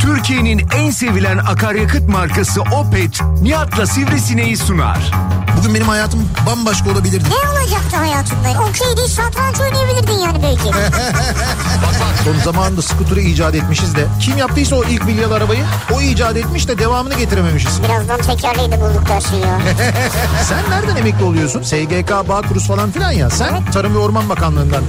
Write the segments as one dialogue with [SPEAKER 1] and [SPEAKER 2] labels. [SPEAKER 1] Türkiye'nin en sevilen akaryakıt markası Opet, Nihat'la Sivrisine'yi sunar.
[SPEAKER 2] Bugün benim hayatım bambaşka olabilirdi.
[SPEAKER 3] Ne olacaktı hayatında? Okey değil satranç oynayabilirdin yani belki.
[SPEAKER 2] Son zamanında skuturu icat etmişiz de. Kim yaptıysa o ilk milyar arabayı o icat etmiş de devamını getirememişiz.
[SPEAKER 3] Birazdan tekerleği de bulduk dersin ya.
[SPEAKER 2] Sen nereden emekli oluyorsun? SGK, Bağkuruz falan filan ya. Sen Tarım ve Orman Bakanlığından.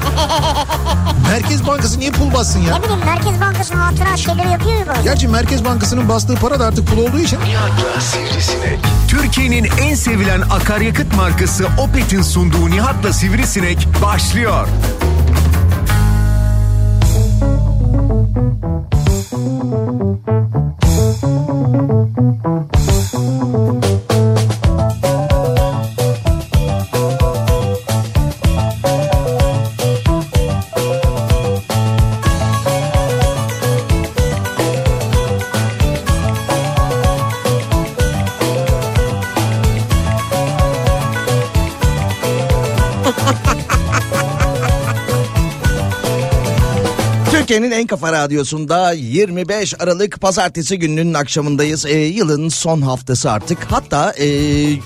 [SPEAKER 2] Merkez Bankası niye pul bassın ya?
[SPEAKER 3] ne bileyim Merkez Bankası'nın hatıra şeyleri yapıyor ya bazen.
[SPEAKER 2] Gerçi Merkez Bankası'nın bastığı para da artık pul olduğu için
[SPEAKER 1] Nihat'la Sivrisinek. Türkiye'nin en sevilen akaryakıt markası Opet'in sunduğu Nihat'la Sivrisinek başlıyor.
[SPEAKER 4] Türkiye'nin en kafa radyosunda 25 Aralık pazartesi gününün akşamındayız. Ee, yılın son haftası artık. Hatta e,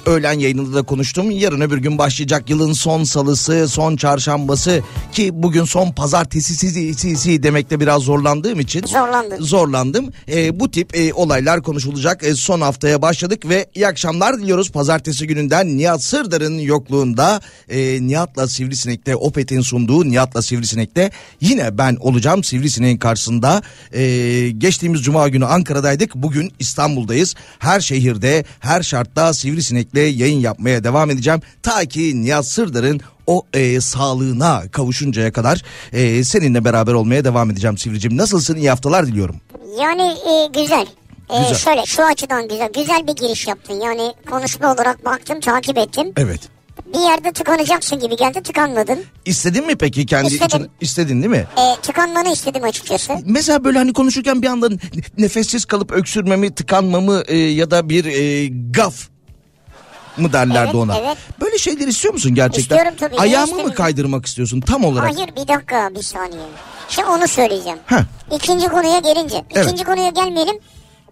[SPEAKER 4] öğlen yayınında da konuştum. Yarın öbür gün başlayacak yılın son salısı, son çarşambası ki bugün son pazartesi sizi, sizi demekte biraz zorlandığım için
[SPEAKER 3] Zorlandın.
[SPEAKER 4] zorlandım. Ee, bu tip e, olaylar konuşulacak. E, son haftaya başladık ve iyi akşamlar diliyoruz. Pazartesi gününden Nihat Sırdar'ın yokluğunda e, Nihat'la Sivrisinek'te Opet'in sunduğu Nihat'la Sivrisinek'te yine ben olacağım Sivrisinek'in karşısında. E, geçtiğimiz cuma günü Ankara'daydık. Bugün İstanbul'dayız. Her şehirde, her şartta Sivrisinek'le yayın yapmaya devam edeceğim. Ta ki Nihat Sırdar'ın o e, sağlığına kavuşuncaya kadar e, seninle beraber olmaya devam edeceğim Sivricim. Nasılsın? İyi haftalar diliyorum.
[SPEAKER 3] Yani e, güzel. E,
[SPEAKER 4] Güzel.
[SPEAKER 3] Şöyle şu açıdan güzel. Güzel bir giriş yaptın. Yani konuşma olarak baktım takip ettim.
[SPEAKER 4] Evet.
[SPEAKER 3] Bir yerde tıkanacaksın gibi geldi tıkanmadın.
[SPEAKER 4] İstedin mi peki kendi
[SPEAKER 3] İstedim.
[SPEAKER 4] için? İstedin değil mi?
[SPEAKER 3] E, tıkanmanı istedim açıkçası.
[SPEAKER 4] Mesela böyle hani konuşurken bir anda nefessiz kalıp öksürmemi, tıkanmamı e, ya da bir e, gaf mı derlerdi
[SPEAKER 3] Evet,
[SPEAKER 4] ona.
[SPEAKER 3] evet.
[SPEAKER 4] Böyle şeyler istiyor musun gerçekten?
[SPEAKER 3] İstiyorum tabii, niye
[SPEAKER 4] Ayağımı mı
[SPEAKER 3] istemeyeyim?
[SPEAKER 4] kaydırmak istiyorsun tam olarak?
[SPEAKER 3] Hayır bir dakika bir saniye. Şimdi onu söyleyeceğim.
[SPEAKER 4] Heh.
[SPEAKER 3] İkinci konuya gelince.
[SPEAKER 4] Evet.
[SPEAKER 3] ikinci konuya gelmeyelim.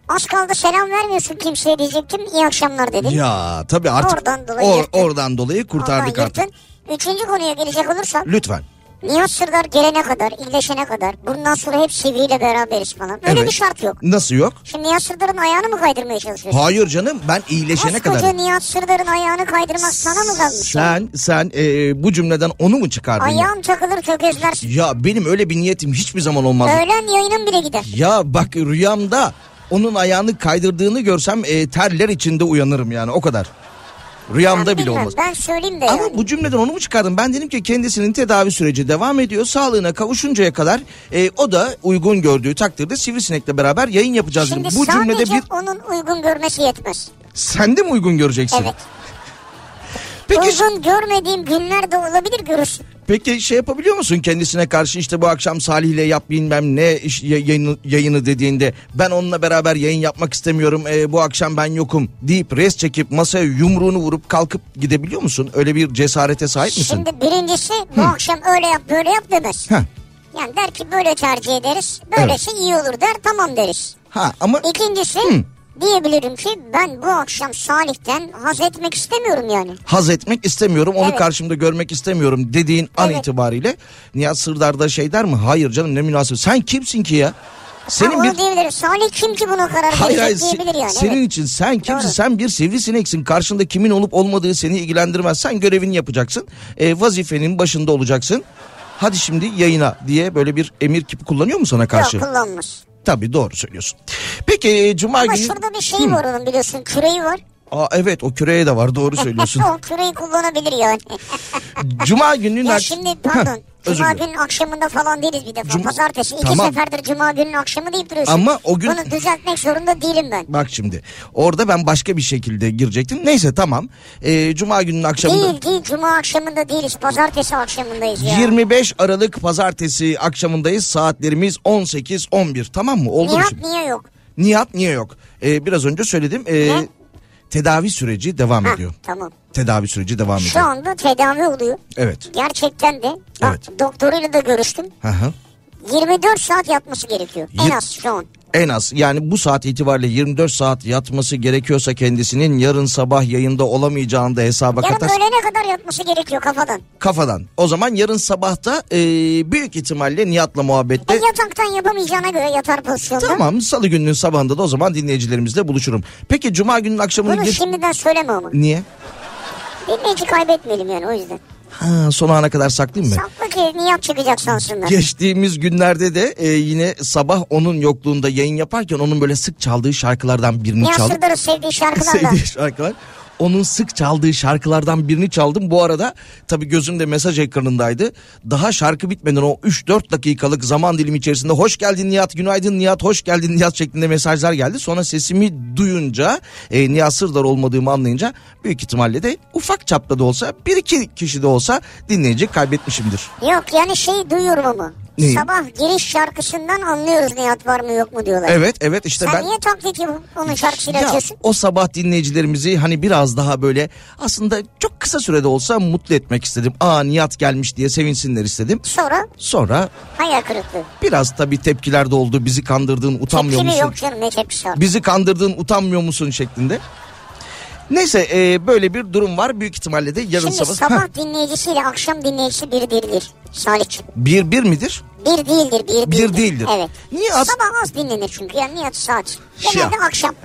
[SPEAKER 3] Az kaldı selam vermiyorsun kimseye diyecektim. İyi akşamlar dedin.
[SPEAKER 4] Ya tabii artık
[SPEAKER 3] Oradan dolayı yırttın.
[SPEAKER 4] oradan dolayı kurtardık
[SPEAKER 3] Ondan
[SPEAKER 4] artık.
[SPEAKER 3] yırttın. Üçüncü konuya gelecek olursak.
[SPEAKER 4] Lütfen.
[SPEAKER 3] Nihat Sırdar gelene kadar, iyileşene kadar bundan sonra hep sivriyle beraberiz falan. Öyle
[SPEAKER 4] Evet.
[SPEAKER 3] bir şart yok.
[SPEAKER 4] Nasıl yok?
[SPEAKER 3] Şimdi Nihat Sırdar'ın ayağını mı kaydırmaya çalışıyorsun?
[SPEAKER 4] Hayır canım ben iyileşene
[SPEAKER 3] Koskoca
[SPEAKER 4] kadar.
[SPEAKER 3] Nihat Sırdar'ın ayağını kaydırmak sana mı kalmış? ya?
[SPEAKER 4] Sen sen e, bu cümleden onu mu çıkardın? ya?
[SPEAKER 3] Ayağım takılır tökezlersin.
[SPEAKER 4] Ya benim öyle bir niyetim hiçbir zaman olmaz.
[SPEAKER 3] Öğlen yayının bile gider.
[SPEAKER 4] Ya bak rüyamda onun ayağını kaydırdığını görsem e, terler içinde uyanırım yani o kadar. Rüyamda
[SPEAKER 3] Ben
[SPEAKER 4] bile
[SPEAKER 3] bilmem,
[SPEAKER 4] olmaz.
[SPEAKER 3] Ben söyleyeyim de
[SPEAKER 4] Ama
[SPEAKER 3] yani.
[SPEAKER 4] bu cümleden onu mu çıkardım? Ben dedim ki kendisinin tedavi süreci devam ediyor. Sağlığına kavuşuncaya kadar e, o da uygun gördüğü takdirde Sivrisinek'le beraber yayın yapacağız.
[SPEAKER 3] Şimdi
[SPEAKER 4] dedim. bu
[SPEAKER 3] sadece
[SPEAKER 4] cümlede bir
[SPEAKER 3] onun uygun görmesi yetmez.
[SPEAKER 4] sen de mi uygun göreceksin?
[SPEAKER 3] Evet.
[SPEAKER 4] Peki
[SPEAKER 3] Uygun görmediğim günler de olabilir görürsün.
[SPEAKER 4] Peki şey yapabiliyor musun kendisine karşı işte bu akşam Salih'le yap bilmem ne iş, ya- yayını, yayını dediğinde ben onunla beraber yayın yapmak istemiyorum e, bu akşam ben yokum deyip res çekip masaya yumruğunu vurup kalkıp gidebiliyor musun? Öyle bir cesarete sahip misin?
[SPEAKER 3] Şimdi birincisi bu akşam öyle yap böyle yap demez.
[SPEAKER 4] Ha,
[SPEAKER 3] Yani der ki böyle tercih ederiz. Böylesi iyi olur der tamam deriz.
[SPEAKER 4] ha ama
[SPEAKER 3] İkincisi diyebilirim ki ben bu akşam Salih'ten haz etmek istemiyorum yani.
[SPEAKER 4] haz etmek istemiyorum onu
[SPEAKER 3] Evet.
[SPEAKER 4] karşımda görmek istemiyorum dediğin an
[SPEAKER 3] Evet.
[SPEAKER 4] itibariyle Nihat Sırdar da şey der mi? Hayır canım ne münasebet sen kimsin ki ya?
[SPEAKER 3] ha,
[SPEAKER 4] Senin
[SPEAKER 3] onu
[SPEAKER 4] bir
[SPEAKER 3] diyebilirim. Salih kim ki buna karar
[SPEAKER 4] Hayır hayır
[SPEAKER 3] verecek
[SPEAKER 4] se-
[SPEAKER 3] diyebilir şey yani.
[SPEAKER 4] senin
[SPEAKER 3] evet.
[SPEAKER 4] için sen kimsin
[SPEAKER 3] Doğru.
[SPEAKER 4] sen bir sivrisineksin karşında kimin olup olmadığı seni ilgilendirmez sen görevini yapacaksın e, vazifenin başında olacaksın hadi şimdi yayına diye böyle bir emir kipi kullanıyor mu sana karşı?
[SPEAKER 3] Yok kullanmış.
[SPEAKER 4] Tabii doğru söylüyorsun. Peki e, cuma
[SPEAKER 3] Ama
[SPEAKER 4] günü
[SPEAKER 3] şurada bir şey var onun biliyorsun küreği var.
[SPEAKER 4] Aa, evet o küreye de var doğru söylüyorsun.
[SPEAKER 3] o küreği kullanabilir yani.
[SPEAKER 4] cuma gününün
[SPEAKER 3] Ya
[SPEAKER 4] ak-
[SPEAKER 3] şimdi
[SPEAKER 4] Heh,
[SPEAKER 3] pardon.
[SPEAKER 4] özür
[SPEAKER 3] Cuma
[SPEAKER 4] dilerim.
[SPEAKER 3] günün akşamında falan değiliz bir defa.
[SPEAKER 4] Cuma-
[SPEAKER 3] Pazartesi iki
[SPEAKER 4] Tamam.
[SPEAKER 3] seferdir Cuma günün akşamı deyip duruyorsun.
[SPEAKER 4] Ama o gün-
[SPEAKER 3] Bunu düzeltmek zorunda değilim ben.
[SPEAKER 4] Bak şimdi orada ben başka bir şekilde girecektim. Neyse tamam. E, Cuma gününün akşamında...
[SPEAKER 3] Değil değil Cuma akşamında değiliz. Pazartesi akşamındayız ya.
[SPEAKER 4] 25 Aralık pazartesi akşamındayız. Saatlerimiz 18-11 tamam mı? Oldu mu
[SPEAKER 3] Nihat
[SPEAKER 4] şimdi?
[SPEAKER 3] niye yok?
[SPEAKER 4] Nihat niye yok? Ee, biraz önce söyledim. Ee,
[SPEAKER 3] Ne?
[SPEAKER 4] tedavi süreci devam
[SPEAKER 3] Heh,
[SPEAKER 4] ediyor.
[SPEAKER 3] tamam.
[SPEAKER 4] Tedavi süreci devam
[SPEAKER 3] Şu
[SPEAKER 4] ediyor.
[SPEAKER 3] anda tedavi oluyor.
[SPEAKER 4] Evet.
[SPEAKER 3] Gerçekten de. Bak
[SPEAKER 4] Evet.
[SPEAKER 3] doktoruyla da görüştüm.
[SPEAKER 4] Hı hı.
[SPEAKER 3] 24 saat yatması gerekiyor. En
[SPEAKER 4] Yir-
[SPEAKER 3] az şu an.
[SPEAKER 4] En az yani bu saat itibariyle 24 saat yatması gerekiyorsa kendisinin yarın sabah yayında olamayacağını da hesaba
[SPEAKER 3] Yarın
[SPEAKER 4] katar.
[SPEAKER 3] öğlene kadar yatması gerekiyor kafadan. E,
[SPEAKER 4] Kafadan. O zaman yarın sabahta e, büyük ihtimalle Nihat'la
[SPEAKER 3] E,
[SPEAKER 4] muhabbette
[SPEAKER 3] yataktan yapamayacağına göre yatar pozisyonda.
[SPEAKER 4] Tamam salı gününün sabahında da o zaman dinleyicilerimizle buluşurum. Peki cuma gününün akşamını
[SPEAKER 3] Bunu
[SPEAKER 4] geç-
[SPEAKER 3] şimdiden söyleme ama.
[SPEAKER 4] Niye?
[SPEAKER 3] Dinleyici kaybetmeyelim yani o yüzden.
[SPEAKER 4] Ha, sona ana kadar saklayayım mı?
[SPEAKER 3] Saklı ki niyat çıkacak sansınlar.
[SPEAKER 4] Geçtiğimiz günlerde de e, yine sabah onun yokluğunda yayın yaparken onun böyle sık çaldığı şarkılardan birini
[SPEAKER 3] Nihat
[SPEAKER 4] çaldım.
[SPEAKER 3] Sırdar'ın sevdiği şarkılarla.
[SPEAKER 4] sevdiği şarkılar. Onun sık çaldığı şarkılardan birini çaldım. Bu arada tabii gözüm de mesaj ekranındaydı. Daha şarkı bitmeden o 3-4 dakikalık zaman dilimi içerisinde hoş geldin Nihat, günaydın Nihat, hoş geldin Nihat şeklinde mesajlar geldi. Sonra sesimi duyunca, e, Nihat Sırdar olmadığımı anlayınca büyük ihtimalle de ufak çapta da olsa bir iki kişi de olsa dinleyici kaybetmişimdir.
[SPEAKER 3] Yok yani şeyi duyuyorum ama.
[SPEAKER 4] Neyi?
[SPEAKER 3] Sabah giriş şarkısından anlıyoruz Nihat var mı yok mu diyorlar.
[SPEAKER 4] Evet, evet işte
[SPEAKER 3] Sen
[SPEAKER 4] ben...
[SPEAKER 3] niye taklit yapıp onun şarkısıyla
[SPEAKER 4] Ya,
[SPEAKER 3] açıyorsun?
[SPEAKER 4] o sabah dinleyicilerimizi hani biraz daha böyle aslında çok kısa sürede olsa mutlu etmek istedim. Aa Nihat gelmiş diye sevinsinler istedim.
[SPEAKER 3] Sonra
[SPEAKER 4] Sonra
[SPEAKER 3] hayal kırıklığı.
[SPEAKER 4] biraz tabii tepkiler de oldu. Bizi kandırdın utanmıyor
[SPEAKER 3] Tepki mi
[SPEAKER 4] musun?
[SPEAKER 3] yok canım ne tepkisi var.
[SPEAKER 4] Bizi kandırdın utanmıyor musun şeklinde. Neyse e, böyle bir durum var. Büyük ihtimalle de yarın
[SPEAKER 3] Şimdi
[SPEAKER 4] sabah...
[SPEAKER 3] sabah,
[SPEAKER 4] Heh,
[SPEAKER 3] dinleyicisiyle akşam dinleyicisi bir değildir Salih'ciğim.
[SPEAKER 4] bir bir midir?
[SPEAKER 3] Bir değildir, bir
[SPEAKER 4] Bir
[SPEAKER 3] değildir.
[SPEAKER 4] değildir.
[SPEAKER 3] Evet.
[SPEAKER 4] Niye az-
[SPEAKER 3] Sabah az dinlenir çünkü yani Nihat saat. Genelde
[SPEAKER 4] Şey Ya.
[SPEAKER 3] akşam.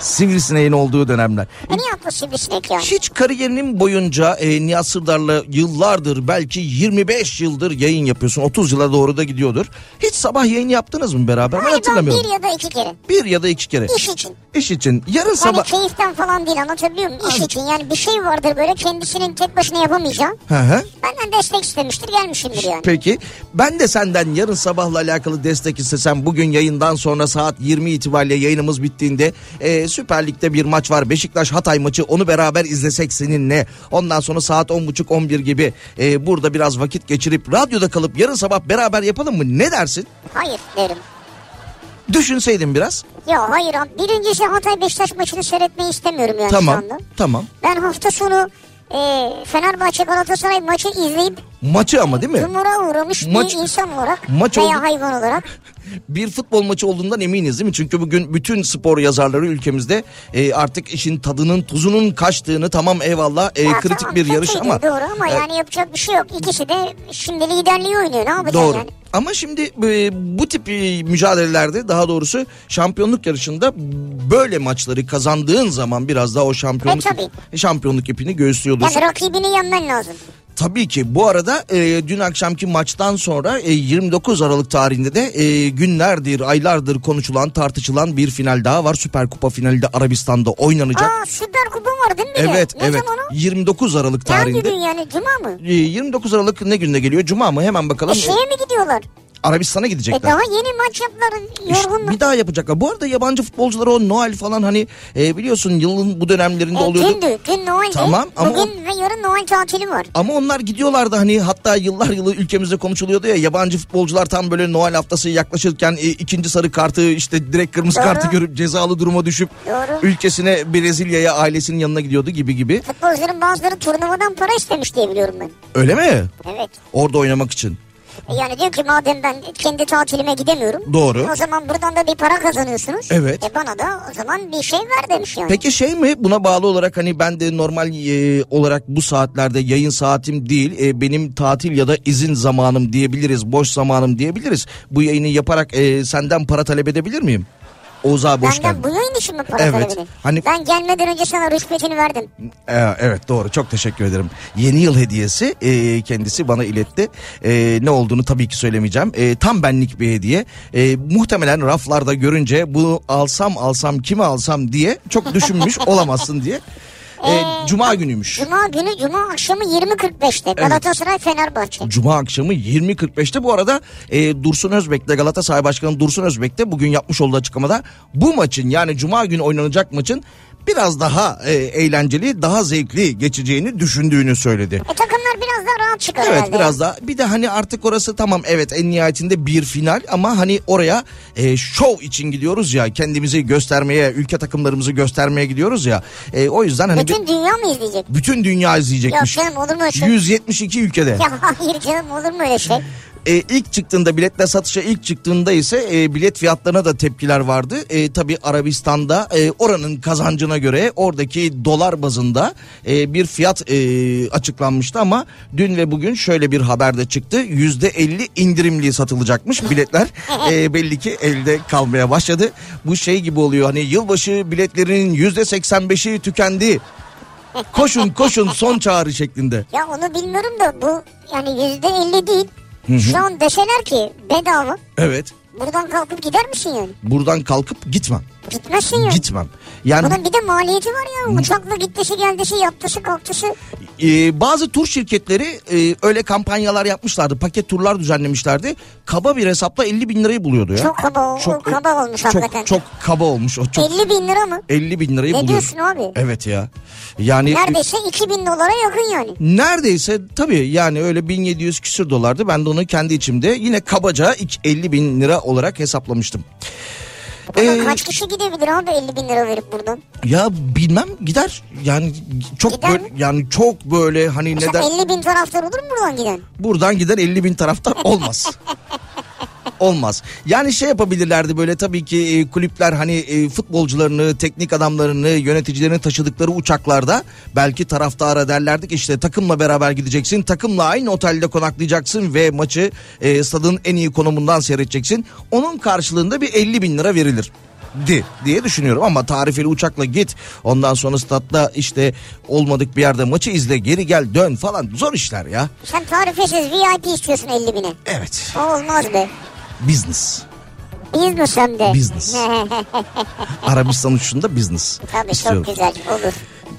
[SPEAKER 4] Sivrisineğin olduğu dönemler.
[SPEAKER 3] E Nihat'la sivrisinek yani.
[SPEAKER 4] Hiç kariyerinin boyunca e, Nihat Sırdar'la yıllardır belki 25 yıldır yayın yapıyorsun. 30 yıla doğru da gidiyordur. Hiç sabah yayın yaptınız mı beraber? Ben
[SPEAKER 3] Hayır, ben
[SPEAKER 4] hatırlamıyorum.
[SPEAKER 3] bir ya da iki kere.
[SPEAKER 4] Bir ya da iki kere.
[SPEAKER 3] İş için.
[SPEAKER 4] İş için. Yarın
[SPEAKER 3] Hani
[SPEAKER 4] sabah...
[SPEAKER 3] keyiften falan değil anlatabiliyor muyum? İş için yani bir şey vardır böyle kendisinin tek başına yapamayacağı.
[SPEAKER 4] Hı hı.
[SPEAKER 3] Benden destek istemiştir gelmişimdir yani.
[SPEAKER 4] Peki ben de senden yarın sabahla alakalı destek istesem bugün yayından sonra saat 20 itibariyle yayınımız bittiğinde e, Süper Lig'de bir maç var Beşiktaş Hatay maçı onu beraber izlesek seninle ondan sonra saat 10.30-11 gibi e, burada biraz vakit geçirip radyoda kalıp yarın sabah beraber yapalım mı ne dersin?
[SPEAKER 3] Hayır derim.
[SPEAKER 4] Düşünseydin biraz
[SPEAKER 3] Ya hayır abi. Birincisi Hatay Beşiktaş maçını seyretmeyi istemiyorum yani şu
[SPEAKER 4] tamam
[SPEAKER 3] anda.
[SPEAKER 4] tamam
[SPEAKER 3] Ben hafta sonu e, Fenerbahçe Galatasaray maçı izleyip
[SPEAKER 4] maçı ama değil mi?
[SPEAKER 3] dumura uğramış
[SPEAKER 4] Maç-
[SPEAKER 3] bir insan olarak
[SPEAKER 4] Maç
[SPEAKER 3] veya
[SPEAKER 4] oldu-
[SPEAKER 3] hayvan olarak
[SPEAKER 4] bir futbol maçı olduğundan eminiz değil mi? Çünkü bugün bütün spor yazarları ülkemizde e, artık işin tadının tuzunun kaçtığını tamam eyvallah e,
[SPEAKER 3] Ya
[SPEAKER 4] kritik
[SPEAKER 3] tamam,
[SPEAKER 4] bir yarış
[SPEAKER 3] kötüydü,
[SPEAKER 4] ama
[SPEAKER 3] Doğru ama
[SPEAKER 4] e,
[SPEAKER 3] yani yapacak bir şey yok. İkisi de şimdi liderliği oynuyor. Ne yapacaksın
[SPEAKER 4] doğru.
[SPEAKER 3] yani?
[SPEAKER 4] Ama şimdi e, bu tip e, mücadelelerde daha doğrusu şampiyonluk yarışında böyle maçları kazandığın zaman biraz daha o şampiyonluk
[SPEAKER 3] E, tabii.
[SPEAKER 4] şampiyonluk ipini göğüslüyor olursun.
[SPEAKER 3] Yani rakibini yenmen lazım.
[SPEAKER 4] Tabii ki bu arada e, dün akşamki maçtan sonra e, 29 Aralık tarihinde de e, günlerdir aylardır konuşulan tartışılan bir final daha var. Süper Kupa finali de Arabistan'da oynanacak.
[SPEAKER 3] Aa Süper Kupa var değil mi? bir de?
[SPEAKER 4] evet
[SPEAKER 3] ne
[SPEAKER 4] evet
[SPEAKER 3] zaman o?
[SPEAKER 4] 29 Aralık
[SPEAKER 3] Ne Hangi
[SPEAKER 4] tarihinde.
[SPEAKER 3] gün yani? Cuma mı?
[SPEAKER 4] E, 29 Aralık ne günde geliyor? Cuma mı? Hemen
[SPEAKER 3] E
[SPEAKER 4] bakalım.
[SPEAKER 3] şeye mi gidiyorlar?
[SPEAKER 4] Arabistan'a
[SPEAKER 3] E
[SPEAKER 4] gidecekler.
[SPEAKER 3] daha yeni maç yaptılar.
[SPEAKER 4] İşte
[SPEAKER 3] Yorgunlar.
[SPEAKER 4] bir daha yapacaklar. Bu arada yabancı futbolculara o Noel falan hani e, biliyorsun yılın bu dönemlerinde
[SPEAKER 3] E,
[SPEAKER 4] oluyordu.
[SPEAKER 3] dündü. Dün Noel'di.
[SPEAKER 4] Tamam, ama
[SPEAKER 3] Bugün ve yarın Noel tatili var.
[SPEAKER 4] Ama onlar gidiyorlardı hani hatta yıllar yılı ülkemizde konuşuluyordu ya yabancı futbolcular tam böyle Noel haftası yaklaşırken e, ikinci sarı kartı işte direkt kırmızı
[SPEAKER 3] Doğru.
[SPEAKER 4] kartı görüp cezalı duruma düşüp
[SPEAKER 3] Doğru.
[SPEAKER 4] ülkesine Brezilya'ya ailesinin yanına gidiyordu gibi gibi.
[SPEAKER 3] Futbolcuların bazıları turnuvadan para istemiş diye biliyorum ben.
[SPEAKER 4] Öyle mi?
[SPEAKER 3] Evet.
[SPEAKER 4] Orada oynamak için.
[SPEAKER 3] E, Yani diyor ki madem ben kendi tatilime gidemiyorum.
[SPEAKER 4] Doğru.
[SPEAKER 3] O zaman buradan da bir para kazanıyorsunuz.
[SPEAKER 4] Evet.
[SPEAKER 3] E bana da o zaman bir şey ver demiş yani.
[SPEAKER 4] Peki şey mi buna bağlı olarak hani ben de normal e, olarak bu saatlerde yayın saatim değil e, benim tatil ya da izin zamanım diyebiliriz boş zamanım diyebiliriz. Bu yayını yaparak e, senden para talep edebilir miyim? Oğuz abi hoş geldin.
[SPEAKER 3] Benden bu yayın için mi para
[SPEAKER 4] Evet,
[SPEAKER 3] talebini?
[SPEAKER 4] hani-
[SPEAKER 3] Ben gelmeden önce sana rüşvetini verdim.
[SPEAKER 4] Ee, evet doğru çok teşekkür ederim. Yeni yıl hediyesi e, kendisi bana iletti. E, ne olduğunu tabii ki söylemeyeceğim. E, tam benlik bir hediye. E, muhtemelen raflarda görünce bunu alsam alsam kime alsam diye çok düşünmüş olamazsın diye. E, Cuma günüymüş.
[SPEAKER 3] Cuma günü Cuma akşamı 20.45'te Galatasaray Fenerbahçe.
[SPEAKER 4] Cuma akşamı 20.45'te bu arada e, Dursun Özbek de Galatasaray Başkanı Dursun Özbek de bugün yapmış olduğu açıklamada bu maçın yani Cuma günü oynanacak maçın biraz daha e, eğlenceli daha zevkli geçeceğini düşündüğünü söyledi.
[SPEAKER 3] E takımlar biraz daha rahat çıkar
[SPEAKER 4] Evet
[SPEAKER 3] herhalde.
[SPEAKER 4] biraz daha bir de hani artık orası tamam evet en nihayetinde bir final ama hani oraya e, şov için gidiyoruz ya kendimizi göstermeye ülke takımlarımızı göstermeye gidiyoruz ya E, o yüzden hani bir-
[SPEAKER 3] Bütün dünya mı izleyecek?
[SPEAKER 4] bütün dünya izleyecekmiş.
[SPEAKER 3] Yok canım, olur mu öyle şey?
[SPEAKER 4] 172 ülkede.
[SPEAKER 3] Ya hayır canım olur mu öyle şey?
[SPEAKER 4] E, ilk çıktığında biletle satışa ilk çıktığında ise e, bilet fiyatlarına da tepkiler vardı. E, tabii Arabistan'da e, oranın kazancına göre oradaki dolar bazında e, bir fiyat e, açıklanmıştı ama dün ve bugün şöyle bir haber de çıktı. Yüzde 50 indirimli satılacakmış biletler. E, belli ki elde kalmaya başladı. Bu şey gibi oluyor hani yılbaşı biletlerinin yüzde 85'i tükendi. Koşun koşun son çağrı şeklinde.
[SPEAKER 3] Ya onu bilmiyorum da bu yani yüzde elli değil. Şu an deseler ki bedava.
[SPEAKER 4] Evet.
[SPEAKER 3] Buradan kalkıp gider misin yani?
[SPEAKER 4] Buradan kalkıp gitmem.
[SPEAKER 3] Gitmezsin yani.
[SPEAKER 4] Gitmem. Yani
[SPEAKER 3] Bunun bir de maliyeti var ya. Uçakla gittisi geldisi yaptısı kalktısı.
[SPEAKER 4] e, bazı tur şirketleri e, öyle kampanyalar yapmışlardı. Paket turlar düzenlemişlerdi. Kaba bir hesapla 50 bin lirayı buluyordu ya.
[SPEAKER 3] Çok kaba, o-
[SPEAKER 4] Çok-
[SPEAKER 3] kaba olmuş hakikaten.
[SPEAKER 4] Çok, çok kaba olmuş o çok. E-
[SPEAKER 3] 50 bin lira mı?
[SPEAKER 4] 50 bin lirayı
[SPEAKER 3] Ne
[SPEAKER 4] buluyor.
[SPEAKER 3] diyorsun abi?
[SPEAKER 4] Evet ya. Yani
[SPEAKER 3] Neredeyse 2000 dolara yakın yani.
[SPEAKER 4] Neredeyse tabii yani öyle 1700 küsür dolardı. Ben de onu kendi içimde yine kabaca ilk 50 bin lira olarak hesaplamıştım.
[SPEAKER 3] Buradan
[SPEAKER 4] Ee,
[SPEAKER 3] kaç kişi gidebilir abi 50 bin lira verip buradan?
[SPEAKER 4] Ya bilmem gider. Yani çok
[SPEAKER 3] Gider
[SPEAKER 4] böyle,
[SPEAKER 3] mi?
[SPEAKER 4] yani çok böyle hani
[SPEAKER 3] Mesela
[SPEAKER 4] neden
[SPEAKER 3] 50 bin taraftar olur mu buradan giden?
[SPEAKER 4] buradan gider 50 bin taraftar olmaz. olmaz. Yani şey yapabilirlerdi böyle tabii ki e, kulüpler hani e, futbolcularını, teknik adamlarını, yöneticilerini taşıdıkları uçaklarda belki taraftara derlerdi ki işte takımla beraber gideceksin, takımla aynı otelde konaklayacaksın ve maçı e, stadın en iyi konumundan seyredeceksin. Onun karşılığında bir 50 bin lira verilir di diye düşünüyorum ama tarifeli uçakla git ondan sonra statta işte olmadık bir yerde maçı izle geri gel dön falan zor işler ya.
[SPEAKER 3] Sen tarifesiz VIP istiyorsun 50 bine.
[SPEAKER 4] Evet
[SPEAKER 3] O olmaz be.
[SPEAKER 4] business.
[SPEAKER 3] Business hem de.
[SPEAKER 4] Business. Arabistan uçuşunda business.
[SPEAKER 3] Tabii
[SPEAKER 4] istiyorum.
[SPEAKER 3] çok güzel olur.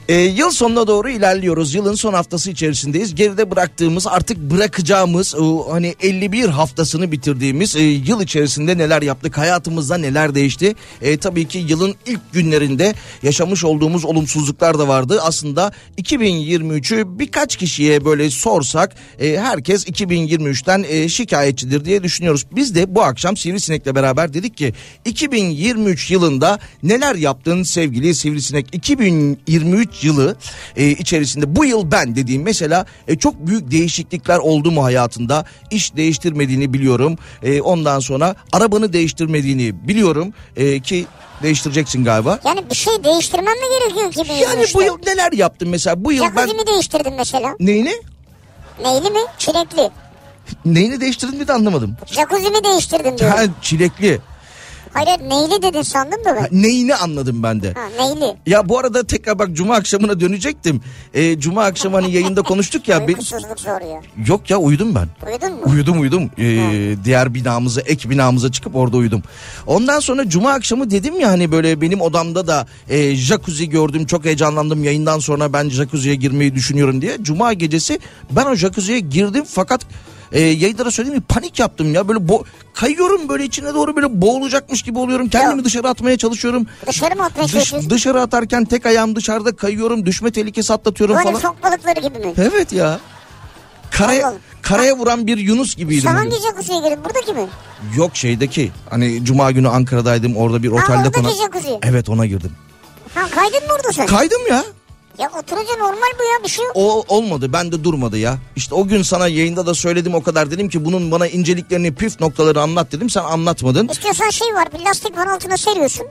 [SPEAKER 4] Ee, yıl sonuna doğru ilerliyoruz. Yılın son haftası içerisindeyiz. Geride bıraktığımız artık bırakacağımız e, hani 51 haftasını bitirdiğimiz e, yıl içerisinde neler yaptık? Hayatımızda neler değişti? E, tabii ki yılın ilk günlerinde yaşamış olduğumuz olumsuzluklar da vardı. Aslında 2023'ü birkaç kişiye böyle sorsak e, herkes 2023'ten e, şikayetçidir diye düşünüyoruz. Biz de bu akşam Sivrisinek'le beraber dedik ki 2023 yılında neler yaptın sevgili Sivrisinek? 2023 yılı e, içerisinde bu yıl ben dediğim mesela e, çok büyük değişiklikler oldu mu hayatında? İş değiştirmediğini biliyorum. E, ondan sonra arabanı değiştirmediğini biliyorum E, ki değiştireceksin galiba.
[SPEAKER 3] Yani bir şey değiştirmem mi gerekiyor ki benim
[SPEAKER 4] Yani
[SPEAKER 3] işte?
[SPEAKER 4] bu yıl neler yaptın mesela? Bu yıl ben
[SPEAKER 3] Jacuzzimi değiştirdim mesela.
[SPEAKER 4] neyini?
[SPEAKER 3] Neyli mi? Çilekli.
[SPEAKER 4] Neyini değiştirdin bir de anlamadım.
[SPEAKER 3] Jacuzzimi değiştirdim diyorum.
[SPEAKER 4] Ha, çilekli.
[SPEAKER 3] Hayır neyli dedin sandım da
[SPEAKER 4] Ha,
[SPEAKER 3] ben.
[SPEAKER 4] Neyini anladım ben de.
[SPEAKER 3] Ha, neyli.
[SPEAKER 4] Ya bu arada tekrar bak cuma akşamına dönecektim. Ee, cuma akşamı hani yayında konuştuk ya. ben-
[SPEAKER 3] Uykusuzluk zor ya.
[SPEAKER 4] Yok ya uyudum ben.
[SPEAKER 3] Uyudun mu?
[SPEAKER 4] Uyudum uyudum. Ee, diğer binamıza ek binamıza çıkıp orada uyudum. Ondan sonra cuma akşamı dedim ya hani böyle benim odamda da e, jacuzzi gördüm çok heyecanlandım. Yayından sonra ben jacuzziye girmeyi düşünüyorum diye. Cuma gecesi ben o jacuzziye girdim fakat e, yayınlara söyleyeyim mi panik yaptım ya böyle bo- kayıyorum böyle içine doğru böyle boğulacakmış gibi oluyorum. Kendimi
[SPEAKER 3] Ya.
[SPEAKER 4] dışarı atmaya çalışıyorum.
[SPEAKER 3] Dışarı mı atmaya
[SPEAKER 4] Dış-
[SPEAKER 3] çalışıyorsun?
[SPEAKER 4] dışarı atarken tek ayağım dışarıda kayıyorum düşme tehlikesi atlatıyorum
[SPEAKER 3] Böyle
[SPEAKER 4] falan.
[SPEAKER 3] fok balıkları gibi mi?
[SPEAKER 4] Evet ya. Karaya,
[SPEAKER 3] Anladım.
[SPEAKER 4] karaya vuran bir Yunus gibiydim.
[SPEAKER 3] Sen
[SPEAKER 4] bugün.
[SPEAKER 3] hangi jacuzziye girdin? Buradaki mi?
[SPEAKER 4] Yok şeydeki hani cuma günü Ankara'daydım orada bir otelde
[SPEAKER 3] oradaki
[SPEAKER 4] konak.
[SPEAKER 3] jacuzzi.
[SPEAKER 4] Evet ona girdim.
[SPEAKER 3] Ha kaydın mı orada sen?
[SPEAKER 4] Kaydım ya.
[SPEAKER 3] ya oturunca normal bu ya bir şey yok.
[SPEAKER 4] O olmadı ben de durmadı ya. İşte o gün sana yayında da söyledim o kadar dedim ki bunun bana inceliklerini püf noktaları anlat dedim sen anlatmadın.
[SPEAKER 3] İstiyorsan şey var bir lastik var altına seriyorsun.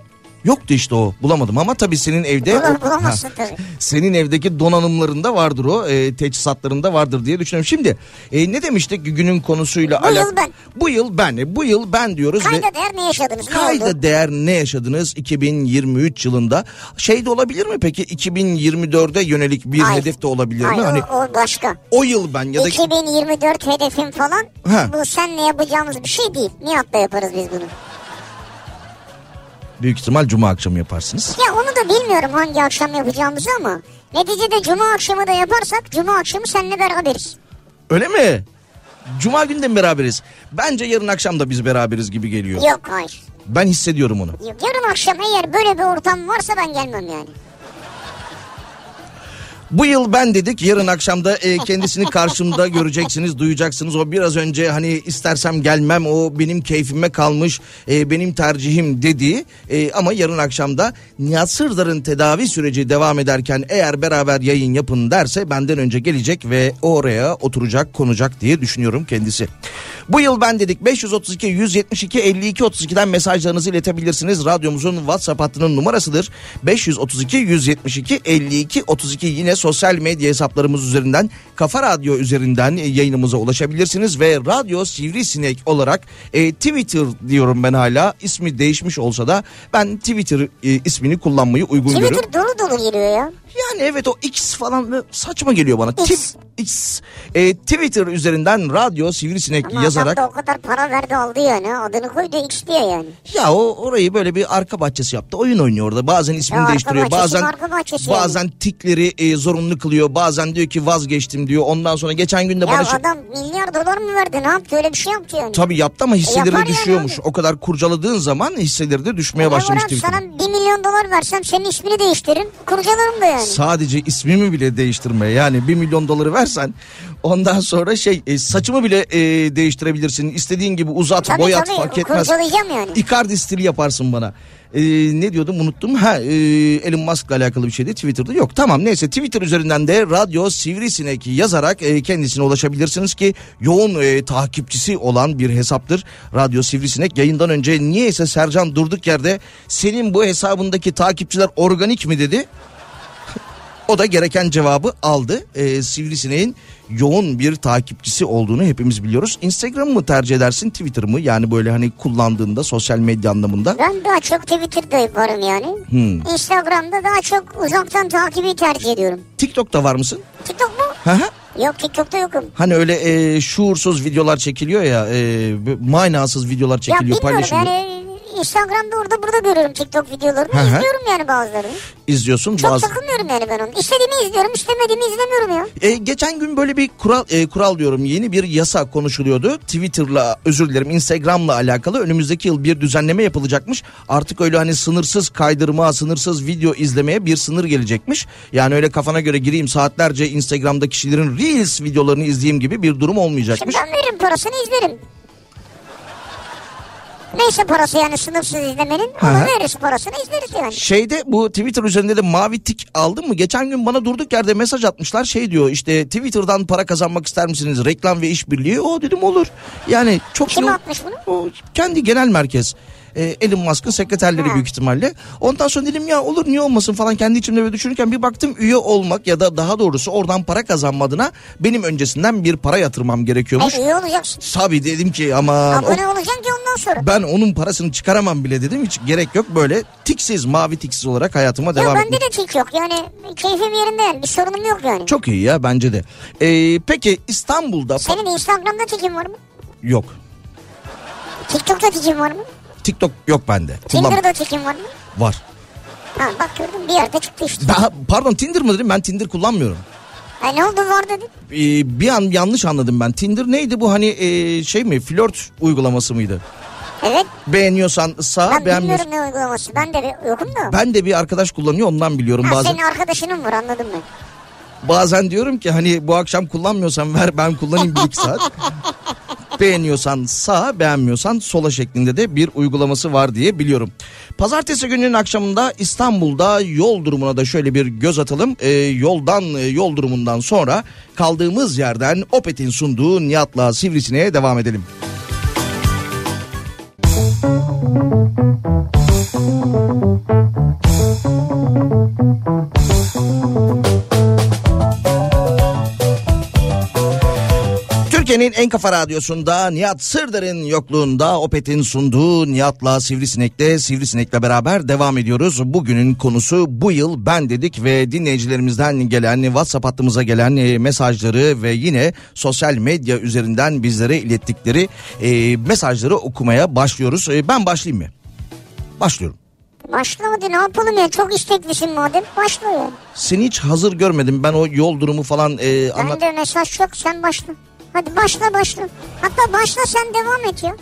[SPEAKER 4] Yoktu işte o bulamadım ama tabii senin evde
[SPEAKER 3] Bulam-
[SPEAKER 4] o-
[SPEAKER 3] bulamazsın
[SPEAKER 4] Ha.
[SPEAKER 3] tabii.
[SPEAKER 4] Senin evdeki donanımlarında vardır o e, teçhizatlarında vardır diye düşünüyorum. Şimdi e, ne demiştik günün konusuyla
[SPEAKER 3] Bu yıl
[SPEAKER 4] alak-
[SPEAKER 3] ben.
[SPEAKER 4] Bu yıl ben. e, Bu yıl ben diyoruz ve
[SPEAKER 3] Kayda değer ne yaşadınız? Ne oldu?
[SPEAKER 4] Kayda değer ne yaşadınız 2023 yılında? Şey de olabilir mi peki 2024'e yönelik bir
[SPEAKER 3] Hayır.
[SPEAKER 4] hedef de olabilir
[SPEAKER 3] Hayır,
[SPEAKER 4] mi? Hani
[SPEAKER 3] o, o başka.
[SPEAKER 4] o yıl ben ya da
[SPEAKER 3] 2024 hedefim falan
[SPEAKER 4] Ha.
[SPEAKER 3] bu senle yapacağımız bir şey değil. Nihat'la yaparız biz bunu.
[SPEAKER 4] büyük ihtimal cuma akşamı yaparsınız.
[SPEAKER 3] Ya onu da bilmiyorum hangi akşam yapacağımızı ama neticede cuma akşamı da yaparsak cuma akşamı seninle beraberiz.
[SPEAKER 4] Öyle mi? Cuma günü de mi beraberiz? Bence yarın akşam da biz beraberiz gibi geliyor.
[SPEAKER 3] Yok hayır.
[SPEAKER 4] Ben hissediyorum onu.
[SPEAKER 3] Yok. Yarın akşam eğer böyle bir ortam varsa ben gelmem yani.
[SPEAKER 4] Bu yıl ben dedik yarın akşam da e, kendisini karşımda göreceksiniz duyacaksınız. O biraz önce hani istersem gelmem o benim keyfime kalmış e, benim tercihim dediği e, ama yarın akşam da Nihat Sırdar'ın tedavi süreci devam ederken eğer beraber yayın yapın derse benden önce gelecek ve oraya oturacak konacak diye düşünüyorum kendisi. Bu yıl ben dedik 532 172 52 32'den mesajlarınızı iletebilirsiniz. Radyomuzun WhatsApp hattının numarasıdır. 532 172 52 32 yine sosyal medya hesaplarımız üzerinden Kafa Radyo üzerinden e, yayınımıza ulaşabilirsiniz ve Radyo Sivrisinek olarak e, Twitter diyorum ben hala ismi değişmiş olsa da ben Twitter e, ismini kullanmayı uygun görüyorum.
[SPEAKER 3] Twitter dolu dolu geliyor ya.
[SPEAKER 4] Yani evet o X falan böyle saçma geliyor bana.
[SPEAKER 3] X.
[SPEAKER 4] X. X. E, Twitter üzerinden Radyo Sivrisinek
[SPEAKER 3] Ama
[SPEAKER 4] yazarak
[SPEAKER 3] adam da o kadar para verdi aldı yani. Adını koydu X diye yani.
[SPEAKER 4] Ya o orayı böyle bir arka bahçesi yaptı. Oyun oynuyor orada. Bazen ismini
[SPEAKER 3] Ya arka
[SPEAKER 4] değiştiriyor.
[SPEAKER 3] bahçesi,
[SPEAKER 4] Bazen
[SPEAKER 3] arka bahçesi yani.
[SPEAKER 4] bazen tikleri e, zorunlu kılıyor. Bazen diyor ki vazgeçtim diyor. Ondan sonra geçen gün de
[SPEAKER 3] Ya
[SPEAKER 4] bana şey...
[SPEAKER 3] adam milyar dolar mı verdi ne yaptı öyle bir şey yaptı yani.
[SPEAKER 4] Tabii yaptı ama hisseleri
[SPEAKER 3] yapar
[SPEAKER 4] de
[SPEAKER 3] yani
[SPEAKER 4] düşüyormuş.
[SPEAKER 3] abi. E,
[SPEAKER 4] O kadar kurcaladığın zaman hisseleri de düşmeye
[SPEAKER 3] Ya
[SPEAKER 4] başlamış
[SPEAKER 3] Orhan,
[SPEAKER 4] Twitter'ın.
[SPEAKER 3] Sana 1 milyon dolar versem senin ismini değiştiririm. Kurcalarım da yani.
[SPEAKER 4] Sadece ismimi bile değiştirme. Yani 1 milyon doları versen ondan sonra şey e, saçımı bile e, değiştirebilirsin. İstediğin gibi uzat,
[SPEAKER 3] Tabii,
[SPEAKER 4] boyat
[SPEAKER 3] tabii.
[SPEAKER 4] fark etmez.
[SPEAKER 3] Kurcalayacağım yani.
[SPEAKER 4] Icardi stili yaparsın bana. E, ne diyordum unuttum. Ha e, Elon Musk'la alakalı bir şeydi Twitter'da yok. Tamam neyse Twitter üzerinden de Radyo Sivrisinek yazarak e, kendisine ulaşabilirsiniz ki yoğun e, takipçisi olan bir hesaptır. Radyo Sivrisinek yayından önce niyeyse Sercan durduk yerde senin bu hesabındaki takipçiler organik mi dedi. O da gereken cevabı aldı. Ee, Sivrisineğin yoğun bir takipçisi olduğunu hepimiz biliyoruz. Instagram mı tercih edersin Twitter mı? Yani böyle hani kullandığında sosyal medya anlamında.
[SPEAKER 3] Ben daha çok Twitter'da varım yani.
[SPEAKER 4] Hmm.
[SPEAKER 3] Instagram'da daha çok uzaktan takibi tercih ediyorum.
[SPEAKER 4] TikTok'ta var mısın?
[SPEAKER 3] TikTok mu?
[SPEAKER 4] Hı hı.
[SPEAKER 3] Yok TikTok'ta yokum.
[SPEAKER 4] hani öyle e, şuursuz videolar çekiliyor ya. E, manasız videolar
[SPEAKER 3] Ya
[SPEAKER 4] çekiliyor
[SPEAKER 3] bilmiyorum
[SPEAKER 4] paylaşılıyor.
[SPEAKER 3] yani Instagram'da orada burada görüyorum TikTok videolarını.
[SPEAKER 4] Hı hı.
[SPEAKER 3] İzliyorum yani bazılarını.
[SPEAKER 4] İzliyorsun
[SPEAKER 3] Çok
[SPEAKER 4] bazı.
[SPEAKER 3] takılmıyorum yani ben onu. İstediğimi izliyorum istemediğimi izlemiyorum ya.
[SPEAKER 4] E, geçen gün böyle bir kural e, kural diyorum yeni bir yasa konuşuluyordu. Twitter'la özür dilerim Instagram'la alakalı önümüzdeki yıl bir düzenleme yapılacakmış. Artık öyle hani sınırsız kaydırma, sınırsız video izlemeye bir sınır gelecekmiş. Yani öyle kafana göre gireyim saatlerce Instagram'da kişilerin Reels videolarını izleyeyim gibi bir durum
[SPEAKER 3] Şimdi
[SPEAKER 4] olmayacakmış.
[SPEAKER 3] ben veririm parasını izlerim. Neyse parası yani sınırsız izlemenin.
[SPEAKER 4] Hı
[SPEAKER 3] Ona
[SPEAKER 4] hı.
[SPEAKER 3] veririz parasını izleriz yani.
[SPEAKER 4] Şeyde bu Twitter üzerinde de mavi tik aldın mı? Geçen gün bana durduk yerde mesaj atmışlar. Şey diyor işte Twitter'dan para kazanmak ister misiniz? Reklam ve işbirliği. O dedim olur. Yani çok
[SPEAKER 3] Kim
[SPEAKER 4] iyi-
[SPEAKER 3] atmış bunu?
[SPEAKER 4] O kendi genel merkez. Ee, Elon Musk'ın sekreterleri
[SPEAKER 3] Ha.
[SPEAKER 4] büyük ihtimalle. Ondan sonra dedim ya olur niye olmasın falan kendi içimde böyle düşünürken bir baktım üye olmak ya da daha doğrusu oradan para kazanma adına benim öncesinden bir para yatırmam gerekiyormuş.
[SPEAKER 3] E, iyi olacaksın.
[SPEAKER 4] Tabii dedim ki aman o
[SPEAKER 3] Abone olacaksın ki ondan sonra.
[SPEAKER 4] ben onun parasını çıkaramam bile dedim. Hiç gerek yok böyle tiksiz mavi tiksiz olarak hayatıma
[SPEAKER 3] Ya
[SPEAKER 4] devam etmek.
[SPEAKER 3] bende de tik yok yani keyfim yerinde yani bir sorunum yok yani.
[SPEAKER 4] Çok iyi ya bence de. Ee, peki İstanbul'da pa-
[SPEAKER 3] Senin Instagram'da tikin var mı?
[SPEAKER 4] yok.
[SPEAKER 3] TikTok'ta tikin var mı?
[SPEAKER 4] TikTok yok bende. Kullan
[SPEAKER 3] Tinder'da tikin var mı?
[SPEAKER 4] var.
[SPEAKER 3] Ha bak gördüm bir yerde çıktı işte.
[SPEAKER 4] Daha, pardon Tinder mı dedim ben Tinder kullanmıyorum.
[SPEAKER 3] Ha ne oldu var dedin?
[SPEAKER 4] Ee, bir an yanlış anladım ben. Tinder neydi bu hani e, şey mi flört uygulaması mıydı?
[SPEAKER 3] Evet
[SPEAKER 4] Beğeniyorsan sağ
[SPEAKER 3] ben
[SPEAKER 4] beğenmiyorsan.
[SPEAKER 3] bilmiyorum ne uygulaması ben de bir- yokum da.
[SPEAKER 4] Ben de bir arkadaş kullanıyor ondan biliyorum
[SPEAKER 3] Ha,
[SPEAKER 4] bazen.
[SPEAKER 3] senin arkadaşının var anladım ben.
[SPEAKER 4] Bazen diyorum ki hani bu akşam kullanmıyorsan ver ben kullanayım bir iki saat. Beğeniyorsan sağa beğenmiyorsan sola şeklinde de bir uygulaması var diye biliyorum. Pazartesi gününün akşamında İstanbul'da yol durumuna da şöyle bir göz atalım. Ee, yoldan e, yol durumundan sonra kaldığımız yerden Opet'in sunduğu Nihat'la Sivrisine'ye devam edelim. Türkiye'nin en kafa radyosunda Nihat Sırdar'ın yokluğunda Opet'in sunduğu Nihat'la Sivrisinek'te Sivrisinek'le beraber devam ediyoruz. Bugünün konusu bu yıl ben dedik ve dinleyicilerimizden gelen WhatsApp hattımıza gelen e, mesajları ve yine sosyal medya üzerinden bizlere ilettikleri e, mesajları okumaya başlıyoruz. E, ben başlayayım mı? Başlıyorum.
[SPEAKER 3] Başla hadi ne yapalım ya çok isteklisin madem başla ya.
[SPEAKER 4] Seni hiç hazır görmedim. Ben o yol durumu falan e, anlat.
[SPEAKER 3] Bende mesaj çok sen başla. Hadi başla başla. Hatta başla sen devam et ya.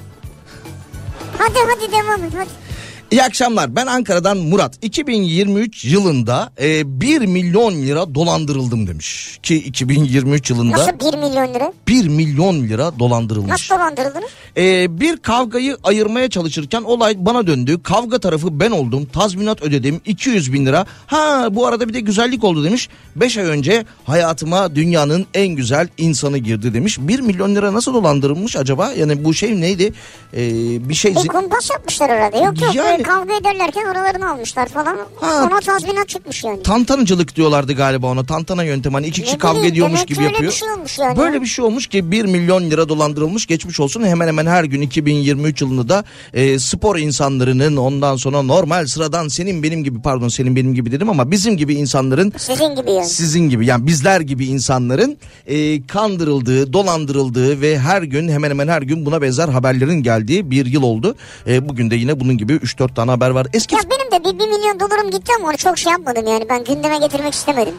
[SPEAKER 3] Hadi hadi devam et hadi.
[SPEAKER 4] İyi akşamlar ben Ankara'dan Murat. 2023 yılında e, 1 milyon lira dolandırıldım demiş. Ki 2023 yılında
[SPEAKER 3] Nasıl 1 milyon lira?
[SPEAKER 4] 1 milyon lira dolandırılmış.
[SPEAKER 3] Nasıl dolandırıldınız?
[SPEAKER 4] Ee, bir kavgayı ayırmaya çalışırken olay bana döndü. Kavga tarafı ben oldum. Tazminat ödedim. 200 bin lira. Ha bu arada bir de güzellik oldu demiş. 5 ay önce hayatıma dünyanın en güzel insanı girdi demiş. 1 milyon lira nasıl dolandırılmış acaba? Yani bu şey neydi? Ee, bir şey...
[SPEAKER 3] Bir E, kumpas yapmışlar herhalde. Yok yok
[SPEAKER 4] Yani-
[SPEAKER 3] böyle kavga ederlerken oralarını almışlar falan.
[SPEAKER 4] Ha.
[SPEAKER 3] Ona tazminat çıkmış yani.
[SPEAKER 4] Tantanacılık diyorlardı galiba ona. Tantana yöntemi. Hani iki kişi
[SPEAKER 3] Ne
[SPEAKER 4] kavga
[SPEAKER 3] bileyim,
[SPEAKER 4] ediyormuş
[SPEAKER 3] demek
[SPEAKER 4] gibi
[SPEAKER 3] ki öyle
[SPEAKER 4] yapıyor.
[SPEAKER 3] bir şey olmuş yani.
[SPEAKER 4] Böyle bir şey olmuş ki 1 milyon lira dolandırılmış geçmiş olsun. Hemen hemen her gün 2023 yılında da e, spor insanlarının ondan sonra normal sıradan senin benim gibi pardon senin benim gibi dedim ama bizim gibi insanların
[SPEAKER 3] Sizin gibi yani.
[SPEAKER 4] sizin gibi yani bizler gibi insanların e, kandırıldığı, dolandırıldığı ve her gün hemen hemen her gün buna benzer haberlerin geldiği bir yıl oldu. E, bugün de yine bunun gibi 3-4 tane haber var. Eski
[SPEAKER 3] Ya benim de bir, bir milyon dolarım gitti ama onu çok şey yapmadım yani. Ben gündeme getirmek istemedim.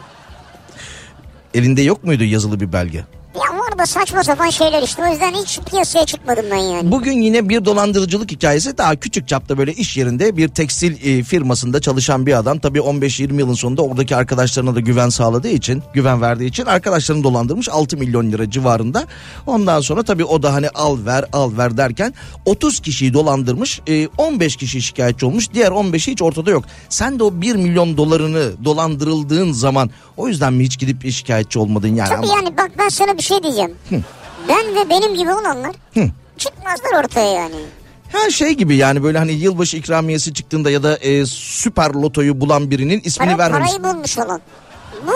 [SPEAKER 4] elinde yok muydu yazılı bir belge?
[SPEAKER 3] Ya var da saçma sapan şeyler işte. O yüzden hiç piyasaya çıkmadım ben yani.
[SPEAKER 4] Bugün yine bir dolandırıcılık hikayesi daha küçük çapta böyle iş yerinde bir tekstil e, firmasında çalışan bir adam tabii 15-20 yılın sonunda oradaki arkadaşlarına da güven sağladığı için güven verdiği için arkadaşlarını dolandırmış 6 milyon lira civarında. Ondan sonra tabii o da hani al ver al ver derken 30 kişiyi dolandırmış e, 15 kişi şikayetçi olmuş diğer 15'i hiç ortada yok. Sen de o 1 milyon dolarını dolandırıldığın zaman o yüzden mi hiç gidip şikayetçi olmadın yani?
[SPEAKER 3] Tabii yani bak ben sana bir şey diyeceğim. Ben ve benim gibi olanlar çıkmazlar ortaya yani.
[SPEAKER 4] Her şey gibi yani böyle hani yılbaşı ikramiyesi çıktığında ya da e, süper lotoyu bulan birinin ismini
[SPEAKER 3] Para,
[SPEAKER 4] vermemiş.
[SPEAKER 3] parayı bulmuş olan. Bu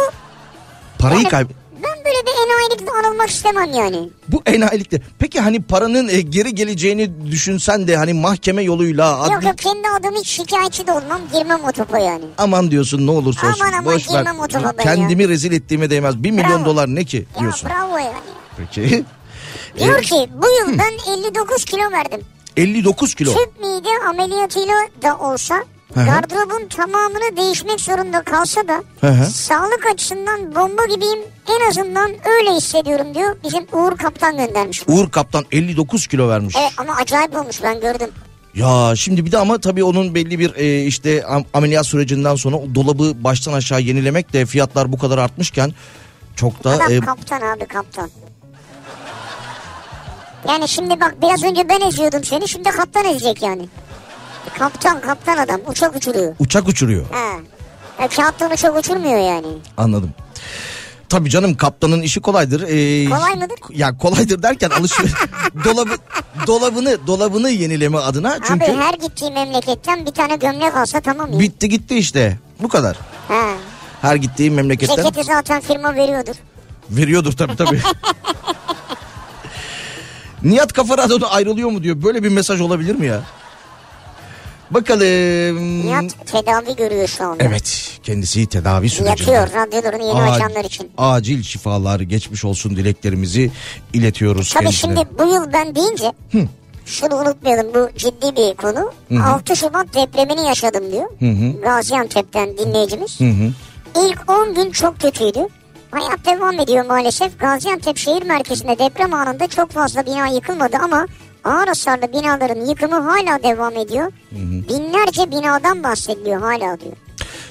[SPEAKER 4] Parayı
[SPEAKER 3] yani
[SPEAKER 4] kayb...
[SPEAKER 3] ben böyle bir enayilikle anılmak istemem yani.
[SPEAKER 4] Bu enayilikte. Peki hani paranın e, geri geleceğini düşünsen de hani mahkeme yoluyla adli...
[SPEAKER 3] Yok yok kendi adımı hiç şikayetçi de olmam girmem o topa yani.
[SPEAKER 4] Aman diyorsun ne olursa olsun.
[SPEAKER 3] Aman aman
[SPEAKER 4] Boş ver.
[SPEAKER 3] girmem o topa ben ya.
[SPEAKER 4] Kendimi rezil ettiğime değmez. Bir milyon
[SPEAKER 3] Bravo.
[SPEAKER 4] dolar ne ki
[SPEAKER 3] Ya
[SPEAKER 4] diyorsun. E-
[SPEAKER 3] bravo yani.
[SPEAKER 4] Peki.
[SPEAKER 3] Diyor ki bu yıl ben 59 kilo verdim.
[SPEAKER 4] 59 kilo.
[SPEAKER 3] Tüp mide ameliyatıyla da olsa
[SPEAKER 4] Hı hı.
[SPEAKER 3] gardırobun tamamını değişmek zorunda kalsa da
[SPEAKER 4] Hı hı.
[SPEAKER 3] sağlık açısından bomba gibiyim en azından öyle hissediyorum diyor. Bizim Uğur Kaptan göndermiş.
[SPEAKER 4] Uğur Kaptan 59 kilo vermiş.
[SPEAKER 3] Evet ama acayip olmuş ben gördüm.
[SPEAKER 4] Ya şimdi bir de ama tabii onun belli bir e, işte am- ameliyat sürecinden sonra o dolabı baştan aşağı yenilemek de fiyatlar bu kadar artmışken çok da
[SPEAKER 3] Adam
[SPEAKER 4] e,
[SPEAKER 3] kaptan abi kaptan. Yani şimdi bak biraz önce ben eziyordum seni şimdi kaptan ezecek yani. Kaptan kaptan adam uçak uçuruyor.
[SPEAKER 4] uçak uçuruyor.
[SPEAKER 3] Ha. E, kağıttan uçak uçurmuyor yani.
[SPEAKER 4] Anladım. Tabii canım kaptanın işi kolaydır. E,
[SPEAKER 3] Kolay mıdır?
[SPEAKER 4] Ya kolaydır derken alışveriş dolabı dolabını dolabını yenileme adına çünkü
[SPEAKER 3] Abi her gittiği memleketten bir tane gömlek alsa tamam ya.
[SPEAKER 4] bitti gitti işte. Bu kadar.
[SPEAKER 3] Ha.
[SPEAKER 4] Her gittiği memleketten
[SPEAKER 3] Ceketi zaten firma veriyordur.
[SPEAKER 4] veriyordur tabii tabii. Nihat Kafa Radyo'da ayrılıyor mu diyor. Böyle bir mesaj olabilir mi ya? Bakalım.
[SPEAKER 3] Nihat tedavi görüyor şu anda.
[SPEAKER 4] Evet kendisi tedavi sürecinde.
[SPEAKER 3] Yatıyor radyolarını yeni
[SPEAKER 4] Ac-
[SPEAKER 3] açanlar için.
[SPEAKER 4] Acil şifalar geçmiş olsun dileklerimizi iletiyoruz
[SPEAKER 3] Tabii
[SPEAKER 4] kendisine.
[SPEAKER 3] şimdi bu yıl ben deyince şunu unutmayalım bu ciddi bir konu. 6 Şubat depremini yaşadım diyor. Gaziantep'ten dinleyicimiz. İlk 10 gün çok kötüydü. Hayat devam ediyor maalesef. Gaziantep şehir merkezinde deprem anında çok fazla bina yıkılmadı ama ağır hasarlı binaların yıkımı hala devam ediyor. Binlerce binadan bahsediliyor hala diyor.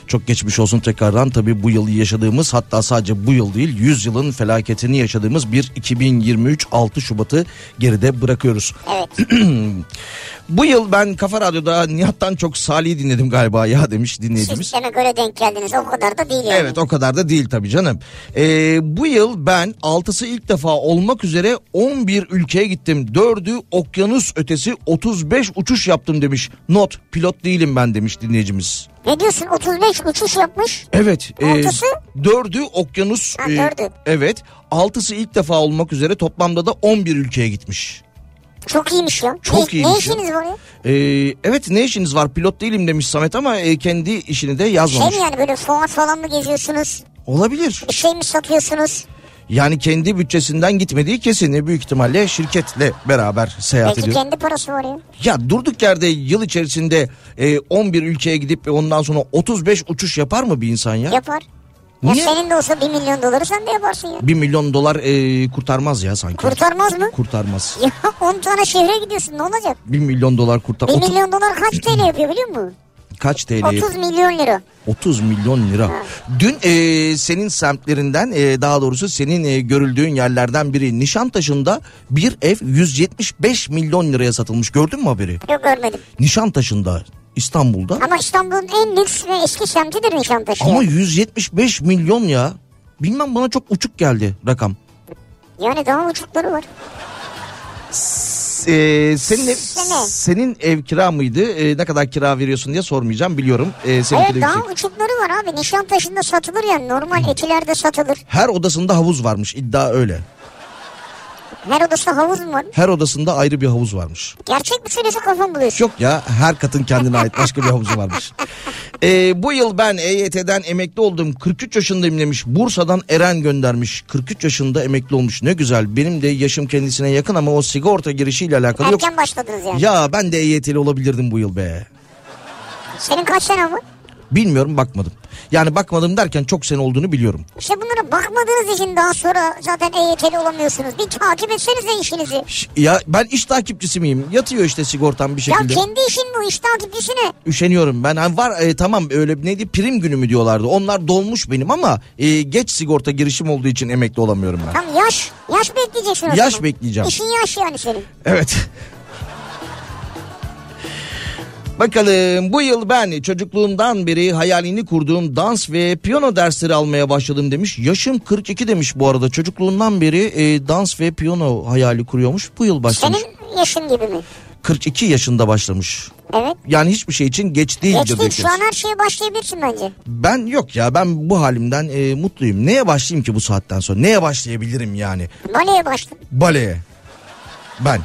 [SPEAKER 4] Çok geçmiş olsun tekrardan tabii bu yılı yaşadığımız hatta sadece bu yıl değil 100 yılın felaketini yaşadığımız bir 2023 6 Şubat'ı geride bırakıyoruz.
[SPEAKER 3] Evet.
[SPEAKER 4] Bu yıl ben Kafa Radyo'da Nihat'tan çok Salih'i dinledim galiba ya demiş dinleyicimiz.
[SPEAKER 3] Siz demek öyle denk geldiniz. O kadar da değil yani.
[SPEAKER 4] Evet o kadar da değil tabii canım. Ee, bu yıl ben 6'sı ilk defa olmak üzere 11 ülkeye gittim. 4'ü okyanus ötesi 35 uçuş yaptım demiş. Not pilot değilim ben demiş dinleyicimiz.
[SPEAKER 3] Ne diyorsun 35 uçuş yapmış.
[SPEAKER 4] Evet. e,
[SPEAKER 3] Altısı?
[SPEAKER 4] dördü okyanus.
[SPEAKER 3] Ha,
[SPEAKER 4] e,
[SPEAKER 3] dördü.
[SPEAKER 4] evet. Altısı ilk defa olmak üzere toplamda da 11 ülkeye gitmiş.
[SPEAKER 3] Çok iyiymiş ya.
[SPEAKER 4] Çok
[SPEAKER 3] ne, Ne
[SPEAKER 4] iyiymiş ya.
[SPEAKER 3] işiniz var ya?
[SPEAKER 4] E, evet ne işiniz var pilot değilim demiş Samet ama e, kendi işini de
[SPEAKER 3] Şey
[SPEAKER 4] yazmamış.
[SPEAKER 3] mi yani böyle fuar falan mı geziyorsunuz?
[SPEAKER 4] Olabilir.
[SPEAKER 3] Bir şey mi satıyorsunuz?
[SPEAKER 4] Yani kendi bütçesinden gitmediği kesin. E, Büyük ihtimalle şirketle beraber seyahat
[SPEAKER 3] Belki
[SPEAKER 4] ediyor.
[SPEAKER 3] kendi parası var ya.
[SPEAKER 4] Ya durduk yerde yıl içerisinde e, 11 ülkeye gidip e, ondan sonra 35 uçuş yapar mı bir insan ya?
[SPEAKER 3] Yapar. Ya
[SPEAKER 4] Niye?
[SPEAKER 3] senin de olsa 1 milyon doları sen de yaparsın ya.
[SPEAKER 4] 1 milyon dolar e, kurtarmaz ya sanki.
[SPEAKER 3] Kurtarmaz mı?
[SPEAKER 4] Kurtarmaz.
[SPEAKER 3] Ya 10 tane şehre gidiyorsun ne olacak?
[SPEAKER 4] 1 milyon dolar kurtar.
[SPEAKER 3] 1
[SPEAKER 4] Otu-
[SPEAKER 3] milyon dolar kaç TL yapıyor biliyor musun?
[SPEAKER 4] Kaç TL?
[SPEAKER 3] 30 milyon lira.
[SPEAKER 4] 30 milyon lira. Dün e, senin semtlerinden e, daha doğrusu senin e, görüldüğün yerlerden biri Nişantaşı'nda bir ev 175 milyon liraya satılmış. Gördün mü haberi?
[SPEAKER 3] Yok görmedim.
[SPEAKER 4] Nişantaşı'nda İstanbul'da
[SPEAKER 3] Ama İstanbul'un en lüks ve eski semtidir Nişantaşı.
[SPEAKER 4] ama
[SPEAKER 3] Ama...
[SPEAKER 4] 175 milyon ya. Bilmem bana çok uçuk geldi rakam.
[SPEAKER 3] Yani daha uçukları var.
[SPEAKER 4] S- e, senin ev,
[SPEAKER 3] Sene.
[SPEAKER 4] senin ev kira mıydı? E, ne kadar kira veriyorsun diye sormayacağım biliyorum. E, seninki de
[SPEAKER 3] evet daha
[SPEAKER 4] yüksek.
[SPEAKER 3] uçukları var abi. Nişantaşı'nda satılır yani. Normal etilerde satılır.
[SPEAKER 4] Her odasında havuz varmış iddia öyle.
[SPEAKER 3] Her odasında havuz mu var?
[SPEAKER 4] Her odasında ayrı bir havuz varmış.
[SPEAKER 3] Gerçek mi söylüyorsa kafam buluyorsun.
[SPEAKER 4] Yok ya her katın kendine ait başka bir havuzu varmış. Ee, bu yıl ben EYT'den emekli oldum. 43 yaşındayım demiş. Bursa'dan Eren göndermiş. 43 yaşında emekli olmuş. Ne güzel. Benim de yaşım kendisine yakın ama o sigorta girişiyle alakalı yok.
[SPEAKER 3] Erken başladınız yani.
[SPEAKER 4] Ya ben de EYT'li olabilirdim bu yıl be.
[SPEAKER 3] Senin kaç sene var?
[SPEAKER 4] Bilmiyorum bakmadım. Yani bakmadım derken çok sene olduğunu biliyorum.
[SPEAKER 3] İşte bunlara bakmadığınız için daha sonra zaten EYT'li olamıyorsunuz. Bir takip etsenize işinizi.
[SPEAKER 4] Ş- Ya ben iş takipçisi miyim? Yatıyor işte sigortam bir
[SPEAKER 3] Ya
[SPEAKER 4] şekilde.
[SPEAKER 3] kendi işin bu iş takipçisi ne?
[SPEAKER 4] Üşeniyorum ben. Ha, var e, tamam öyle neydi prim günü mü diyorlardı. Onlar dolmuş benim ama e, geç sigorta girişim olduğu için emekli olamıyorum ben.
[SPEAKER 3] Tam yaş. Yaş bekleyeceksin o
[SPEAKER 4] Yaş
[SPEAKER 3] zaman.
[SPEAKER 4] bekleyeceğim.
[SPEAKER 3] İşin yaş yani senin.
[SPEAKER 4] Evet. Bakalım bu yıl ben çocukluğumdan beri hayalini kurduğum dans ve piyano dersleri almaya başladım demiş. Yaşım 42 demiş bu arada çocukluğundan beri e, dans ve piyano hayali kuruyormuş. Bu yıl başlamış.
[SPEAKER 3] Senin yaşın gibi mi?
[SPEAKER 4] 42 yaşında başlamış.
[SPEAKER 3] Evet.
[SPEAKER 4] Yani hiçbir şey için geç değil.
[SPEAKER 3] Geç değil.
[SPEAKER 4] diyor
[SPEAKER 3] Şu an her şeye başlayabilirsin bence.
[SPEAKER 4] Ben yok ya ben bu halimden e, mutluyum. Neye başlayayım ki bu saatten sonra? Neye başlayabilirim yani?
[SPEAKER 3] Baleye başla.
[SPEAKER 4] Baleye. Ben.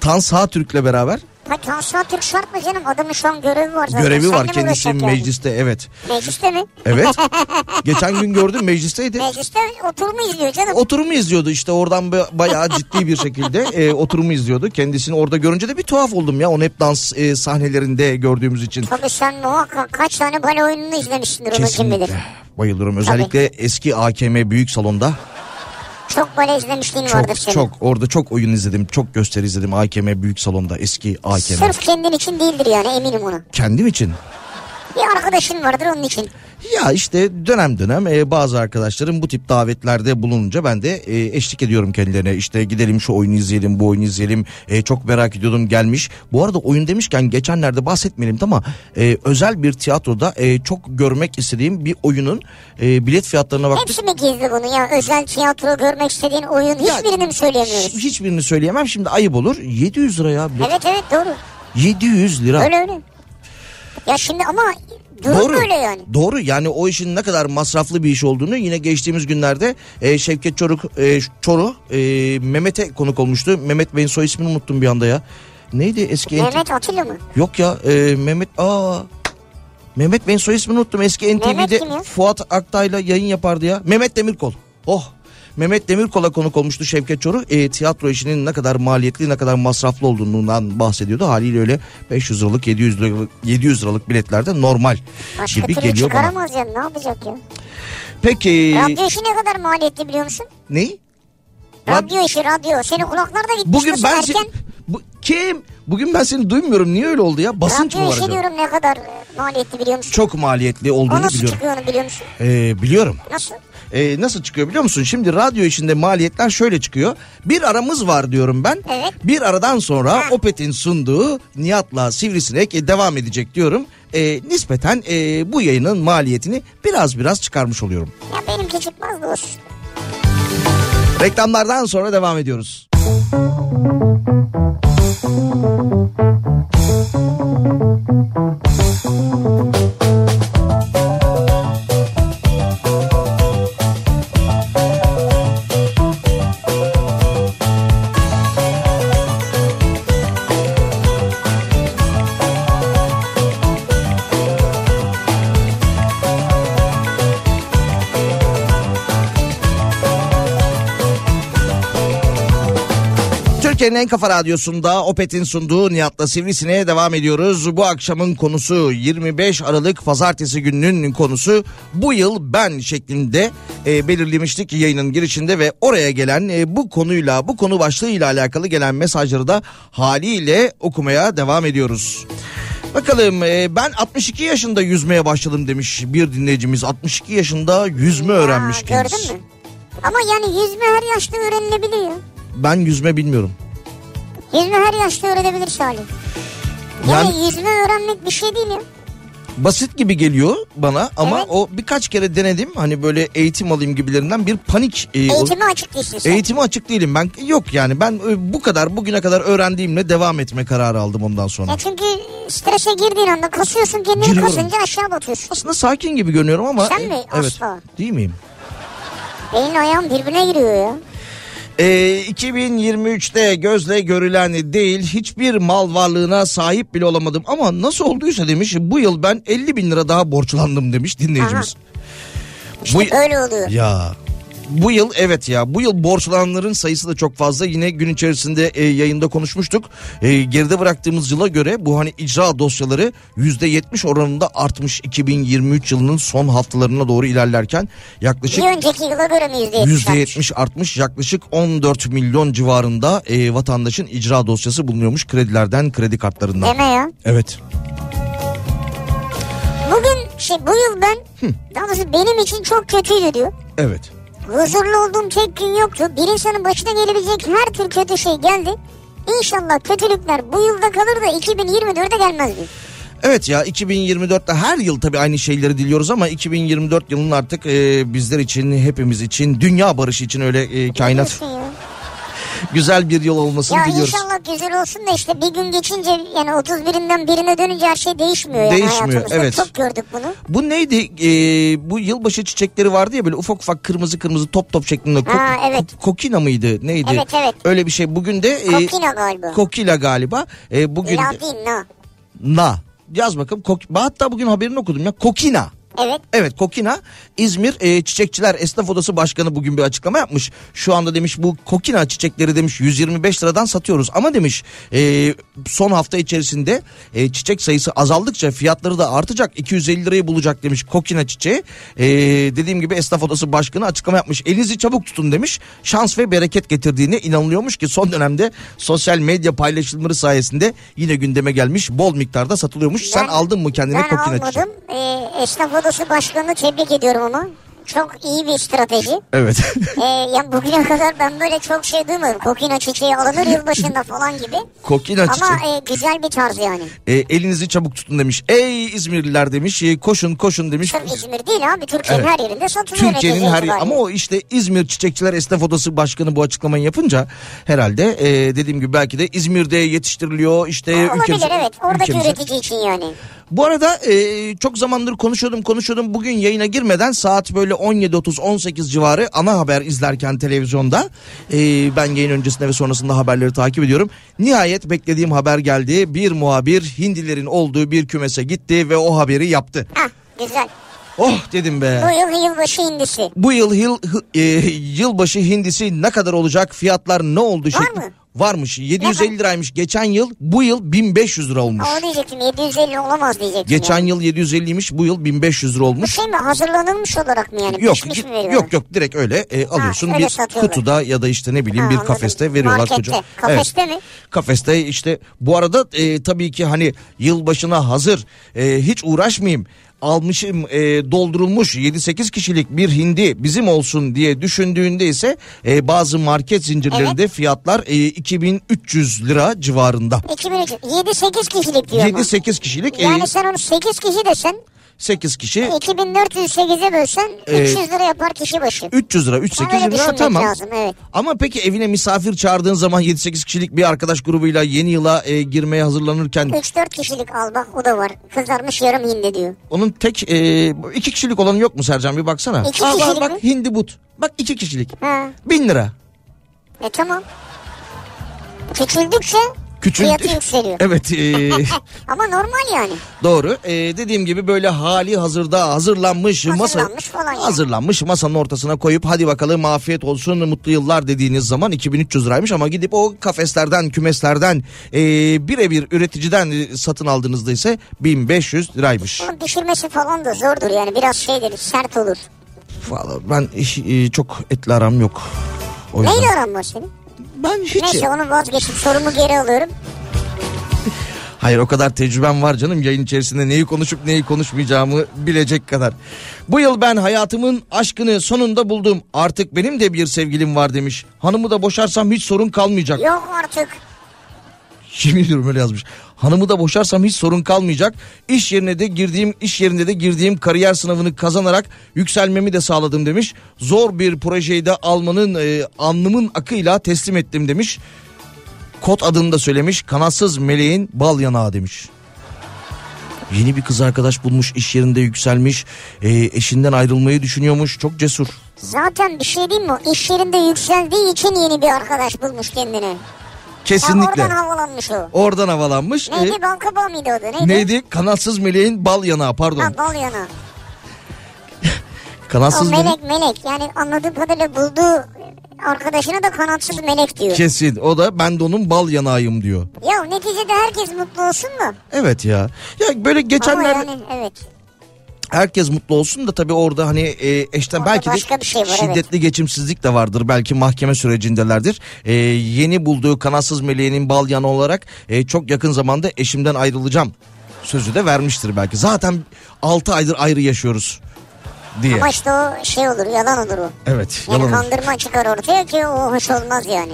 [SPEAKER 4] Tan Sağ Türk'le beraber
[SPEAKER 3] Ha Tansu Türk şart mı canım? Adamın şu an görevi var zaten.
[SPEAKER 4] görevi
[SPEAKER 3] Seninle
[SPEAKER 4] var
[SPEAKER 3] mi
[SPEAKER 4] kendisi
[SPEAKER 3] uğraşacak yani?
[SPEAKER 4] mecliste evet.
[SPEAKER 3] Mecliste mi?
[SPEAKER 4] Evet. Geçen gün gördüm meclisteydi.
[SPEAKER 3] Mecliste oturumu izliyor canım.
[SPEAKER 4] Oturumu izliyordu işte oradan ba- bayağı ciddi bir şekilde e, oturumu izliyordu. Kendisini orada görünce de bir tuhaf oldum ya onu hep dans e, sahnelerinde gördüğümüz için.
[SPEAKER 3] Tabii sen muhakkak kaç tane bale oyununu izlemişsindir onu kim bilir.
[SPEAKER 4] Kesinlikle bayılıyorum özellikle eski AKM büyük salonda.
[SPEAKER 3] Çok bale izlemişliğin vardır
[SPEAKER 4] Çok
[SPEAKER 3] senin.
[SPEAKER 4] çok orada çok oyun izledim. Çok gösteri izledim. AKM büyük salonda eski AKM.
[SPEAKER 3] Sırf kendin için değildir yani eminim ona.
[SPEAKER 4] Kendim için.
[SPEAKER 3] Bir arkadaşın vardır onun için.
[SPEAKER 4] Ya işte dönem dönem e, bazı arkadaşlarım bu tip davetlerde bulununca ben de e, eşlik ediyorum kendilerine. İşte gidelim şu oyunu izleyelim, bu oyunu izleyelim. E, çok merak ediyordum gelmiş. Bu arada oyun demişken geçenlerde bahsetmeyelim de ama e, özel bir tiyatroda e, çok görmek istediğim bir oyunun e, bilet fiyatlarına baktık.
[SPEAKER 3] Hepsi mi gizli bunu ya? Özel tiyatro görmek istediğin oyun hiçbirini mi söyleyemiyoruz?
[SPEAKER 4] Hiç- Hiçbirini söyleyemem şimdi ayıp olur. 700 lira ya. bilet.
[SPEAKER 3] Evet evet doğru.
[SPEAKER 4] 700 lira.
[SPEAKER 3] Öyle öyle. Ya şimdi ama durum böyle yani.
[SPEAKER 4] Doğru yani o işin ne kadar masraflı bir iş olduğunu yine geçtiğimiz günlerde e, Şevket Çoruk e, Çoru e, Mehmet'e konuk olmuştu. Mehmet Bey'in soy ismini unuttum bir anda ya. Neydi eski NTV?
[SPEAKER 3] Mehmet Atilla mı?
[SPEAKER 4] Yok ya e, Mehmet aa Mehmet Bey'in soy ismini unuttum. Eski NTV'de
[SPEAKER 3] kim ya?
[SPEAKER 4] Fuat Aktay'la yayın yapardı ya. Mehmet Demirkol. Oh Mehmet Demirkol'a konuk olmuştu Şevket Çoruh. E, tiyatro işinin ne kadar maliyetli, ne kadar masraflı olduğundan bahsediyordu. Haliyle öyle 500 liralık, 700 liralık, 700 liralık biletlerde normal
[SPEAKER 3] Başka
[SPEAKER 4] gibi
[SPEAKER 3] türlü
[SPEAKER 4] geliyor bana. Ee,
[SPEAKER 3] çıkaramaz ya ne yapacak ya?
[SPEAKER 4] Peki
[SPEAKER 3] Radyo işi ne kadar maliyetli biliyor musun?
[SPEAKER 4] neyi? Rad-
[SPEAKER 3] Radyo işi radyo. Senin kulaklar da gitmiş.
[SPEAKER 4] Bugün
[SPEAKER 3] nasıl
[SPEAKER 4] ben şey-
[SPEAKER 3] erken?
[SPEAKER 4] seni... Bu, kim? Bugün ben seni duymuyorum. Niye öyle oldu ya? Basınç mı
[SPEAKER 3] Radyo
[SPEAKER 4] var
[SPEAKER 3] işi
[SPEAKER 4] acaba?
[SPEAKER 3] diyorum ne kadar e, maliyetli biliyor musun?
[SPEAKER 4] Çok maliyetli olduğunu
[SPEAKER 3] o nasıl
[SPEAKER 4] biliyorum.
[SPEAKER 3] çıkıyor onu biliyor musun?
[SPEAKER 4] Ee, biliyorum.
[SPEAKER 3] Nasıl?
[SPEAKER 4] Ee, nasıl çıkıyor biliyor musun? Şimdi radyo işinde maliyetler şöyle çıkıyor. Bir aramız var diyorum ben.
[SPEAKER 3] Evet.
[SPEAKER 4] Bir aradan sonra
[SPEAKER 3] Ha.
[SPEAKER 4] Opet'in sunduğu Nihat'la Sivrisinek e, devam edecek diyorum. Ee, nispeten e, bu yayının maliyetini biraz biraz çıkarmış oluyorum.
[SPEAKER 3] Ya benimki çıkmaz da olsun.
[SPEAKER 4] Reklamlardan sonra devam ediyoruz. Türkiye'nin Türkiye'nin en kafa radyosunda Opet'in sunduğu Nihat'la Sivrisine'ye devam ediyoruz. Bu akşamın konusu 25 Aralık Pazartesi gününün konusu bu yıl ben şeklinde e, belirlemiştik yayının girişinde ve oraya gelen e, bu konuyla bu konu başlığıyla alakalı gelen mesajları da haliyle okumaya devam ediyoruz. Bakalım e, ben 62 yaşında yüzmeye başladım demiş bir dinleyicimiz. 62 yaşında yüzme öğrenmiş
[SPEAKER 3] Aa,
[SPEAKER 4] kendisi.
[SPEAKER 3] Gördün mü? Ama yani yüzme her yaşta öğrenilebilir ya.
[SPEAKER 4] Ben yüzme bilmiyorum.
[SPEAKER 3] Yüzme her yaşta öğrenebilir Salih. Yani,
[SPEAKER 4] Yani
[SPEAKER 3] yüzme öğrenmek bir şey değil ya.
[SPEAKER 4] basit gibi geliyor bana ama
[SPEAKER 3] Evet.
[SPEAKER 4] o birkaç kere denedim. Hani böyle eğitim alayım gibilerinden bir panik e, ol-
[SPEAKER 3] Eğitimi açık değilsin sen.
[SPEAKER 4] Eğitimi açık değilim ben. Yok yani ben e, bu kadar bugüne kadar öğrendiğimle devam etme kararı aldım ondan sonra.
[SPEAKER 3] Ya çünkü strese girdiğin anda kasıyorsun kendini
[SPEAKER 4] Giriyorum.
[SPEAKER 3] kasınca aşağı batıyorsun.
[SPEAKER 4] Aslında sakin gibi görünüyorum ama
[SPEAKER 3] Sen mi?
[SPEAKER 4] e, evet.
[SPEAKER 3] Asla.
[SPEAKER 4] Değil miyim?
[SPEAKER 3] Elin ayağın birbirine giriyor ya.
[SPEAKER 4] E, 2023'te gözle görülen değil hiçbir mal varlığına sahip bile olamadım ama nasıl olduysa demiş bu yıl ben 50 bin lira daha borçlandım demiş dinleyicimiz. Bu-
[SPEAKER 3] Öyle oluyor.
[SPEAKER 4] Ya bu yıl evet ya bu yıl borçlananların sayısı da çok fazla yine gün içerisinde e, yayında konuşmuştuk E, geride bıraktığımız yıla göre bu hani icra dosyaları %70 oranında artmış 2023 yılının son haftalarına doğru ilerlerken yaklaşık
[SPEAKER 3] Bir önceki yıla göre mi yüzde yetmiş artmış?
[SPEAKER 4] %70 artmış yaklaşık 14 milyon civarında e, vatandaşın icra dosyası bulunuyormuş kredilerden kredi kartlarından.
[SPEAKER 3] Deme ya.
[SPEAKER 4] Evet.
[SPEAKER 3] Bugün şey bu yıl ben daha doğrusu benim için çok kötüydü diyor.
[SPEAKER 4] Evet.
[SPEAKER 3] Huzurlu olduğum tek gün yoktu. Bir insanın başına gelebilecek her tür kötü şey geldi. İnşallah kötülükler bu yılda kalır da 2024'e gelmez diyor.
[SPEAKER 4] Evet ya 2024'te her yıl tabii aynı şeyleri diliyoruz ama 2024 yılının artık e, bizler için hepimiz için dünya barışı için öyle e, kainat
[SPEAKER 3] Diyorsun ya.
[SPEAKER 4] güzel bir yol olmasını
[SPEAKER 3] Ya
[SPEAKER 4] diliyoruz.
[SPEAKER 3] inşallah güzel olsun da işte bir gün geçince yani 31'inden birine dönünce her şey değişmiyor yani
[SPEAKER 4] Değişmiyor,
[SPEAKER 3] hayatımızda.
[SPEAKER 4] evet.
[SPEAKER 3] Çok gördük bunu.
[SPEAKER 4] Bu neydi? E, bu yılbaşı çiçekleri vardı ya böyle ufak ufak kırmızı kırmızı top top şeklinde. Ko-
[SPEAKER 3] Ha, evet.
[SPEAKER 4] ko- kokina mıydı? Neydi?
[SPEAKER 3] Evet, evet.
[SPEAKER 4] Öyle bir şey. Bugün de e,
[SPEAKER 3] Kokina galiba.
[SPEAKER 4] kokila galiba. E, bugün de-
[SPEAKER 3] Ladina.
[SPEAKER 4] na. Yaz bakalım. Kok- Hatta bugün haberini okudum ya. Kokina.
[SPEAKER 3] Evet.
[SPEAKER 4] Evet Kokina İzmir e, Çiçekçiler Esnaf Odası Başkanı bugün bir açıklama yapmış. Şu anda demiş bu Kokina çiçekleri demiş 125 liradan satıyoruz ama demiş e, son hafta içerisinde e, çiçek sayısı azaldıkça fiyatları da artacak 250 lirayı bulacak demiş Kokina çiçeği. E, dediğim gibi Esnaf Odası Başkanı açıklama yapmış. Elinizi çabuk tutun demiş. Şans ve bereket getirdiğine inanılıyormuş ki son dönemde sosyal medya paylaşımları sayesinde yine gündeme gelmiş. Bol miktarda satılıyormuş. Sen
[SPEAKER 3] Ben-
[SPEAKER 4] aldın mı kendine
[SPEAKER 3] Ben
[SPEAKER 4] Kokina çiçeği?
[SPEAKER 3] almadım. Ee, Esnaf Odası Başkanı'nı tebrik ediyorum ama. Çok iyi bir strateji.
[SPEAKER 4] Evet.
[SPEAKER 3] Ee, ya bugüne kadar ben böyle çok şey duymadım. Kokina çiçeği alınır yılbaşında falan gibi.
[SPEAKER 4] Kokina çiçeği.
[SPEAKER 3] Ama e, güzel bir tarz yani.
[SPEAKER 4] E, elinizi çabuk tutun demiş. Ey İzmirliler demiş. e, koşun koşun demiş.
[SPEAKER 3] Sırf İzmir değil abi. Türkiye'nin
[SPEAKER 4] Evet.
[SPEAKER 3] her yerinde satılıyor.
[SPEAKER 4] Türkiye'nin
[SPEAKER 3] netice
[SPEAKER 4] her
[SPEAKER 3] itibariyle.
[SPEAKER 4] ama o işte İzmir Çiçekçiler Esnaf Odası Başkanı bu açıklamayı yapınca herhalde e, dediğim gibi belki de İzmir'de yetiştiriliyor işte
[SPEAKER 3] Ha, Olabilir
[SPEAKER 4] ülkemize-
[SPEAKER 3] evet. Oradaki
[SPEAKER 4] e, ülkemize-
[SPEAKER 3] üretici için yani.
[SPEAKER 4] Bu arada e, çok zamandır konuşuyordum konuşuyordum bugün yayına girmeden saat böyle 17.30-18 civarı ana haber izlerken televizyonda e, ben yayın öncesinde ve sonrasında haberleri takip ediyorum. Nihayet beklediğim haber geldi bir muhabir Hindilerin olduğu bir kümese gitti ve o haberi yaptı.
[SPEAKER 3] Hah güzel.
[SPEAKER 4] Oh dedim be.
[SPEAKER 3] Bu yıl yılbaşı indisi.
[SPEAKER 4] Bu yıl yıl hı- e, yılbaşı hindisi ne kadar olacak? Fiyatlar ne oldu? şekli-
[SPEAKER 3] mı?
[SPEAKER 4] Varmış. 750 liraymış geçen yıl. Bu yıl 1500 lira olmuş.
[SPEAKER 3] Ama diyecektim 750 olamaz diyecektim.
[SPEAKER 4] Geçen
[SPEAKER 3] yani.
[SPEAKER 4] yıl 750'ymiş, bu yıl 1500 lira
[SPEAKER 3] Bu
[SPEAKER 4] olmuş.
[SPEAKER 3] şey mi hazırlanılmış olarak mı yani?
[SPEAKER 4] Yok,
[SPEAKER 3] Pişmiş mi
[SPEAKER 4] yok,
[SPEAKER 3] veriyorlar?
[SPEAKER 4] yok yok direkt öyle e, alıyorsun
[SPEAKER 3] öyle
[SPEAKER 4] bir
[SPEAKER 3] satıyorlar.
[SPEAKER 4] kutuda ya da işte ne bileyim
[SPEAKER 3] Ha,
[SPEAKER 4] bir
[SPEAKER 3] anladım.
[SPEAKER 4] kafeste veriyorlar
[SPEAKER 3] Markette.
[SPEAKER 4] kocaman.
[SPEAKER 3] Kafeste mi?
[SPEAKER 4] Kafeste işte bu arada e, tabii ki hani yılbaşına hazır e, hiç uğraşmayayım almışım e, doldurulmuş 7-8 kişilik bir hindi bizim olsun diye düşündüğünde ise e, bazı market zincirlerinde fiyatlar e, 2300 lira civarında.
[SPEAKER 3] 2003 7-8 kişilik diyor ama.
[SPEAKER 4] 7-8 kişilik e,
[SPEAKER 3] Yani sen onu 8 kişi desen
[SPEAKER 4] 8 kişi
[SPEAKER 3] 2408'e bölsen
[SPEAKER 4] Ee,
[SPEAKER 3] 300 lira yapar kişi başı.
[SPEAKER 4] 300 lira 3-8
[SPEAKER 3] Öyle
[SPEAKER 4] lira
[SPEAKER 3] düşünmek
[SPEAKER 4] tamam.
[SPEAKER 3] lazım evet.
[SPEAKER 4] Ama peki evine misafir çağırdığın zaman 7-8 kişilik bir arkadaş grubuyla yeni yıla e, girmeye hazırlanırken
[SPEAKER 3] 3-4 kişilik al bak o da var. Kızarmış yarım hindi diyor.
[SPEAKER 4] onun tek e, iki kişilik olanı yok mu Sercan bir baksana.
[SPEAKER 3] İki
[SPEAKER 4] bak,
[SPEAKER 3] kişilik
[SPEAKER 4] bak
[SPEAKER 3] mi?
[SPEAKER 4] hindi but. Bak iki kişilik.
[SPEAKER 3] Ha.
[SPEAKER 4] Bin lira.
[SPEAKER 3] E tamam. Küçüldükçe
[SPEAKER 4] küçül...
[SPEAKER 3] Fiyatı yükseliyor.
[SPEAKER 4] Evet e,
[SPEAKER 3] Ama normal yani.
[SPEAKER 4] Doğru. Ee, dediğim gibi böyle hali hazırda hazırlanmış masa
[SPEAKER 3] Hazırlanmış falan yani.
[SPEAKER 4] hazırlanmış masanın ortasına koyup hadi bakalım afiyet olsun mutlu yıllar dediğiniz zaman 2300 liraymış ama gidip o kafeslerden kümeslerden e, birebir üreticiden e, satın aldığınızda ise 1500 liraymış.
[SPEAKER 3] Onun pişirmesi falan da zordur yani biraz şeydir sert olur.
[SPEAKER 4] Vallahi ben iş- e, çok etli aram yok. O yüzden.
[SPEAKER 3] Neyle aran var senin?
[SPEAKER 4] Ben hiç.
[SPEAKER 3] Neyse onu vazgeçip sorumu geri alıyorum.
[SPEAKER 4] Hayır o kadar tecrübem var canım yayın içerisinde neyi konuşup neyi konuşmayacağımı bilecek kadar. Bu yıl ben hayatımın aşkını sonunda buldum. Artık benim de bir sevgilim var demiş. Hanımı da boşarsam hiç sorun kalmayacak.
[SPEAKER 3] Yok artık.
[SPEAKER 4] Yemin ediyorum öyle yazmış. Hanımı da boşarsam hiç sorun kalmayacak. İş yerine de girdiğim iş yerinde de girdiğim kariyer sınavını kazanarak yükselmemi de sağladım demiş. Zor bir projeyi de almanın e, alnımın akıyla teslim ettim demiş. Kod adını da söylemiş. Kanatsız meleğin bal yanağı demiş. Yeni bir kız arkadaş bulmuş, iş yerinde yükselmiş, e, eşinden ayrılmayı düşünüyormuş. Çok cesur.
[SPEAKER 3] Zaten bir şey diyeyim mi? İş yerinde yükseldiği için yeni bir arkadaş bulmuş kendine. Ya
[SPEAKER 4] Kesinlikle.
[SPEAKER 3] oradan havalanmış o.
[SPEAKER 4] Oradan havalanmış. E,
[SPEAKER 3] Neydi? Balkabağı mıydı o da? Neydi?
[SPEAKER 4] neydi? Kanatsız meleğin bal yanağı pardon.
[SPEAKER 3] Ha, bal yana. O
[SPEAKER 4] Kanatsız meleğin
[SPEAKER 3] melek melek. Yani anladığım kadarıyla bulduğu arkadaşına da kanatsız melek diyor.
[SPEAKER 4] Kesin. O da ben de onun bal yanağıyım diyor.
[SPEAKER 3] Ya neticede herkes mutlu olsun mu?
[SPEAKER 4] Evet ya. Ya böyle
[SPEAKER 3] Ama
[SPEAKER 4] geçenlerde
[SPEAKER 3] yani evet.
[SPEAKER 4] herkes mutlu olsun da tabii orada hani e, eşten
[SPEAKER 3] Orada
[SPEAKER 4] belki de
[SPEAKER 3] başka bir şey var,
[SPEAKER 4] şiddetli geçimsizlik de vardır. Belki mahkeme sürecindelerdir. E, yeni bulduğu kanatsız meleğinin bal yanı olarak e, çok yakın zamanda eşimden ayrılacağım sözü de vermiştir belki. Zaten 6 aydır ayrı yaşıyoruz diye.
[SPEAKER 3] Ama işte o şey olur yalan olur o.
[SPEAKER 4] Evet
[SPEAKER 3] Yani
[SPEAKER 4] yalan.
[SPEAKER 3] kandırma çıkar ortaya ki o hoş olmaz yani.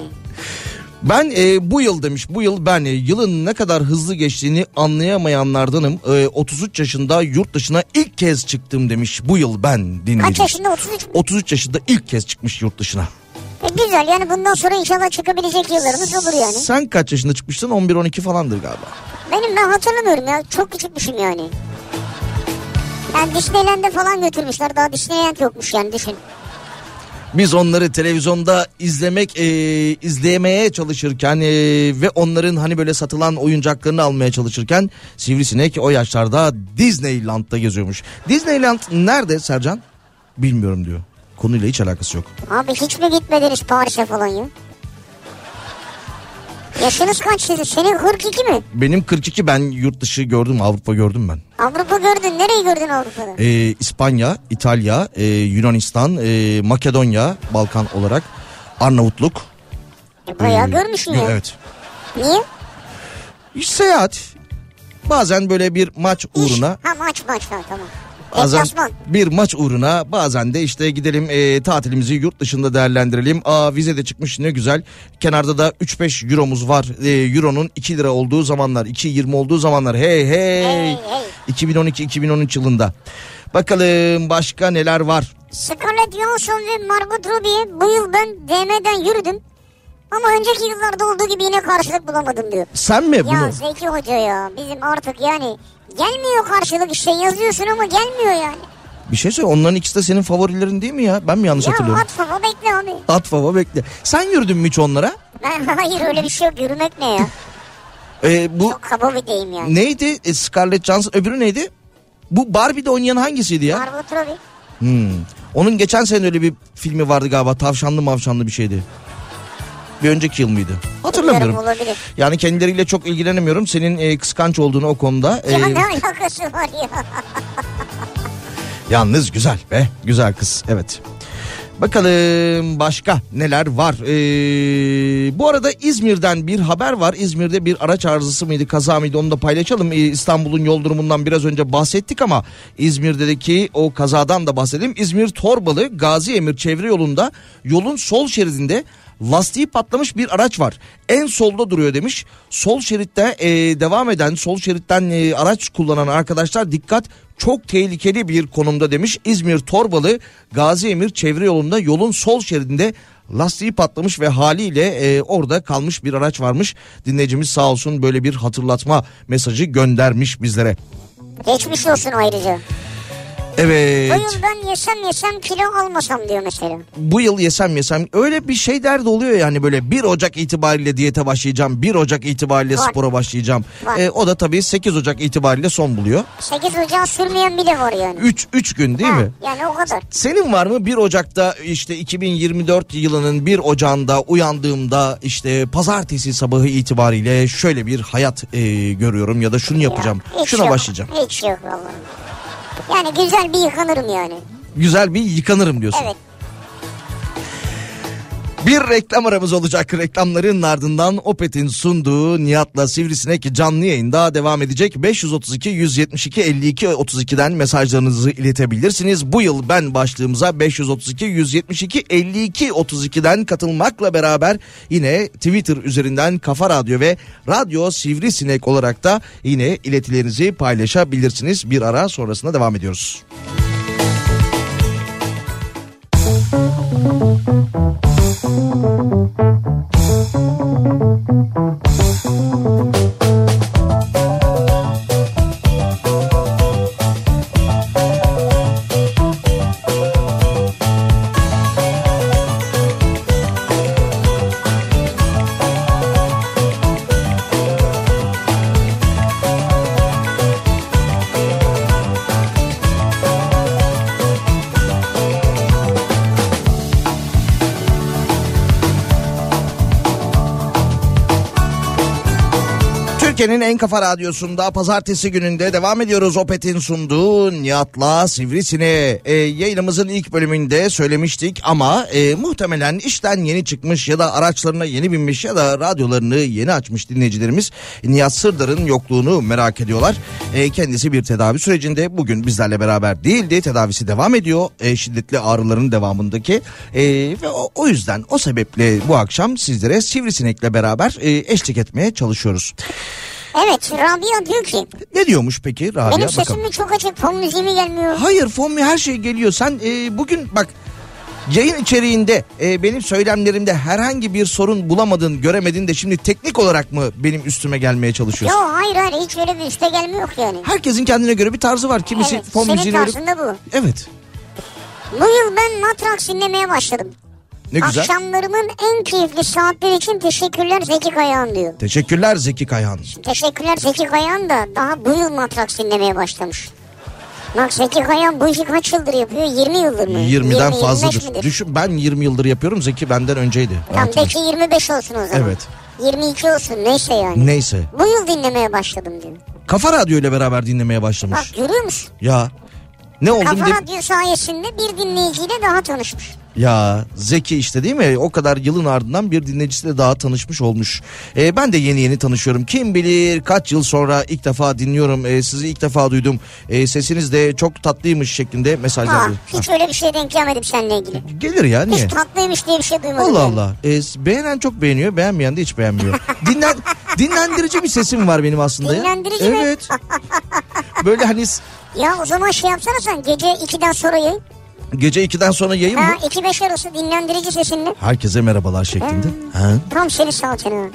[SPEAKER 4] Ben e, bu yıl demiş bu yıl ben e, yılın ne kadar hızlı geçtiğini anlayamayanlardanım. E, 33 yaşında yurt dışına ilk kez çıktım demiş bu yıl ben
[SPEAKER 3] Kaç
[SPEAKER 4] dinleyici.
[SPEAKER 3] yaşında 33 mü?
[SPEAKER 4] 33 yaşında ilk kez çıkmış yurt dışına.
[SPEAKER 3] E güzel yani bundan sonra inşallah çıkabilecek yıllarımız olur yani.
[SPEAKER 4] Sen kaç yaşında çıkmıştın? 11-12 falandır galiba.
[SPEAKER 3] Benim ben hatırlamıyorum ya çok küçükmüşüm yani. Yani Disneyland'e falan götürmüşler daha Disneyland yokmuş yani düşün.
[SPEAKER 4] Biz onları televizyonda izlemek, e, izlemeye çalışırken e, ve onların hani böyle satılan oyuncaklarını almaya çalışırken Sivrisinek o yaşlarda Disneyland'da geziyormuş. Disneyland nerede Sercan? Bilmiyorum diyor. Konuyla hiç alakası yok.
[SPEAKER 3] Abi hiç mi gitmediniz Paris'e falan ya? Yaşınız kaç sizin? Senin 42 mi?
[SPEAKER 4] Benim 42 ben yurt dışı gördüm Avrupa gördüm ben.
[SPEAKER 3] Avrupa gördün. Nereyi gördün Avrupa'da?
[SPEAKER 4] Ee, İspanya, İtalya, e, Yunanistan, e, Makedonya, Balkan olarak Arnavutluk.
[SPEAKER 3] E, bayağı
[SPEAKER 4] Ee,
[SPEAKER 3] görmüşsün ya.
[SPEAKER 4] Evet.
[SPEAKER 3] Niye?
[SPEAKER 4] İş seyahat. Bazen böyle bir maç
[SPEAKER 3] İş.
[SPEAKER 4] uğruna
[SPEAKER 3] Ha maç maç ha tamam.
[SPEAKER 4] Bazen
[SPEAKER 3] Deplasman.
[SPEAKER 4] bir maç uğruna bazen de işte gidelim e, tatilimizi yurt dışında değerlendirelim. Aa vize de çıkmış ne güzel. Kenarda da 3-5 euromuz var. E, Euronun 2 lira olduğu zamanlar 2.20 olduğu zamanlar hey hey.
[SPEAKER 3] Hey, hey.
[SPEAKER 4] 2012-2013 yılında. Bakalım başka neler var?
[SPEAKER 3] Scarlett Johansson ve Margot Robbie bu yıl ben DM'den yürüdüm. Ama önceki yıllarda olduğu gibi yine karşılık bulamadım diyor.
[SPEAKER 4] Sen mi
[SPEAKER 3] Ya
[SPEAKER 4] bunu?
[SPEAKER 3] Zeki Hoca ya bizim artık yani gelmiyor karşılık işte yazıyorsun ama gelmiyor yani.
[SPEAKER 4] Bir şey söyle onların ikisi de senin favorilerin değil mi ya? Ben mi yanlış
[SPEAKER 3] Ya
[SPEAKER 4] hatırlıyorum?
[SPEAKER 3] at baba bekle abi.
[SPEAKER 4] At baba bekle. Sen yürüdün mü hiç onlara?
[SPEAKER 3] Ben hayır öyle bir şey yok yürümek ne ya.
[SPEAKER 4] E, bu
[SPEAKER 3] Çok kaba bir deyim yani.
[SPEAKER 4] neydi? E, Scarlett Johansson öbürü neydi? Bu Barbie'de oynayan hangisiydi ya?
[SPEAKER 3] Margot Robbie.
[SPEAKER 4] Hmm. Onun geçen sene öyle bir filmi vardı galiba. Tavşanlı mavşanlı bir şeydi. Bir önceki yıl mıydı? Hatırlamıyorum.
[SPEAKER 3] Bilmiyorum, olabilir.
[SPEAKER 4] Yani kendileriyle çok ilgilenemiyorum. Senin e, kıskanç olduğunu o konuda. e,
[SPEAKER 3] Ya ne alakası var ya.
[SPEAKER 4] yalnız güzel be. Güzel kız. Evet. Bakalım başka neler var. E, bu arada İzmir'den bir haber var. İzmir'de bir araç arızası mıydı kaza mıydı onu da paylaşalım. E, İstanbul'un yol durumundan biraz önce bahsettik ama İzmir'deki o kazadan da bahsedelim. İzmir Torbalı Gazi Emir çevre yolunda yolun sol şeridinde lastiği patlamış bir araç var. En solda duruyor demiş. Sol şeritte e, devam eden sol şeritten e, araç kullanan arkadaşlar dikkat çok tehlikeli bir konumda demiş. İzmir Torbalı Gazi Emir çevre yolunda yolun sol şeridinde lastiği patlamış ve haliyle e, orada kalmış bir araç varmış. Dinleyicimiz sağ olsun böyle bir hatırlatma mesajı göndermiş bizlere.
[SPEAKER 3] Geçmiş olsun ayrıca.
[SPEAKER 4] Evet.
[SPEAKER 3] Bu yıl ben yesem yesem kilo almasam diyor mesela.
[SPEAKER 4] bu yıl yesem yesem öyle bir şey derdi oluyor yani böyle 1 Ocak itibariyle diyete başlayacağım 1 Ocak itibariyle
[SPEAKER 3] Var.
[SPEAKER 4] spora başlayacağım
[SPEAKER 3] Var.
[SPEAKER 4] Ee, o da tabii 8 Ocak itibariyle son buluyor
[SPEAKER 3] 8 ocağı sürmeyen bile var yani.
[SPEAKER 4] 3 3 gün değil
[SPEAKER 3] Ha,
[SPEAKER 4] mi?
[SPEAKER 3] Yani o kadar.
[SPEAKER 4] Senin var mı 1 Ocak'ta işte 2024 yılının 1 Ocağı'nda uyandığımda işte pazartesi sabahı itibariyle şöyle bir hayat e, görüyorum ya da şunu yapacağım
[SPEAKER 3] Ya, hiç
[SPEAKER 4] şuna
[SPEAKER 3] yok.
[SPEAKER 4] başlayacağım.
[SPEAKER 3] Hiç yok vallahi. Yani güzel bir yıkanırım yani.
[SPEAKER 4] Güzel bir yıkanırım diyorsun.
[SPEAKER 3] Evet.
[SPEAKER 4] Bir reklam aramız olacak. Reklamların ardından Opet'in sunduğu Nihat'la Sivrisinek canlı yayında devam edecek. 532 172 52 32'den mesajlarınızı iletebilirsiniz. Bu yıl ben başlığımıza 532 172 52 32'den katılmakla beraber yine Twitter üzerinden Kafa Radyo ve Radyo Sivrisinek olarak da yine iletilerinizi paylaşabilirsiniz. Bir ara sonrasında devam ediyoruz. Türkiye'nin en kafa radyosunda pazartesi gününde devam ediyoruz. Opet'in sunduğu Nihat'la Sivrisine. Ee, yayınımızın ilk bölümünde söylemiştik ama e, muhtemelen işten yeni çıkmış ya da araçlarına yeni binmiş ya da radyolarını yeni açmış dinleyicilerimiz Nihat Sırdar'ın yokluğunu merak ediyorlar. E, kendisi bir tedavi sürecinde bugün bizlerle beraber değildi. Tedavisi devam ediyor. E, şiddetli ağrıların devamındaki E, ve o, o yüzden o sebeple bu akşam sizlere Sivrisinek'le beraber e, eşlik etmeye çalışıyoruz.
[SPEAKER 3] Evet Rabia diyor ki
[SPEAKER 4] Ne diyormuş peki Rabia?
[SPEAKER 3] benim sesim
[SPEAKER 4] Bakalım.
[SPEAKER 3] mi çok açık fon müziği mi gelmiyor?
[SPEAKER 4] Hayır Fomi her şey geliyor. Sen e, bugün bak yayın içeriğinde e, benim söylemlerimde herhangi bir sorun bulamadın, göremedin de şimdi teknik olarak mı benim üstüme gelmeye
[SPEAKER 3] Yo
[SPEAKER 4] çalışıyorsun?
[SPEAKER 3] hayır hayır hiç öyle bir üste gelme yok yani.
[SPEAKER 4] Herkesin kendine göre bir tarzı var. Kimisi
[SPEAKER 3] Evet,
[SPEAKER 4] fon
[SPEAKER 3] senin
[SPEAKER 4] müziğini öyle-
[SPEAKER 3] tarzında bu.
[SPEAKER 4] Evet.
[SPEAKER 3] Bu yıl ben Matrax dinlemeye başladım.
[SPEAKER 4] Ne güzel.
[SPEAKER 3] Akşamlarımın en keyifli saatleri için teşekkürler Zeki Kayan diyor.
[SPEAKER 4] Teşekkürler Zeki Kayhan.
[SPEAKER 3] Teşekkürler Zeki Kayan da daha bu yıl Matrax dinlemeye başlamış. Bak Zeki Kayan bu işi kaç yıldır yapıyor? 20 yıldır mı?
[SPEAKER 4] 20'den
[SPEAKER 3] 25
[SPEAKER 4] fazladır.
[SPEAKER 3] midir?
[SPEAKER 4] Düşün ben 20 yıldır yapıyorum. Zeki benden önceydi.
[SPEAKER 3] Tamam
[SPEAKER 4] Hayatımda.
[SPEAKER 3] belki 25 olsun o zaman.
[SPEAKER 4] Evet.
[SPEAKER 3] 22 olsun neyse yani.
[SPEAKER 4] Neyse.
[SPEAKER 3] Bu yıl dinlemeye başladım diyor.
[SPEAKER 4] Kafa Radyo ile beraber dinlemeye başlamış.
[SPEAKER 3] Bak görüyor musun?
[SPEAKER 4] Ya. Ne oldum
[SPEAKER 3] Ah. Kafa
[SPEAKER 4] de-
[SPEAKER 3] Radyo sayesinde bir dinleyiciyle daha tanışmış.
[SPEAKER 4] Ya Zeki işte değil mi? O kadar yılın ardından bir dinleyicisiyle daha tanışmış olmuş. Ee, ben de yeni yeni tanışıyorum. Kim bilir kaç yıl sonra ilk defa dinliyorum. Ee, sizi ilk defa duydum. Ee, sesiniz de çok tatlıymış şeklinde mesajlar.
[SPEAKER 3] Aa,
[SPEAKER 4] geliyor.
[SPEAKER 3] hiç öyle bir şey denk gelmedim seninle ilgili.
[SPEAKER 4] Ha, Gelir ya niye?
[SPEAKER 3] Hiç tatlıymış diye bir şey duymadım.
[SPEAKER 4] Allah
[SPEAKER 3] yani.
[SPEAKER 4] Allah. Ee, beğenen çok beğeniyor, beğenmeyen de hiç beğenmiyor. Dinlen dinlendirici bir sesim var benim aslında ya.
[SPEAKER 3] Dinlendirici mi?
[SPEAKER 4] evet. Böyle hani s-
[SPEAKER 3] Ya o zaman şey yapsana sen gece 2'den sonra yayın.
[SPEAKER 4] gece 2'den sonra yayın
[SPEAKER 3] Ha
[SPEAKER 4] mı?
[SPEAKER 3] 2-5 arası dinlendirici sesinle.
[SPEAKER 4] Herkese merhabalar şeklinde. Ha.
[SPEAKER 3] Tam seni sağlıcana.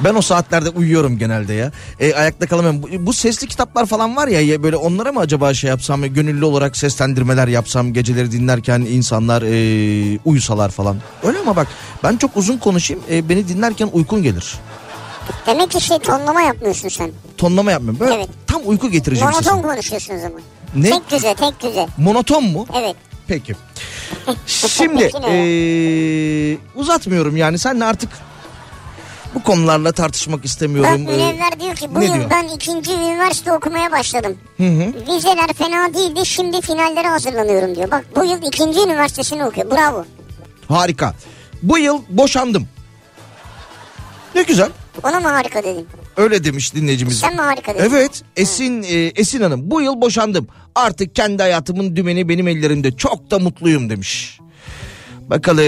[SPEAKER 4] Ben o saatlerde uyuyorum genelde ya. E, ayakta kalamıyorum. Bu, bu sesli kitaplar falan var ya, ya böyle onlara mı acaba şey yapsam gönüllü olarak seslendirmeler yapsam geceleri dinlerken insanlar e, uyusalar falan. Öyle ama bak ben çok uzun konuşayım e, beni dinlerken uykun gelir.
[SPEAKER 3] Demek ki şey tonlama yapmıyorsun sen.
[SPEAKER 4] Tonlama yapmıyorum. Böyle
[SPEAKER 3] Evet.
[SPEAKER 4] tam uyku getireceğim
[SPEAKER 3] Monoton
[SPEAKER 4] sesim.
[SPEAKER 3] konuşuyorsun o zaman.
[SPEAKER 4] Ne?
[SPEAKER 3] Tek düze tek düze.
[SPEAKER 4] Monoton mu?
[SPEAKER 3] Evet.
[SPEAKER 4] Peki. Şimdi
[SPEAKER 3] Peki
[SPEAKER 4] e, uzatmıyorum yani senle artık bu konularla tartışmak
[SPEAKER 3] Bak
[SPEAKER 4] istemiyorum. E,
[SPEAKER 3] Münevver diyor ki bu
[SPEAKER 4] ne
[SPEAKER 3] yıl
[SPEAKER 4] diyor?
[SPEAKER 3] ben ikinci üniversite okumaya başladım. Vizeler fena değildi şimdi finallere hazırlanıyorum diyor. Bak bu yıl ikinci üniversitesini okuyor. Bravo.
[SPEAKER 4] Harika. Bu yıl boşandım. Ne güzel.
[SPEAKER 3] Ona mı harika dedin?
[SPEAKER 4] Öyle demiş dinleyicimiz.
[SPEAKER 3] Sen mi harika dedin?
[SPEAKER 4] Evet. Esin e, Esin Hanım bu yıl boşandım. Artık kendi hayatımın dümeni benim ellerimde. Çok da mutluyum demiş. Bakalım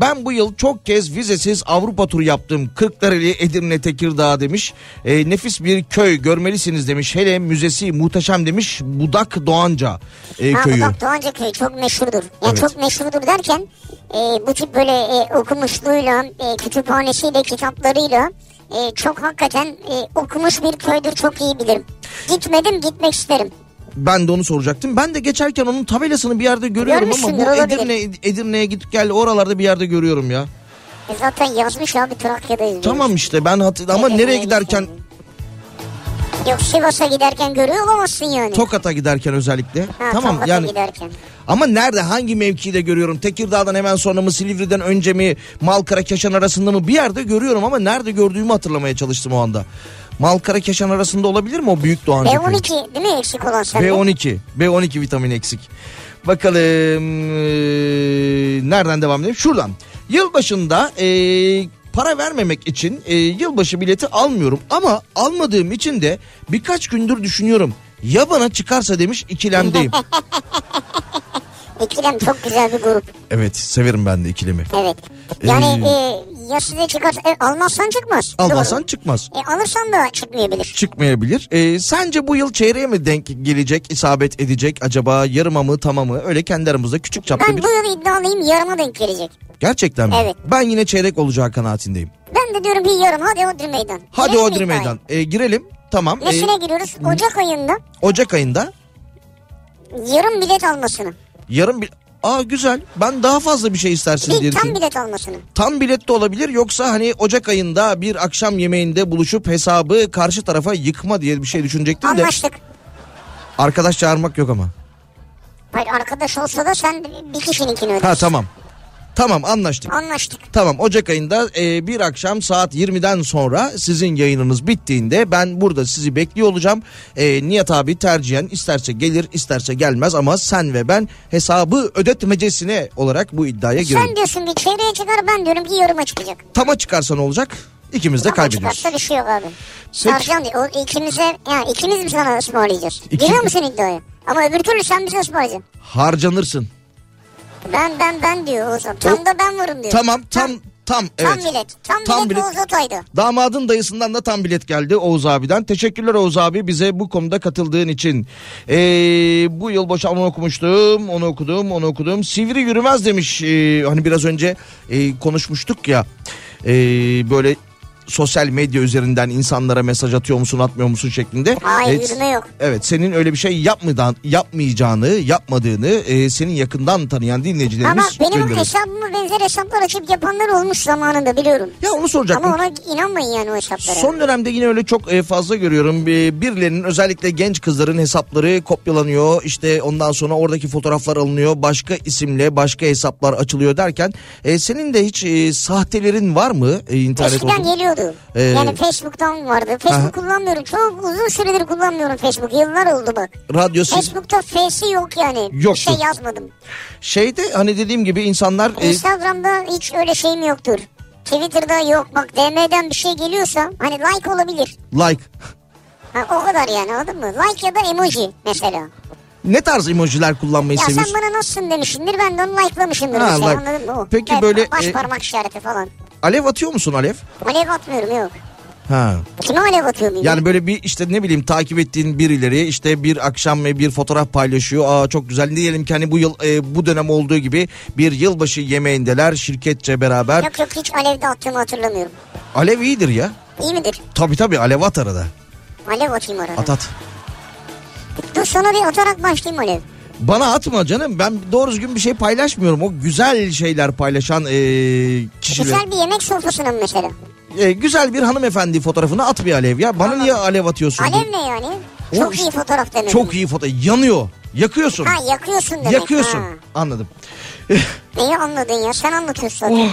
[SPEAKER 4] ben bu yıl çok kez vizesiz Avrupa turu yaptım. Kırklareli, Edirne, Tekirdağ demiş. E, nefis bir köy görmelisiniz demiş. Hele müzesi muhteşem demiş. Budak Doğanca e,
[SPEAKER 3] Ha,
[SPEAKER 4] köyü.
[SPEAKER 3] Bak Doğanca köyü çok meşhurdur. Ya çok meşhurdur derken e, bu tip böyle e, okumuşluğuyla, e, kütüphanesiyle, kitaplarıyla e, çok hakikaten e, okumuş bir köydür çok iyi bilirim. Gitmedim gitmek isterim.
[SPEAKER 4] Ben de onu soracaktım. Ben de geçerken onun tabelasını bir yerde görüyorum ama bu
[SPEAKER 3] Görmüşsündür, olabilir.
[SPEAKER 4] Edirne, Edirne'ye gidip gel oralarda bir yerde görüyorum ya.
[SPEAKER 3] E zaten yazmış abi Trakya'dayız.
[SPEAKER 4] Tamam işte ben hatırladım ama
[SPEAKER 3] Edirne'ye
[SPEAKER 4] nereye giderken
[SPEAKER 3] gitsen. Yok Sivas'a giderken görüyor olamazsın yani.
[SPEAKER 4] Tokat'a giderken özellikle.
[SPEAKER 3] Ha,
[SPEAKER 4] tamam
[SPEAKER 3] Tokat'a
[SPEAKER 4] yani
[SPEAKER 3] giderken.
[SPEAKER 4] ama nerede hangi mevkide görüyorum? Tekirdağ'dan hemen sonra mı Silivri'den önce mi Malkara Keşan arasında mı bir yerde görüyorum ama nerede gördüğümü hatırlamaya çalıştım o anda. Malkara Keşan arasında olabilir mi o büyük Doğan
[SPEAKER 3] E,
[SPEAKER 4] Cephe?
[SPEAKER 3] B12 değil mi eksik olan sende?
[SPEAKER 4] B12. B12 vitamin eksik. Bakalım eee, nereden devam edelim? Şuradan. Yılbaşında eee, para vermemek için eee, yılbaşı bileti almıyorum ama almadığım için de birkaç gündür düşünüyorum. Ya bana çıkarsa demiş ikilemdeyim.
[SPEAKER 3] İkilem çok güzel bir grup.
[SPEAKER 4] evet severim ben de ikilemi.
[SPEAKER 3] Evet. Yani e, ya size çıkar e, almazsan çıkmaz.
[SPEAKER 4] Almasan
[SPEAKER 3] Doğru.
[SPEAKER 4] çıkmaz.
[SPEAKER 3] E, alırsan da çıkmayabilir.
[SPEAKER 4] Çıkmayabilir. Eee, sence bu yıl çeyreğe mi denk gelecek, isabet edecek acaba yarıma mı tamamı? Öyle kendi aramızda küçük çaplı
[SPEAKER 3] Ben
[SPEAKER 4] bir...
[SPEAKER 3] bu yıl iddialıyım yarıma denk gelecek.
[SPEAKER 4] Gerçekten mi?
[SPEAKER 3] Evet.
[SPEAKER 4] Ben yine çeyrek olacağı kanaatindeyim.
[SPEAKER 3] Ben de diyorum bir yarım hadi Odri Meydan.
[SPEAKER 4] Hadi
[SPEAKER 3] Girelim
[SPEAKER 4] Odri
[SPEAKER 3] mi iddiaya?
[SPEAKER 4] Meydan. Ee, girelim. Tamam. Ee,
[SPEAKER 3] Nesine giriyoruz? Ocak ayında
[SPEAKER 4] Ocak ayında
[SPEAKER 3] yarım bilet almasını.
[SPEAKER 4] yarın bir... Aa güzel. Ben daha fazla bir şey istersin diye
[SPEAKER 3] Bir tam
[SPEAKER 4] düşünüyorum.
[SPEAKER 3] bilet almasını.
[SPEAKER 4] Tam bilet de olabilir yoksa hani Ocak ayında bir akşam yemeğinde buluşup hesabı karşı tarafa yıkma diye bir şey düşünecektim de
[SPEAKER 3] Anlaştık.
[SPEAKER 4] arkadaş çağırmak yok ama.
[SPEAKER 3] Hayır arkadaş olsa da sen bir kişininkini ödersin.
[SPEAKER 4] Ha tamam. Tamam anlaştık.
[SPEAKER 3] Anlaştık.
[SPEAKER 4] Tamam Ocak ayında e, bir akşam saat 20'den sonra sizin yayınınız bittiğinde ben burada sizi bekliyor olacağım. E, Nihat abi tercihen isterse gelir isterse gelmez ama sen ve ben hesabı ödetmecesine olarak bu iddiaya girelim.
[SPEAKER 3] Sen diyorsun bir çevreye çıkar ben diyorum ki yarıma çıkacak.
[SPEAKER 4] Tama çıkarsa ne olacak? İkimiz de
[SPEAKER 3] Ama
[SPEAKER 4] kaybediyoruz.
[SPEAKER 3] çıkarsa bir şey yok abi. Sarcan diyor. O ikimize yani ikimiz mi sana ısmarlayacağız?
[SPEAKER 4] İki-
[SPEAKER 3] Giriyor musun iddiaya? Ama öbür türlü sen bize ısmarlayacaksın.
[SPEAKER 4] Harcanırsın.
[SPEAKER 3] Ben ben ben diyor Oğuzhan. Tam da ben varım diyor.
[SPEAKER 4] Tamam tam tam
[SPEAKER 3] Tam
[SPEAKER 4] evet.
[SPEAKER 3] bilet. Tam,
[SPEAKER 4] Tam
[SPEAKER 3] bilet,
[SPEAKER 4] bilet.
[SPEAKER 3] Oğuz Atay'dı.
[SPEAKER 4] Damadın dayısından da tam bilet geldi Oğuz abiden. Teşekkürler Oğuz abi bize bu konuda katıldığın için. Ee, bu yıl boşa onu okumuştum, onu okudum, onu okudum. Sivri yürümez demiş. Ee, hani biraz önce e, konuşmuştuk ya. Ee, böyle sosyal medya üzerinden insanlara mesaj atıyor musun atmıyor musun şeklinde.
[SPEAKER 3] Hayır
[SPEAKER 4] Evet.
[SPEAKER 3] yürüme yok.
[SPEAKER 4] Evet senin öyle bir şey yapmadan yapmayacağını, yapmadığını e, senin yakından tanıyan
[SPEAKER 3] Ama
[SPEAKER 4] dinleyicilerimiz
[SPEAKER 3] benim
[SPEAKER 4] gönderiyor.
[SPEAKER 3] hesabımı benzer hesaplar açıp yapanlar olmuş zamanında biliyorum.
[SPEAKER 4] Ya onu soracaktım.
[SPEAKER 3] Ama ona inanmayın yani o hesaplara.
[SPEAKER 4] Son dönemde yine öyle çok e, fazla görüyorum. Bir- Birilerinin özellikle genç kızların hesapları kopyalanıyor. İşte ondan sonra oradaki fotoğraflar alınıyor. Başka isimle başka hesaplar açılıyor derken. e, Senin de hiç e, sahtelerin var mı e, internet
[SPEAKER 3] Eskiden
[SPEAKER 4] ortamında?
[SPEAKER 3] geliyordu.
[SPEAKER 4] Ee,
[SPEAKER 3] Yani Facebook'tan vardı. Facebook
[SPEAKER 4] Aha.
[SPEAKER 3] kullanmıyorum. Çok uzun süredir kullanmıyorum Facebook. Yıllar oldu bak.
[SPEAKER 4] Radyo siz-
[SPEAKER 3] Facebook'ta F'si yok yani. Bir
[SPEAKER 4] Yoktu.
[SPEAKER 3] şey yazmadım.
[SPEAKER 4] Şeyde hani dediğim gibi insanlar... e,
[SPEAKER 3] Instagram'da hiç öyle şeyim yoktur. Twitter'da yok. Bak DM'den bir şey geliyorsa hani like olabilir.
[SPEAKER 4] like.
[SPEAKER 3] Ha, o kadar yani anladın mı? Like ya da emoji mesela.
[SPEAKER 4] Ne tarz emojiler kullanmayı
[SPEAKER 3] Ya sen
[SPEAKER 4] seviyorsun?
[SPEAKER 3] bana nasılsın demişsindir ben de onu like'lamışımdır
[SPEAKER 4] Ha,
[SPEAKER 3] mesela
[SPEAKER 4] like.
[SPEAKER 3] anladın mı? O.
[SPEAKER 4] Peki böyle,
[SPEAKER 3] Baş
[SPEAKER 4] e,
[SPEAKER 3] parmak işareti falan.
[SPEAKER 4] Alev atıyor musun Alev?
[SPEAKER 3] Alev atmıyorum yok.
[SPEAKER 4] Ha.
[SPEAKER 3] Kime alev atıyor muyum?
[SPEAKER 4] Yani böyle bir işte ne bileyim takip ettiğin birileri işte bir akşam ve bir fotoğraf paylaşıyor. Aa çok güzel. Diyelim ki hani bu yıl e, bu dönem olduğu gibi bir yılbaşı yemeğindeler şirketçe beraber.
[SPEAKER 3] Yok yok hiç alevde attığımı hatırlamıyorum.
[SPEAKER 4] Alev iyidir ya.
[SPEAKER 3] İyi midir?
[SPEAKER 4] Tabii tabii alev at arada.
[SPEAKER 3] Alev atayım arada.
[SPEAKER 4] At at.
[SPEAKER 3] Dur sana bir atarak başlayayım alev.
[SPEAKER 4] Bana atma canım. Ben doğru düzgün bir şey paylaşmıyorum. O güzel şeyler paylaşan e, kişiler. Güzel.
[SPEAKER 3] Güzel bir yemek sofrasına mı mesela?
[SPEAKER 4] güzel bir hanımefendi fotoğrafını at bir alev ya. Bana niye alev atıyorsun?
[SPEAKER 3] Alev ne yani?
[SPEAKER 4] O
[SPEAKER 3] Çok
[SPEAKER 4] işte-
[SPEAKER 3] iyi fotoğraf demek.
[SPEAKER 4] Çok iyi foto. Yanıyor. Yakıyorsun.
[SPEAKER 3] Ha yakıyorsun demek.
[SPEAKER 4] Yakıyorsun.
[SPEAKER 3] Ha.
[SPEAKER 4] Anladım.
[SPEAKER 3] Neyi anladın ya? Sen anlatıyorsun.
[SPEAKER 4] Oh,
[SPEAKER 3] zaten.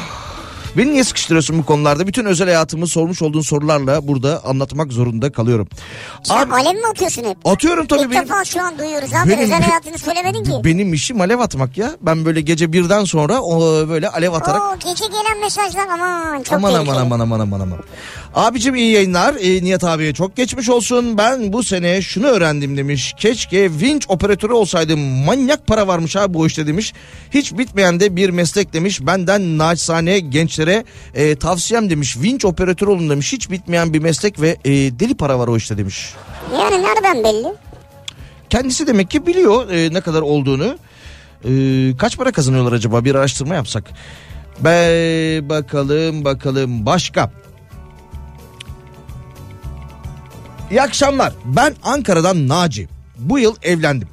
[SPEAKER 4] Beni niye sıkıştırıyorsun bu konularda? Bütün özel hayatımı sormuş olduğun sorularla burada anlatmak zorunda kalıyorum.
[SPEAKER 3] Sen
[SPEAKER 4] Abi,
[SPEAKER 3] alev mi atıyorsun hep?
[SPEAKER 4] atıyorum tabii
[SPEAKER 3] İlk
[SPEAKER 4] benim,
[SPEAKER 3] defa şu an duyuyoruz abi.
[SPEAKER 4] Benim-
[SPEAKER 3] Özel hayatını söylemedin ki.
[SPEAKER 4] benim işim alev atmak ya. Ben böyle gece birden sonra o, böyle alev atarak...
[SPEAKER 3] Oo, gece gelen mesajlar aman çok
[SPEAKER 4] Aman aman
[SPEAKER 3] tehlikeli.
[SPEAKER 4] aman aman aman aman. Abicim iyi yayınlar. Ee, Nihat abiye çok geçmiş olsun. Ben bu sene şunu öğrendim demiş. Keşke vinç operatörü olsaydım. Manyak para varmış abi bu işte demiş. Hiç bitmeyen de bir meslek demiş. Benden naçizane gençlere e, tavsiyem demiş. Vinç operatörü olun demiş. Hiç bitmeyen bir meslek ve e, deli para var o işte demiş.
[SPEAKER 3] Yani nereden belli?
[SPEAKER 4] Kendisi demek ki biliyor e, ne kadar olduğunu. E, kaç para kazanıyorlar acaba bir araştırma yapsak. Be bakalım bakalım başka. İyi akşamlar. Ben Ankara'dan Naci. Bu yıl evlendim.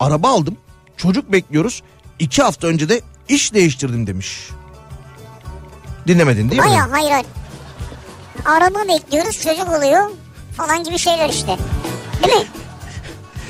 [SPEAKER 4] Araba aldım. Çocuk bekliyoruz. İki hafta önce de iş değiştirdim demiş. Dinlemedin değil mi?
[SPEAKER 3] Hayır hayır hayır. Araba bekliyoruz çocuk oluyor falan gibi şeyler işte. Değil mi?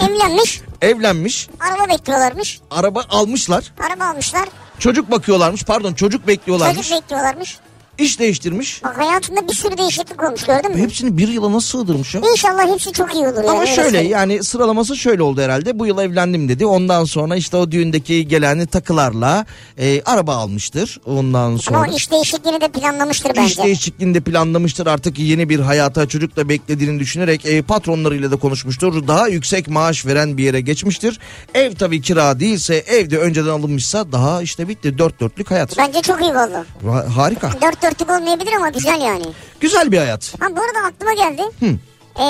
[SPEAKER 3] Evlenmiş,
[SPEAKER 4] Evlenmiş.
[SPEAKER 3] araba bekliyorlarmış,
[SPEAKER 4] Araba almışlar.
[SPEAKER 3] araba almışlar,
[SPEAKER 4] Çocuk bakıyorlarmış. Pardon çocuk bekliyorlarmış.
[SPEAKER 3] çocuk bekliyorlarmış.
[SPEAKER 4] İş değiştirmiş.
[SPEAKER 3] Bak hayatında bir sürü değişiklik olmuş gördün mü?
[SPEAKER 4] Hepsini bir yıla nasıl sığdırmış ya?
[SPEAKER 3] İnşallah hepsi çok iyi olur. yani,
[SPEAKER 4] Ama
[SPEAKER 3] öyle
[SPEAKER 4] şöyle
[SPEAKER 3] söyleyeyim.
[SPEAKER 4] yani sıralaması şöyle oldu herhalde. Bu yıl evlendim dedi. Ondan sonra işte o düğündeki gelen takılarla e, araba almıştır. Ondan
[SPEAKER 3] Ama o
[SPEAKER 4] sonra
[SPEAKER 3] iş değişikliğini de planlamıştır bence.
[SPEAKER 4] iş değişikliğinde planlamıştır. Artık yeni bir hayata çocukla beklediğini düşünerek e, patronlarıyla da konuşmuştur. Daha yüksek maaş veren bir yere geçmiştir. Ev tabii kira değilse evde önceden alınmışsa daha işte bitti. Dört dörtlük hayat.
[SPEAKER 3] Bence çok iyi oldu.
[SPEAKER 4] Ha- Harika.
[SPEAKER 3] Dört dörtlük olmayabilir ama güzel yani.
[SPEAKER 4] Güzel bir hayat.
[SPEAKER 3] Ha bu arada aklıma geldi. Ee,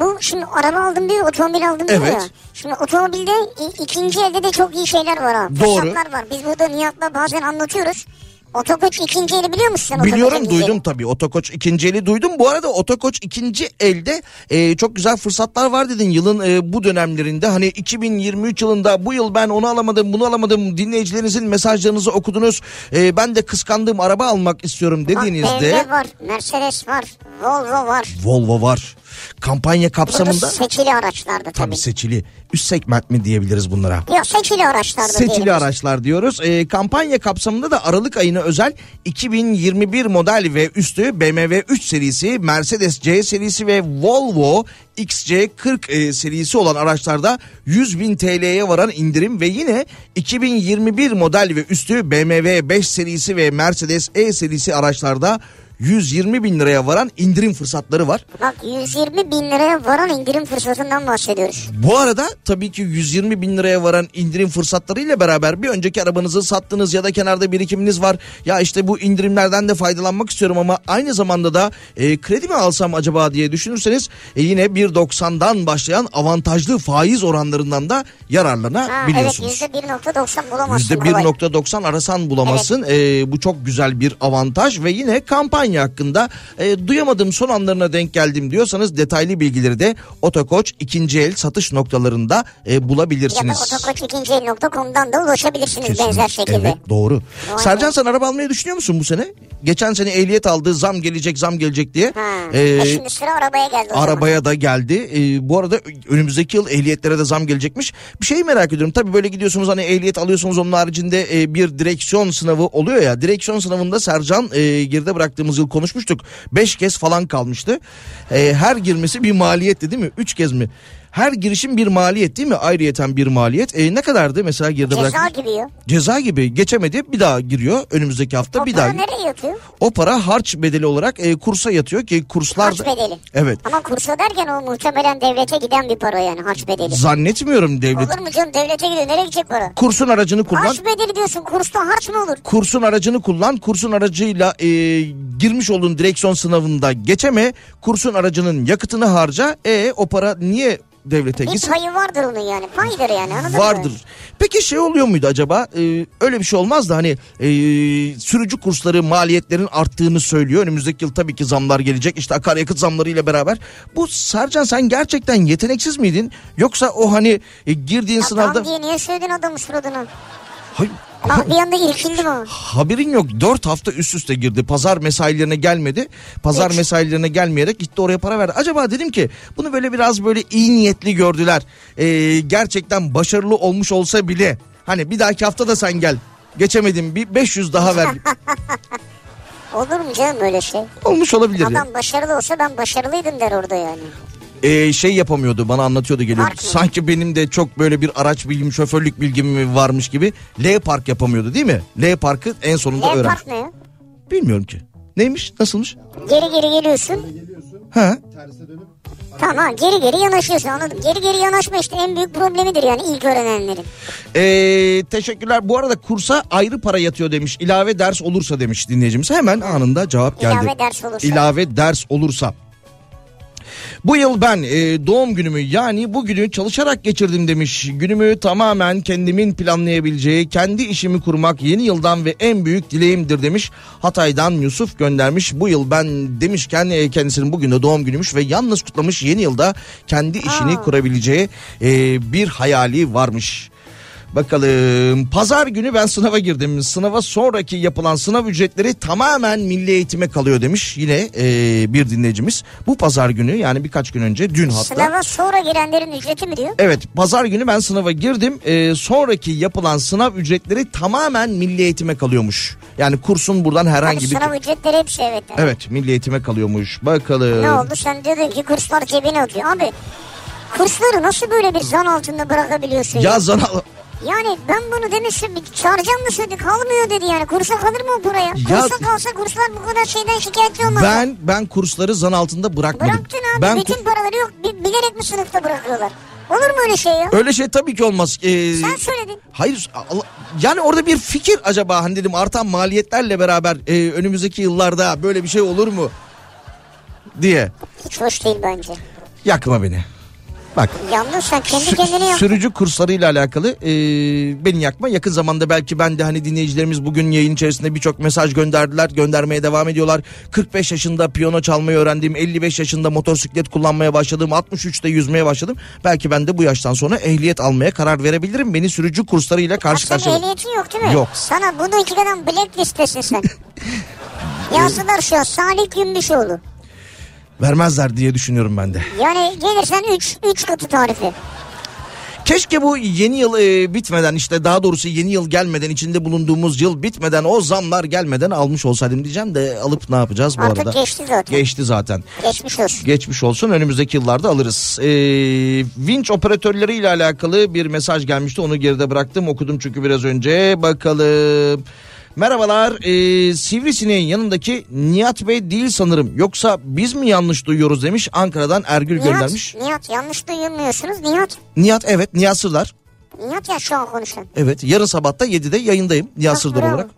[SPEAKER 3] bu şimdi araba aldım diyor, otomobil aldım diyor
[SPEAKER 4] Evet.
[SPEAKER 3] ya. Şimdi otomobilde i- ikinci elde de çok iyi şeyler var ha.
[SPEAKER 4] Doğru.
[SPEAKER 3] Fırsatlar var. Biz burada Nihat'la bazen anlatıyoruz. Otokoç ikinci eli biliyor musun sen? otokoçun
[SPEAKER 4] Biliyorum
[SPEAKER 3] ikinci
[SPEAKER 4] duydum tabii otokoç ikinci eli duydum. Bu arada otokoç ikinci elde e, çok güzel fırsatlar var dedin yılın e, bu dönemlerinde. Hani 2023 yılında bu yıl ben onu alamadım bunu alamadım dinleyicilerinizin mesajlarınızı okudunuz. E, ben de kıskandığım araba almak istiyorum
[SPEAKER 3] eli? Bak,
[SPEAKER 4] dediğinizde
[SPEAKER 3] BMW var, Mercedes var, Volvo var.
[SPEAKER 4] Volvo var. Kampanya
[SPEAKER 3] Bu da
[SPEAKER 4] kapsamında
[SPEAKER 3] seçili araçlardı tabii.
[SPEAKER 4] tabii seçili üst segment mi diyebiliriz bunlara?
[SPEAKER 3] Yok seçili araçlardı
[SPEAKER 4] Seçili
[SPEAKER 3] diyelim.
[SPEAKER 4] araçlar diyoruz. Ee, kampanya kapsamında da Aralık ayına özel 2021 model ve üstü BMW 3 serisi, Mercedes C serisi ve Volvo XC40 e, serisi olan araçlarda 100 bin TL'ye varan indirim ve yine 2021 model ve üstü BMW 5 serisi ve Mercedes E serisi araçlarda 120 bin liraya varan indirim fırsatları var.
[SPEAKER 3] Bak 120 bin liraya varan indirim fırsatından bahsediyoruz.
[SPEAKER 4] Bu arada tabii ki 120 bin liraya varan indirim fırsatlarıyla beraber bir önceki arabanızı sattınız ya da kenarda birikiminiz var. Ya işte bu indirimlerden de faydalanmak istiyorum ama aynı zamanda da e, kredi mi alsam acaba diye düşünürseniz e, yine 1.90'dan başlayan avantajlı faiz oranlarından da
[SPEAKER 3] Ha,
[SPEAKER 4] yararlanabiliyorsunuz.
[SPEAKER 3] Evet %1.90 bulamazsın. kolay.
[SPEAKER 4] %1.90 arasan bulamazsın. Ee, bu çok güzel bir avantaj ve yine kampanya hakkında e, duyamadım son anlarına denk geldim diyorsanız detaylı bilgileri de Otokoç ikinci el satış noktalarında e,
[SPEAKER 3] Ya da
[SPEAKER 4] bulabilirsiniz.
[SPEAKER 3] otokoç2.com'dan da ulaşabilirsiniz
[SPEAKER 4] Kesinlikle.
[SPEAKER 3] benzer şekilde.
[SPEAKER 4] Evet doğru.
[SPEAKER 3] Aynen.
[SPEAKER 4] Sercan sen araba almayı düşünüyor musun bu sene? Geçen sene ehliyet aldı zam gelecek zam gelecek diye.
[SPEAKER 3] Ha.
[SPEAKER 4] Ee,
[SPEAKER 3] e şimdi sıra arabaya geldi o zaman.
[SPEAKER 4] Arabaya da geldi. Ee, bu arada önümüzdeki yıl ehliyetlere de zam gelecekmiş. Bir şeyi merak ediyorum. Tabii böyle gidiyorsunuz hani ehliyet alıyorsunuz onun haricinde e, bir direksiyon sınavı oluyor ya. Direksiyon sınavında Sercan e, geride bıraktığımız yıl konuşmuştuk. Beş kez falan kalmıştı. E, her girmesi bir maliyetti değil mi? Üç kez mi? Her girişim bir maliyet değil mi? Ayrıyeten bir maliyet. E, ne kadardı mesela geride
[SPEAKER 3] Ceza
[SPEAKER 4] bıraktığımız?
[SPEAKER 3] gibi yiyor.
[SPEAKER 4] Ceza gibi geçemedi bir daha giriyor önümüzdeki hafta
[SPEAKER 3] O
[SPEAKER 4] bir daha.
[SPEAKER 3] para nereye yatıyor?
[SPEAKER 4] O para harç bedeli olarak e, kursa yatıyor ki kurslar
[SPEAKER 3] Harç bedeli.
[SPEAKER 4] Evet.
[SPEAKER 3] Ama kursa derken o muhtemelen devlete giden bir para yani harç bedeli.
[SPEAKER 4] Zannetmiyorum devlet.
[SPEAKER 3] Olur mu canım devlete gidiyor nereye gidecek para?
[SPEAKER 4] Kursun aracını kullan.
[SPEAKER 3] Harç bedeli diyorsun kursta harç mı olur?
[SPEAKER 4] Kursun aracını kullan. Kursun aracıyla e, girmiş olduğun direksiyon sınavında geçeme. Kursun aracının yakıtını harca. E o para niye devlete
[SPEAKER 3] Bir
[SPEAKER 4] gitsin?
[SPEAKER 3] payı vardır onun yani paydır yani E, anladın
[SPEAKER 4] Vardır.
[SPEAKER 3] mı?
[SPEAKER 4] Peki şey oluyor muydu acaba? E, öyle bir şey olmaz da hani e, sürücü kursları maliyetlerin arttığını söylüyor. Önümüzdeki yıl tabii ki zamlar gelecek. İşte akaryakıt zamlarıyla beraber. Bu Sercan sen gerçekten yeteneksiz miydin? Yoksa o hani e, girdiğin
[SPEAKER 3] Ya
[SPEAKER 4] sınavda...
[SPEAKER 3] Tam diye niye söyledin adamın suratına?
[SPEAKER 4] Hayır.
[SPEAKER 3] Bak bir anda irkildim ama.
[SPEAKER 4] Haberin yok 4 hafta üst üste girdi. Pazar mesailerine gelmedi. Pazar
[SPEAKER 3] Hiç.
[SPEAKER 4] mesailerine gelmeyerek gitti oraya para verdi. Acaba dedim ki bunu böyle biraz böyle iyi niyetli gördüler. Ee, gerçekten başarılı olmuş olsa bile hani bir dahaki hafta da sen gel. Geçemedim bir 500 daha ver.
[SPEAKER 3] Olur mu canım öyle şey?
[SPEAKER 4] Olmuş olabilir. ya.
[SPEAKER 3] Adam başarılı olsa ben başarılıydım der orada yani.
[SPEAKER 4] Ee, şey yapamıyordu bana anlatıyordu geliyor.
[SPEAKER 3] Park mı?
[SPEAKER 4] Sanki benim de çok böyle bir araç bilgim şoförlük bilgim varmış gibi L park yapamıyordu değil mi? L parkı en sonunda
[SPEAKER 3] Ne
[SPEAKER 4] öğrenmiş.
[SPEAKER 3] park ne ya?
[SPEAKER 4] Bilmiyorum ki. Neymiş nasılmış?
[SPEAKER 3] Geri geri geliyorsun.
[SPEAKER 4] Ha?
[SPEAKER 3] Tamam ha, geri geri yanaşıyorsun anladım. Geri geri yanaşma işte en büyük problemidir yani ilk öğrenenlerin.
[SPEAKER 4] Ee, teşekkürler. Bu arada kursa ayrı para yatıyor demiş. İlave ders olursa demiş dinleyicimiz. Hemen anında cevap geldi.
[SPEAKER 3] İlave ders olursa.
[SPEAKER 4] İlave ders olursa. Bu yıl ben e, doğum günümü yani bugünü çalışarak geçirdim demiş. Günümü tamamen kendimin planlayabileceği, kendi işimi kurmak yeni yıldan ve en büyük dileğimdir demiş. Hatay'dan Yusuf göndermiş. Bu yıl ben demişken e, kendisinin bugün de doğum günüymüş ve yalnız kutlamış yeni yılda kendi işini kurabileceği e, bir hayali varmış. Bakalım pazar günü ben sınava girdim. Sınava sonraki yapılan sınav ücretleri tamamen milli eğitime kalıyor demiş yine e, bir dinleyicimiz. Bu pazar günü yani birkaç gün önce dün hatta.
[SPEAKER 3] Sınava sonra girenlerin ücreti mi diyor?
[SPEAKER 4] Evet pazar günü ben sınava girdim. Ee, sonraki yapılan sınav ücretleri tamamen milli eğitime kalıyormuş. Yani kursun buradan
[SPEAKER 3] Abi
[SPEAKER 4] herhangi bir...
[SPEAKER 3] sınav ücretleri hepsi evet.
[SPEAKER 4] Evet milli eğitime kalıyormuş. Bakalım.
[SPEAKER 3] Ne oldu sen diyordun ki kurslar cebine atıyor. Abi kursları nasıl böyle bir zan altında bırakabiliyorsun?
[SPEAKER 4] Ya zana...
[SPEAKER 3] Yani ben bunu demiştim bir çağıracağım mı söyledi kalmıyor dedi yani kursa kalır mı buraya?
[SPEAKER 4] Ya-
[SPEAKER 3] Kursa kalsa kurslar bu kadar şeyden şikayetçi olmaz.
[SPEAKER 4] Ben ben kursları zan altında bırakmadım.
[SPEAKER 3] Bıraktın abi
[SPEAKER 4] Ben
[SPEAKER 3] bütün
[SPEAKER 4] kur-
[SPEAKER 3] paraları yok bi- bilerek mi sınıfta bırakıyorlar? Olur mu öyle şey ya?
[SPEAKER 4] Öyle şey tabii ki olmaz. Ee,
[SPEAKER 3] Sen söyledin.
[SPEAKER 4] Hayır Allah- yani orada bir fikir acaba hani dedim artan maliyetlerle beraber e, önümüzdeki yıllarda böyle bir şey olur mu diye.
[SPEAKER 3] Hiç hoş değil bence.
[SPEAKER 4] Yakma beni. Bak
[SPEAKER 3] Yalnız sen kendi
[SPEAKER 4] Sü-
[SPEAKER 3] kendini yok.
[SPEAKER 4] Sürücü kurslarıyla alakalı e, beni yakma. Yakın zamanda belki ben de hani dinleyicilerimiz bugün yayın içerisinde birçok mesaj gönderdiler. Göndermeye devam ediyorlar. 45 yaşında piyano çalmayı öğrendim. 55 yaşında motosiklet kullanmaya başladım. 63'te yüzmeye başladım. Belki ben de bu yaştan sonra ehliyet almaya karar verebilirim. Beni sürücü kurslarıyla karşı
[SPEAKER 3] Aslında
[SPEAKER 4] karşıya...
[SPEAKER 3] ehliyetin yok değil mi?
[SPEAKER 4] Yok.
[SPEAKER 3] Sana bunu ikiden blacklistesin sen. Yazdılar şu an Salih Gümüşoğlu.
[SPEAKER 4] Vermezler diye düşünüyorum ben de.
[SPEAKER 3] Yani gelirsen 3 3 katı tarifi.
[SPEAKER 4] Keşke bu yeni yıl e, bitmeden işte daha doğrusu yeni yıl gelmeden içinde bulunduğumuz yıl bitmeden o zamlar gelmeden almış olsaydım diyeceğim de alıp ne yapacağız bu
[SPEAKER 3] Artık
[SPEAKER 4] arada?
[SPEAKER 3] geçti zaten.
[SPEAKER 4] Geçti zaten.
[SPEAKER 3] Geçmiş olsun.
[SPEAKER 4] Geçmiş olsun önümüzdeki yıllarda alırız. Ee, vinç operatörleriyle alakalı bir mesaj gelmişti onu geride bıraktım okudum çünkü biraz önce bakalım. Merhabalar ee, Sivrisineğin yanındaki Nihat Bey değil sanırım yoksa biz mi yanlış duyuyoruz demiş Ankara'dan Ergül göndermiş.
[SPEAKER 3] Nihat, Nihat yanlış duymuyorsunuz. Nihat,
[SPEAKER 4] Nihat evet Nihat Sırdar.
[SPEAKER 3] Nihat ya şu an konuşan.
[SPEAKER 4] Evet yarın sabahta 7'de yayındayım Nihat Sırdar
[SPEAKER 3] Ah, bravo.
[SPEAKER 4] olarak.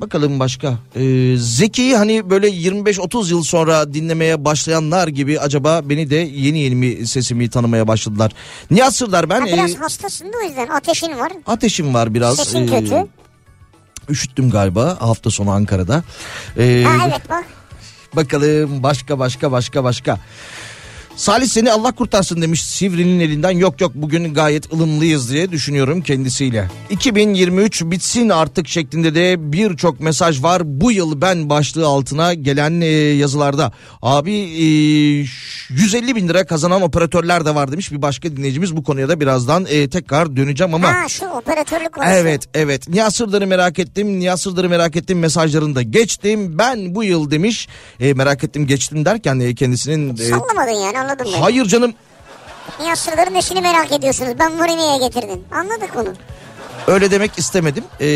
[SPEAKER 4] Bakalım başka. Ee, Zeki'yi hani böyle 25-30 yıl sonra dinlemeye başlayanlar gibi acaba beni de yeni yeni mi sesimi tanımaya başladılar. Nihat Sırdar ben
[SPEAKER 3] Ha, biraz
[SPEAKER 4] e,
[SPEAKER 3] hastasın da o yüzden ateşin var.
[SPEAKER 4] ateşim var biraz.
[SPEAKER 3] Sesin
[SPEAKER 4] Ee,
[SPEAKER 3] kötü.
[SPEAKER 4] Üşüttüm galiba hafta sonu Ankara'da. Ee,
[SPEAKER 3] Ha evet bak.
[SPEAKER 4] Bakalım başka başka başka başka. Salih seni Allah kurtarsın demiş Sivri'nin elinden. Yok yok bugün gayet ılımlıyız diye düşünüyorum kendisiyle. 2023 bitsin artık şeklinde de birçok mesaj var. Bu yıl ben başlığı altına gelen e, yazılarda. Abi e, ş- 150 bin lira kazanan operatörler de var demiş bir başka dinleyicimiz. Bu konuya da birazdan e, tekrar döneceğim ama...
[SPEAKER 3] Ha şu operatörlük konusu.
[SPEAKER 4] Evet evet Nihat Sırdar'ı merak ettim Nihat Sırdar'ı merak ettim mesajlarında geçtim ben bu yıl demiş E, merak ettim geçtim derken e, kendisinin e,
[SPEAKER 3] Sallamadın yani anladım ben.
[SPEAKER 4] hayır canım
[SPEAKER 3] Nihat Sırdar'ın eşini merak ediyorsunuz. Ben bunu niye getirdim? Anladık onu.
[SPEAKER 4] öyle demek istemedim E,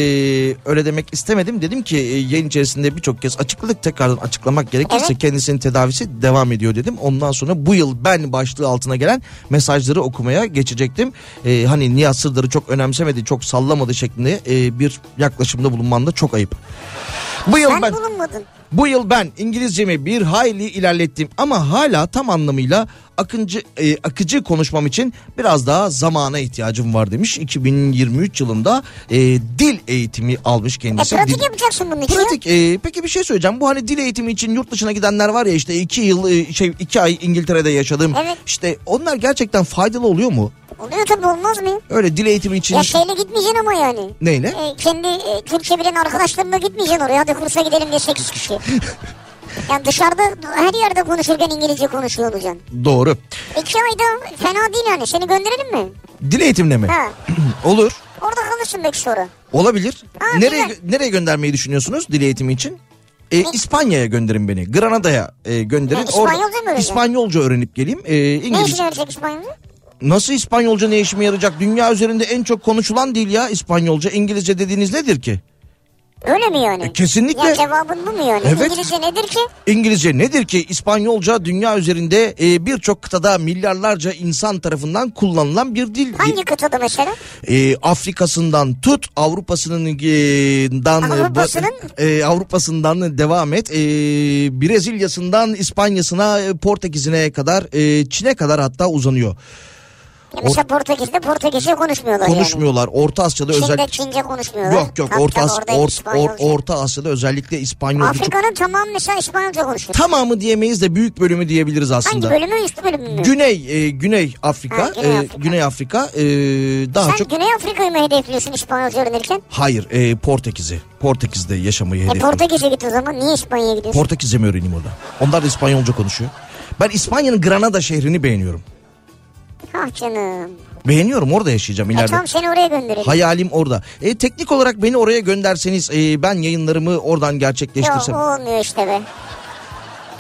[SPEAKER 4] öyle demek istemedim dedim ki e, yayın içerisinde birçok kez açıkladık tekrardan açıklamak gerekirse
[SPEAKER 3] Evet.
[SPEAKER 4] kendisinin tedavisi devam ediyor dedim ondan sonra bu yıl ben başlığı altına gelen mesajları okumaya geçecektim E, hani Nihat Sırdar'ı çok önemsemedi çok sallamadı şeklinde e, bir yaklaşımda bulunman da çok ayıp. Bu yıl
[SPEAKER 3] Sen
[SPEAKER 4] ben
[SPEAKER 3] bulunmadın. E,
[SPEAKER 4] Bu yıl ben İngilizcemi bir hayli ilerlettim ama hala tam anlamıyla akıncı, e, akıcı konuşmam için biraz daha zamana ihtiyacım var demiş. 2023 yılında e, dil eğitimi almış
[SPEAKER 3] E
[SPEAKER 4] kendisi.
[SPEAKER 3] pratik
[SPEAKER 4] Dil-
[SPEAKER 3] yapacaksın bunun için. ya.
[SPEAKER 4] Pratik. E, peki bir şey söyleyeceğim. Bu hani dil eğitimi için yurt dışına gidenler var ya işte iki yıl e, şey iki ay İngiltere'de yaşadım.
[SPEAKER 3] Evet.
[SPEAKER 4] İşte onlar gerçekten faydalı oluyor mu?
[SPEAKER 3] Oluyor tabii olmaz mı?
[SPEAKER 4] Öyle dil eğitimi için
[SPEAKER 3] Ya şey- şeyle gitmeyeceksin ama yani.
[SPEAKER 4] neyle?
[SPEAKER 3] E, kendi e, Türkçe bilen arkadaşlarınla gitmeyeceksin oraya. Hadi kursa gidelim diye 8 kişi. yani dışarıda her yerde konuşurken İngilizce konuşuyor olacaksın.
[SPEAKER 4] Doğru.
[SPEAKER 3] İki ayda fena değil yani. Seni gönderelim mi?
[SPEAKER 4] Dil eğitimle mi?
[SPEAKER 3] Ha.
[SPEAKER 4] Olur.
[SPEAKER 3] Orada kalırsın belki sonra.
[SPEAKER 4] Olabilir.
[SPEAKER 3] Aa,
[SPEAKER 4] nereye
[SPEAKER 3] güzel.
[SPEAKER 4] nereye göndermeyi düşünüyorsunuz dil eğitimi için? E, İspanya'ya gönderin beni. Granada'ya e, gönderin.
[SPEAKER 3] Ha, İspanyolca mı öğreneceğim?
[SPEAKER 4] İspanyolca öğrenip geleyim. E,
[SPEAKER 3] Ne
[SPEAKER 4] İngilizce.
[SPEAKER 3] işine yarayacak İspanyolca?
[SPEAKER 4] Nasıl İspanyolca ne işime yarayacak? Dünya üzerinde en çok konuşulan dil ya İspanyolca. İngilizce dediğiniz nedir ki?
[SPEAKER 3] Öyle mi yani?
[SPEAKER 4] E, kesinlikle.
[SPEAKER 3] Ya cevabın bu mu yani?
[SPEAKER 4] Evet.
[SPEAKER 3] İngilizce nedir ki?
[SPEAKER 4] İngilizce nedir ki? İspanyolca dünya üzerinde e, birçok kıtada milyarlarca insan tarafından kullanılan bir dil.
[SPEAKER 3] Hangi kıtada mesela?
[SPEAKER 4] E, Afrika'sından tut Avrupa'sının e, dan- e, ba-
[SPEAKER 3] Avrupa'sının?
[SPEAKER 4] e, Avrupa'sından devam et. E, Brezilya'sından İspanya'sına, e, Portekiz'ine kadar, e, Çin'e kadar hatta uzanıyor.
[SPEAKER 3] Ya mesela Portekiz'de Portekizce konuşmuyorlar yani.
[SPEAKER 4] Konuşmuyorlar. Orta Asya'da
[SPEAKER 3] Çin'de
[SPEAKER 4] özellikle
[SPEAKER 3] Çince konuşmuyorlar.
[SPEAKER 4] Yok yok
[SPEAKER 3] Tabii
[SPEAKER 4] Orta,
[SPEAKER 3] tabii
[SPEAKER 4] As-
[SPEAKER 3] orada
[SPEAKER 4] Or-
[SPEAKER 3] İspanyolca.
[SPEAKER 4] Or- Orta Asya'da özellikle İspanyolca çok-
[SPEAKER 3] Afrika'nın tamamı mesela İspanyolca konuşuyor.
[SPEAKER 4] tamamı diyemeyiz de büyük bölümü diyebiliriz
[SPEAKER 3] Hangi
[SPEAKER 4] aslında.
[SPEAKER 3] bölümü üst bölümü mü?
[SPEAKER 4] Güney e, Güney Afrika
[SPEAKER 3] Ha, Güney
[SPEAKER 4] e,
[SPEAKER 3] Afrika.
[SPEAKER 4] Güney Afrika e, daha
[SPEAKER 3] Sen
[SPEAKER 4] çok
[SPEAKER 3] Güney Afrika'yı mı hedefliyorsun İspanyolca öğrenirken?
[SPEAKER 4] hayır e, Portekiz'i Portekiz'de yaşamayı
[SPEAKER 3] E
[SPEAKER 4] hedefliyorum.
[SPEAKER 3] Portekiz'e git o zaman. Niye İspanya'ya gidiyorsun?
[SPEAKER 4] Portekizce mi öğreneyim orada? Onlar da İspanyolca konuşuyor. Ben İspanya'nın Granada şehrini beğeniyorum.
[SPEAKER 3] ah canım.
[SPEAKER 4] Beğeniyorum orada yaşayacağım
[SPEAKER 3] E
[SPEAKER 4] ileride.
[SPEAKER 3] tamam seni oraya gönderelim.
[SPEAKER 4] Hayalim orada. E, teknik olarak beni oraya gönderseniz e, ben yayınlarımı oradan
[SPEAKER 3] Yok
[SPEAKER 4] gerçekleştirsem.
[SPEAKER 3] o olmuyor işte be.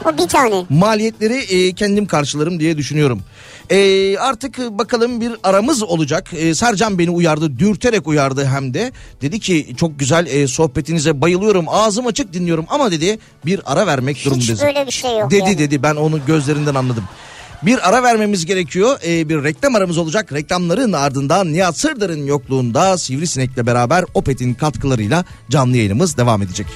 [SPEAKER 3] O bir tane.
[SPEAKER 4] maliyetleri e, kendim karşılarım diye düşünüyorum. E, artık e, bakalım bir aramız olacak. E, Sercan beni uyardı, dürterek uyardı hem de. Dedi ki çok güzel e, sohbetinize bayılıyorum, ağzım açık dinliyorum ama dedi bir ara vermek durumundayız.
[SPEAKER 3] böyle bir şey yok
[SPEAKER 4] Dedi
[SPEAKER 3] yani.
[SPEAKER 4] dedi ben onu gözlerinden anladım. Bir ara vermemiz gerekiyor. E, bir reklam aramız olacak. Reklamların ardından Nihat Sırdar'ın yokluğunda Sivrisinek'le beraber Opet'in katkılarıyla canlı yayınımız devam edecek.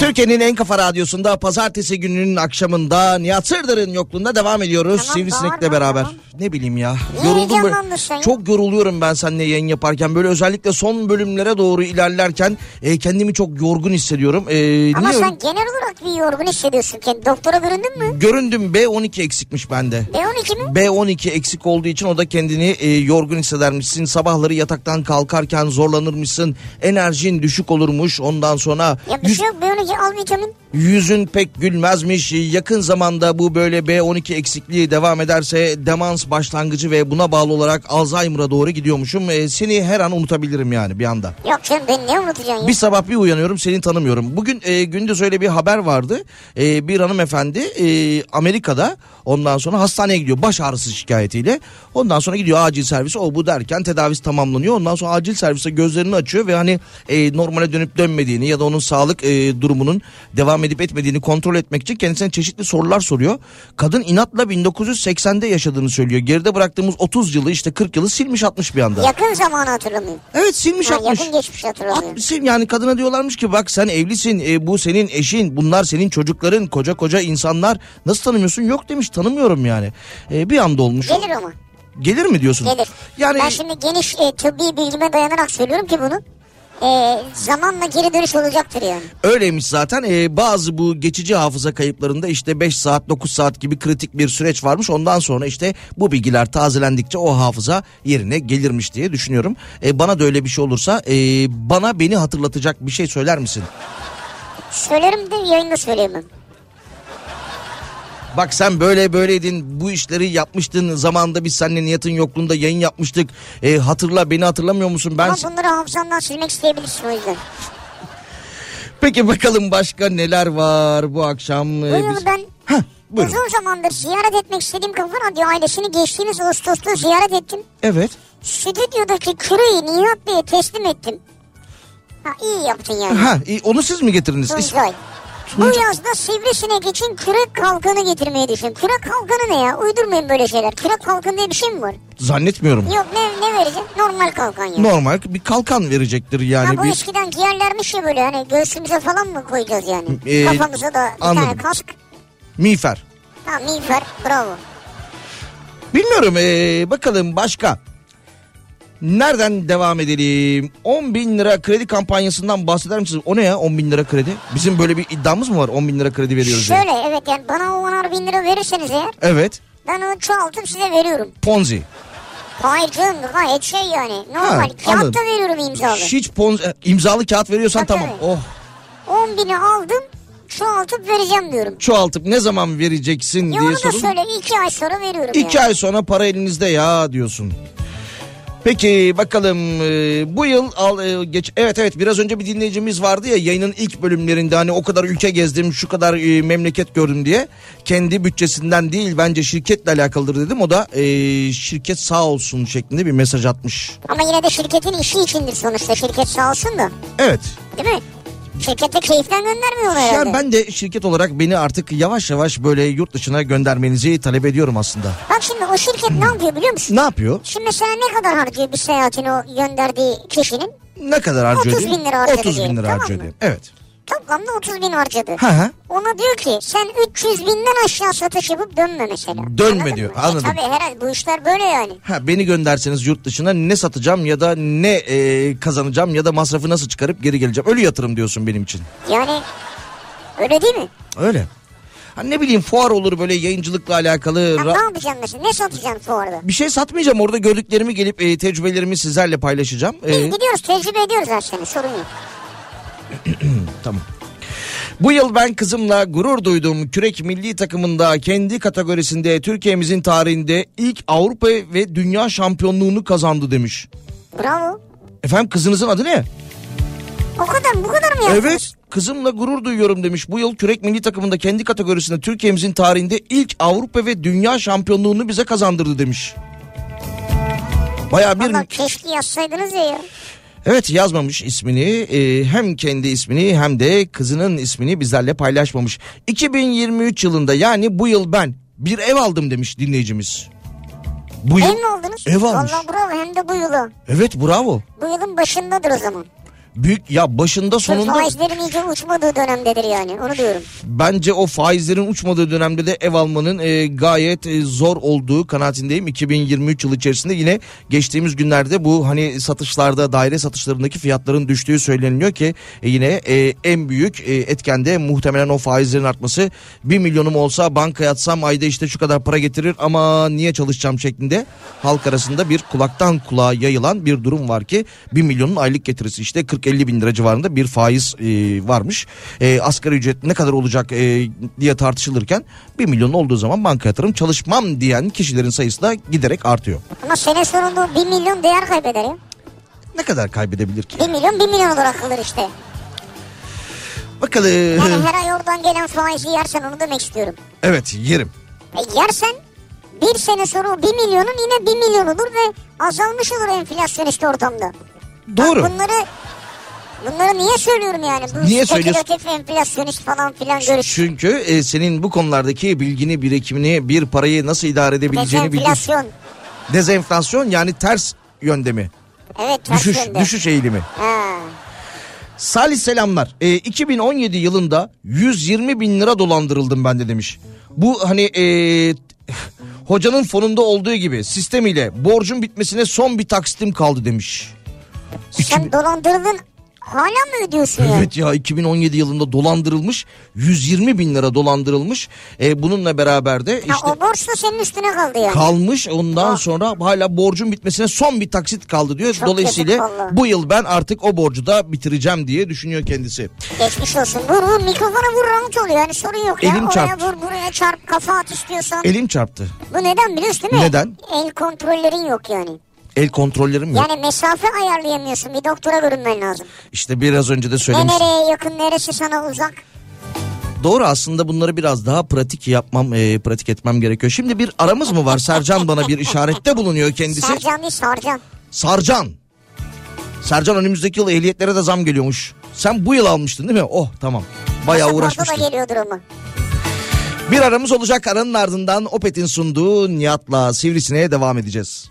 [SPEAKER 4] Türkiye'nin en kafa radyosunda pazartesi gününün akşamında Nihat Sırdar'ın yokluğunda devam ediyoruz.
[SPEAKER 3] Tamam,
[SPEAKER 4] Sivrisinek'le
[SPEAKER 3] bağırma,
[SPEAKER 4] beraber.
[SPEAKER 3] tamam.
[SPEAKER 4] Ne bileyim ya.
[SPEAKER 3] Niye
[SPEAKER 4] yoruldum
[SPEAKER 3] heyecanlandın sen ya?
[SPEAKER 4] Çok yoruluyorum ben seninle yayın yaparken. Böyle özellikle son bölümlere doğru ilerlerken e, kendimi çok yorgun hissediyorum. E,
[SPEAKER 3] Ama
[SPEAKER 4] niye-
[SPEAKER 3] sen genel olarak bir yorgun hissediyorsun. Kendi doktora göründün mü?
[SPEAKER 4] Göründüm B12 eksikmiş bende.
[SPEAKER 3] B12 mi?
[SPEAKER 4] B12 eksik olduğu için o da kendini e, yorgun hissedermişsin. Sabahları yataktan kalkarken zorlanırmışsın. Enerjin düşük olurmuş. Ondan sonra
[SPEAKER 3] Ya bir şey yok B12 al vitamin.
[SPEAKER 4] Yüzün pek gülmezmiş. Yakın zamanda bu böyle B12 eksikliği devam ederse demans başlangıcı ve buna bağlı olarak Alzheimer'a doğru gidiyormuşum. Ee, seni her an unutabilirim yani bir anda.
[SPEAKER 3] Yok canım ben ne unutacaksın ya?
[SPEAKER 4] Bir sabah bir uyanıyorum seni tanımıyorum. Bugün e, gündüz öyle bir haber vardı. E, bir hanımefendi e, Amerika'da ondan sonra hastaneye gidiyor baş ağrısı şikayetiyle. Ondan sonra gidiyor acil servise o bu derken tedavisi tamamlanıyor. Ondan sonra acil servise gözlerini açıyor ve hani e, normale dönüp dönmediğini ya da onun sağlık e, durumunun devam edip etmediğini kontrol etmek için kendisine çeşitli sorular soruyor. Kadın inatla 1980'de yaşadığını söylüyor. Geride bıraktığımız 30 yılı işte 40 yılı silmiş atmış bir anda.
[SPEAKER 3] Yakın zamanı hatırlamıyorum.
[SPEAKER 4] Evet silmiş
[SPEAKER 3] Ha,
[SPEAKER 4] atmış.
[SPEAKER 3] yakın geçmiş hatırlamıyorum.
[SPEAKER 4] Atmışsın yani kadına diyorlarmış ki bak sen evlisin e, bu senin eşin bunlar senin çocukların koca koca insanlar nasıl tanımıyorsun yok demiş tanımıyorum yani E, bir anda olmuş
[SPEAKER 3] Gelir ama.
[SPEAKER 4] Gelir mi diyorsun
[SPEAKER 3] Gelir.
[SPEAKER 4] yani
[SPEAKER 3] Ben şimdi geniş e, tıbbi bilgime dayanarak söylüyorum ki bunu. E, zamanla geri dönüş olacaktır yani.
[SPEAKER 4] öyleymiş zaten E, bazı bu geçici hafıza kayıplarında işte 5 saat 9 saat gibi kritik bir süreç varmış ondan sonra işte bu bilgiler tazelendikçe o hafıza yerine gelirmiş diye düşünüyorum E, bana da öyle bir şey olursa e, bana beni hatırlatacak bir şey söyler misin?
[SPEAKER 3] Söylerim de yayında söyleyemem.
[SPEAKER 4] Bak sen böyle böyleydin bu işleri yapmıştın zamanında biz seninle Nihat'ın yokluğunda yayın yapmıştık. E, hatırla beni hatırlamıyor musun ben? E,
[SPEAKER 3] Ama bunları hafızandan silmek isteyebilirsin o yüzden.
[SPEAKER 4] Peki bakalım başka neler var bu akşam? e,
[SPEAKER 3] Bu yıl
[SPEAKER 4] biz-
[SPEAKER 3] ben
[SPEAKER 4] Heh, buyurun.
[SPEAKER 3] uzun zamandır ziyaret etmek istediğim Kafa Radyo ailesini geçtiğimiz Ağustos'ta ziyaret ettim.
[SPEAKER 4] Evet.
[SPEAKER 3] Stüdyodaki kürüyü Nihat Bey'e teslim ettim. Ha iyi yaptın yani.
[SPEAKER 4] Ha, e, onu siz mi getirdiniz? İs-
[SPEAKER 3] Tuncay. Bu yazda sivrisinek için kürek kalkanı getirmeyi düşün. Kürek kalkanı ne ya? Uydurmayın böyle şeyler. Kürek kalkanı diye bir şey mi var?
[SPEAKER 4] Zannetmiyorum.
[SPEAKER 3] Yok ne, ne vereceğim? Normal kalkan yani.
[SPEAKER 4] Normal Hani bir kalkan verecektir
[SPEAKER 3] Ha,
[SPEAKER 4] yani
[SPEAKER 3] bu
[SPEAKER 4] bir
[SPEAKER 3] eskiden giyerlermiş ya böyle hani göğsümüze falan mı koyacağız yani?
[SPEAKER 4] Ee,
[SPEAKER 3] Kafamıza da bir
[SPEAKER 4] anladım.
[SPEAKER 3] tane kask.
[SPEAKER 4] miğfer.
[SPEAKER 3] Ha miğfer bravo.
[SPEAKER 4] Bilmiyorum e, bakalım başka. Nereden devam edelim? 10 bin lira kredi kampanyasından bahseder misiniz? O ne ya 10 bin lira kredi? Bizim böyle bir iddiamız mı var 10 bin lira kredi veriyoruz diye?
[SPEAKER 3] Şöyle evet yani bana onar bin lira verirseniz eğer
[SPEAKER 4] Evet.
[SPEAKER 3] ben onu çoğaltıp size veriyorum.
[SPEAKER 4] Ponzi.
[SPEAKER 3] Hayır canım gayet şey yani. Normal.
[SPEAKER 4] Ha,
[SPEAKER 3] Kağıt
[SPEAKER 4] anladım.
[SPEAKER 3] da veriyorum imzalı.
[SPEAKER 4] Hiç pon, e, imzalı kağıt veriyorsan
[SPEAKER 3] Tabii,
[SPEAKER 4] tamam.
[SPEAKER 3] tabii.
[SPEAKER 4] Oh
[SPEAKER 3] 10 bini aldım çoğaltıp vereceğim diyorum.
[SPEAKER 4] çoğaltıp ne zaman vereceksin
[SPEAKER 3] Ya
[SPEAKER 4] diye
[SPEAKER 3] onu da
[SPEAKER 4] sorun.
[SPEAKER 3] söyle 2 ay sonra veriyorum
[SPEAKER 4] İki
[SPEAKER 3] ya.
[SPEAKER 4] ay sonra para elinizde ya diyorsun. Peki bakalım e, bu yıl al e, geç evet evet biraz önce bir dinleyicimiz vardı ya yayının ilk bölümlerinde hani o kadar ülke gezdim şu kadar e, memleket gördüm diye kendi bütçesinden değil bence şirketle alakalıdır dedim o da e, şirket sağ olsun şeklinde bir mesaj atmış.
[SPEAKER 3] Ama yine de şirketin işi içindir sonuçta. Şirket sağ olsun da.
[SPEAKER 4] Evet.
[SPEAKER 3] Değil mi? Şirket de keyiften göndermiyor onu herhalde.
[SPEAKER 4] Yani ben de şirket olarak beni artık yavaş yavaş böyle yurt dışına göndermenizi talep ediyorum aslında.
[SPEAKER 3] Bak şimdi o şirket ne yapıyor biliyor musun?
[SPEAKER 4] Ne yapıyor?
[SPEAKER 3] Şimdi mesela ne kadar harcıyor bir seyahatini o gönderdiği kişinin?
[SPEAKER 4] Ne kadar harcıyor?
[SPEAKER 3] 30 bin
[SPEAKER 4] diyeyim?
[SPEAKER 3] lira harcadı
[SPEAKER 4] 30 bin
[SPEAKER 3] diyelim,
[SPEAKER 4] lira
[SPEAKER 3] tamam
[SPEAKER 4] harcıyor
[SPEAKER 3] mı?
[SPEAKER 4] diyeyim. Evet.
[SPEAKER 3] Toplamda 30 bin harcadı.
[SPEAKER 4] Hı hı.
[SPEAKER 3] Ona diyor ki sen 300 binden aşağı satış yapıp dönme mesela.
[SPEAKER 4] Dönme
[SPEAKER 3] Anladın
[SPEAKER 4] diyor,
[SPEAKER 3] mı? E
[SPEAKER 4] anladım.
[SPEAKER 3] tabii herhalde bu işler böyle yani.
[SPEAKER 4] Ha, beni gönderseniz yurt dışına ne satacağım ya da ne e, kazanacağım ya da masrafı nasıl çıkarıp geri geleceğim. Ölü yatırım diyorsun benim için.
[SPEAKER 3] Yani öyle değil mi?
[SPEAKER 4] Öyle. Ha, ne bileyim fuar olur böyle yayıncılıkla alakalı.
[SPEAKER 3] Ya
[SPEAKER 4] ra-
[SPEAKER 3] ne yapacaksın mesela? Ne satacaksın fuarda?
[SPEAKER 4] bir şey satmayacağım orada gördüklerimi gelip e, tecrübelerimi sizlerle paylaşacağım. E,
[SPEAKER 3] Biz gidiyoruz tecrübe ediyoruz her sene sorun yok.
[SPEAKER 4] Tamam. Bu yıl ben kızımla gurur duyduğum kürek milli takımında kendi kategorisinde Türkiye'mizin tarihinde ilk Avrupa ve dünya şampiyonluğunu kazandı demiş.
[SPEAKER 3] Bravo.
[SPEAKER 4] Efendim kızınızın adı ne?
[SPEAKER 3] O kadar bu kadar mı yaptınız?
[SPEAKER 4] Evet kızımla gurur duyuyorum demiş. Bu yıl kürek milli takımında kendi kategorisinde Türkiye'mizin tarihinde ilk Avrupa ve dünya şampiyonluğunu bize kazandırdı demiş. Baya bir
[SPEAKER 3] Valla keşke yazsaydınız ya. ya.
[SPEAKER 4] evet yazmamış ismini Ee, hem kendi ismini hem de kızının ismini bizlerle paylaşmamış. 2023 yılında yani bu yıl ben bir ev aldım demiş dinleyicimiz. Bu yıl
[SPEAKER 3] Ev mi oldunuz?
[SPEAKER 4] Ev almış.
[SPEAKER 3] Valla bravo hem de bu yılı.
[SPEAKER 4] evet bravo
[SPEAKER 3] Bu yılın başındadır o zaman.
[SPEAKER 4] büyük ya başında
[SPEAKER 3] Sonunda...
[SPEAKER 4] sonunda
[SPEAKER 3] Faizlerin iyice uçmadığı dönemdedir yani onu diyorum.
[SPEAKER 4] Bence o faizlerin uçmadığı dönemde de ev almanın e, gayet e, zor olduğu kanaatindeyim. 2023 yılı içerisinde yine geçtiğimiz günlerde bu hani satışlarda daire satışlarındaki fiyatların düştüğü söyleniliyor ki e, yine e, en büyük e, etkende muhtemelen o faizlerin artması. 1 milyonum olsa bankaya atsam ayda işte şu kadar para getirir ama niye çalışacağım şeklinde halk arasında bir kulaktan kulağa yayılan bir durum var ki 1 milyonun aylık getirisi işte 40-50 bin lira civarında bir faiz e, varmış. E, asgari ücret ne kadar olacak e, diye tartışılırken 1 milyon olduğu zaman banka yatırım çalışmam diyen kişilerin sayısı da giderek artıyor.
[SPEAKER 3] Ama sene sonunda 1 milyon değer kaybeder ya.
[SPEAKER 4] Ne kadar kaybedebilir ki?
[SPEAKER 3] 1 milyon 1 milyon olarak kalır işte. Yani
[SPEAKER 4] Bakalım.
[SPEAKER 3] her ay oradan gelen faizi yersen onu demek istiyorum.
[SPEAKER 4] Evet yerim.
[SPEAKER 3] E yersen bir sene sonra o 1 milyonun yine 1 milyon olur ve azalmış olur enflasyon işte ortamda.
[SPEAKER 4] Doğru.
[SPEAKER 3] Bunları bunları niye söylüyorum yani? Bu
[SPEAKER 4] Niye söylüyorsun?
[SPEAKER 3] spekülatif enflasyonist falan filan görüş.
[SPEAKER 4] Çünkü e, senin bu konulardaki bilgini, birikimini, bir parayı nasıl idare edebileceğini biliyorsun.
[SPEAKER 3] Dezenflasyon.
[SPEAKER 4] Dezenflasyon yani ters yöndemi.
[SPEAKER 3] Evet ters
[SPEAKER 4] Düşüş,
[SPEAKER 3] yönde.
[SPEAKER 4] düşüş eğilimi.
[SPEAKER 3] Ha.
[SPEAKER 4] Salih selamlar. E, 2017 yılında 120 bin lira dolandırıldım ben de demiş. Bu hani e, hocanın fonunda olduğu gibi sistem ile borcun bitmesine son bir taksitim kaldı demiş.
[SPEAKER 3] Sen dolandırıldın hala mı ödüyorsun ya?
[SPEAKER 4] Evet ya 2017 yılında dolandırılmış 120 bin lira dolandırılmış. E, bununla beraber de
[SPEAKER 3] Ha,
[SPEAKER 4] işte
[SPEAKER 3] o borç da senin üstüne kaldı yani.
[SPEAKER 4] kalmış ondan sonra hala borcun bitmesine son bir taksit kaldı diyor.
[SPEAKER 3] Çok
[SPEAKER 4] Dolayısıyla
[SPEAKER 3] yazık vallahi.
[SPEAKER 4] bu yıl ben artık o borcu da bitireceğim diye düşünüyor kendisi.
[SPEAKER 3] Geçmiş olsun. Vur vur mikrofona vur rahat ol yani sorun yok ya.
[SPEAKER 4] Elim
[SPEAKER 3] Oraya
[SPEAKER 4] çarptı.
[SPEAKER 3] vur buraya çarp kafa at istiyorsan.
[SPEAKER 4] Elim çarptı.
[SPEAKER 3] Bu neden biliyorsun değil mi?
[SPEAKER 4] Neden?
[SPEAKER 3] El kontrollerin yok yani.
[SPEAKER 4] El kontrollerim yok.
[SPEAKER 3] Yani mesafe ayarlayamıyorsun. Bir doktora görünmen lazım.
[SPEAKER 4] İşte biraz önce de
[SPEAKER 3] Ne
[SPEAKER 4] söylemiştim.
[SPEAKER 3] nereye yakın neresi sana uzak.
[SPEAKER 4] Doğru aslında bunları biraz daha pratik yapmam, e, pratik etmem gerekiyor. Şimdi bir aramız mı var? Sercan bana bir işarette bulunuyor kendisi.
[SPEAKER 3] Sarcan değil sarcan.
[SPEAKER 4] Sarcan. Sercan önümüzdeki yıl ehliyetlere de zam geliyormuş. Sen bu yıl almıştın değil mi? Oh tamam. Bayağı
[SPEAKER 3] Pasaporta da
[SPEAKER 4] uğraşmıştın.
[SPEAKER 3] geliyordur ama.
[SPEAKER 4] Bir aramız olacak aranın ardından Opet'in sunduğu Nihat'la Sivrisine'ye devam edeceğiz.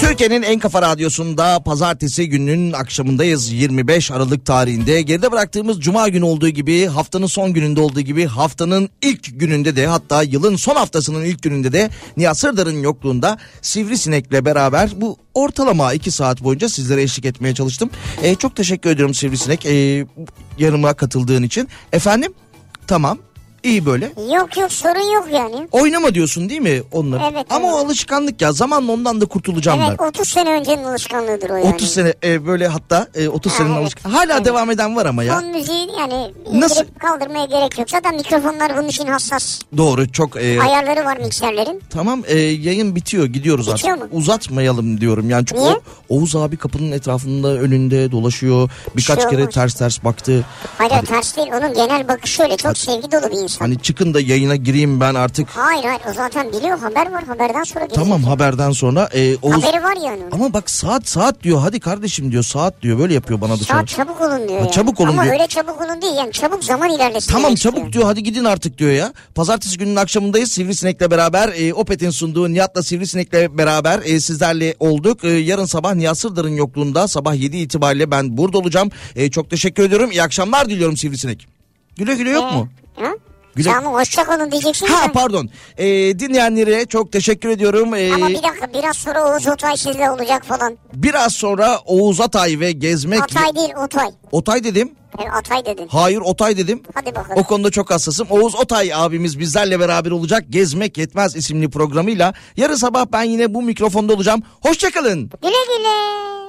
[SPEAKER 4] Türkiye'nin Türkiye'nin en kafa radyosunda pazartesi gününün akşamındayız. 25 Aralık tarihinde geride bıraktığımız cuma günü olduğu gibi haftanın son gününde olduğu gibi haftanın ilk gününde de hatta yılın son haftasının ilk gününde de Nihat Sırdar'ın yokluğunda Sivrisinek'le beraber bu ortalama 2 saat boyunca sizlere eşlik etmeye çalıştım. Ee, çok teşekkür ediyorum Sivrisinek ee, yanıma katıldığın için. Efendim tamam iyi böyle.
[SPEAKER 3] Yok yok sorun yok yani.
[SPEAKER 4] Oynama diyorsun değil mi onları?
[SPEAKER 3] Evet,
[SPEAKER 4] Ama
[SPEAKER 3] evet.
[SPEAKER 4] o alışkanlık ya. Zamanla ondan da kurtulacağım ben.
[SPEAKER 3] Evet 30 sene öncenin alışkanlığıdır o yani.
[SPEAKER 4] 30 sene e, böyle hatta e, 30 senenin
[SPEAKER 3] evet,
[SPEAKER 4] alışkanlığı. Hala devam eden var ama ya.
[SPEAKER 3] Fon müziği yani
[SPEAKER 4] Nasıl?
[SPEAKER 3] indirip kaldırmaya gerek yok. Zaten mikrofonlar bunun için hassas.
[SPEAKER 4] Doğru çok e,
[SPEAKER 3] Ayarları var mikserlerin.
[SPEAKER 4] tamam e, yayın bitiyor gidiyoruz
[SPEAKER 3] Bitiyor
[SPEAKER 4] artık.
[SPEAKER 3] mu?
[SPEAKER 4] Uzatmayalım diyorum. Yani çünkü
[SPEAKER 3] Niye?
[SPEAKER 4] o- Oğuz abi kapının etrafında önünde dolaşıyor. Birkaç
[SPEAKER 3] şey
[SPEAKER 4] kere
[SPEAKER 3] olmaz.
[SPEAKER 4] ters ters baktı.
[SPEAKER 3] Hayır ters değil. Onun genel bakışı öyle. Çok sevgi dolu bir insan.
[SPEAKER 4] Hani çıkın da yayına gireyim ben artık.
[SPEAKER 3] Hayır hayır o zaten biliyor haber var haberden sonra gelecek.
[SPEAKER 4] Tamam haberden sonra e, Oğuz
[SPEAKER 3] Haberi var yani onun.
[SPEAKER 4] ama bak saat saat diyor. Hadi kardeşim diyor. Saat diyor. Böyle yapıyor bana dışarı.
[SPEAKER 3] Saat çabuk olun diyor
[SPEAKER 4] şey- Ha,
[SPEAKER 3] yani.
[SPEAKER 4] çabuk olun
[SPEAKER 3] Ama
[SPEAKER 4] diyor.
[SPEAKER 3] öyle çabuk olun değil yani çabuk zaman ilerlesin.
[SPEAKER 4] Tamam
[SPEAKER 3] demek
[SPEAKER 4] çabuk
[SPEAKER 3] istiyor.
[SPEAKER 4] diyor hadi gidin artık diyor ya. Pazartesi gününün akşamındayız Sivrisinek'le beraber e, Opet'in sunduğu Nihat'la Sivrisinek'le beraber e, sizlerle olduk. E, yarın sabah Nihat Sırdar'ın yokluğunda sabah 7 itibariyle ben burada olacağım. E, çok teşekkür ediyorum iyi akşamlar diliyorum Sivrisinek. Güle güle yok mu?
[SPEAKER 3] Ha?
[SPEAKER 4] Güzel.
[SPEAKER 3] Tamam hoşça kalın diyeceksin.
[SPEAKER 4] Ha
[SPEAKER 3] Ha,
[SPEAKER 4] pardon E, dinleyenlere çok teşekkür ediyorum. E,
[SPEAKER 3] Ama bir dakika biraz sonra Oğuz Otay sizle olacak falan.
[SPEAKER 4] biraz sonra Oğuz Atay ve Gezmek...
[SPEAKER 3] Atay değil Otay.
[SPEAKER 4] Otay dedim.
[SPEAKER 3] E, Atay dedin.
[SPEAKER 4] Hayır Otay dedim.
[SPEAKER 3] Hadi bakalım.
[SPEAKER 4] O konuda çok hassasım. Oğuz Otay abimiz bizlerle beraber olacak. Gezmek Yetmez isimli programıyla. Yarın sabah ben yine bu mikrofonda olacağım. Hoşçakalın.
[SPEAKER 3] Güle güle.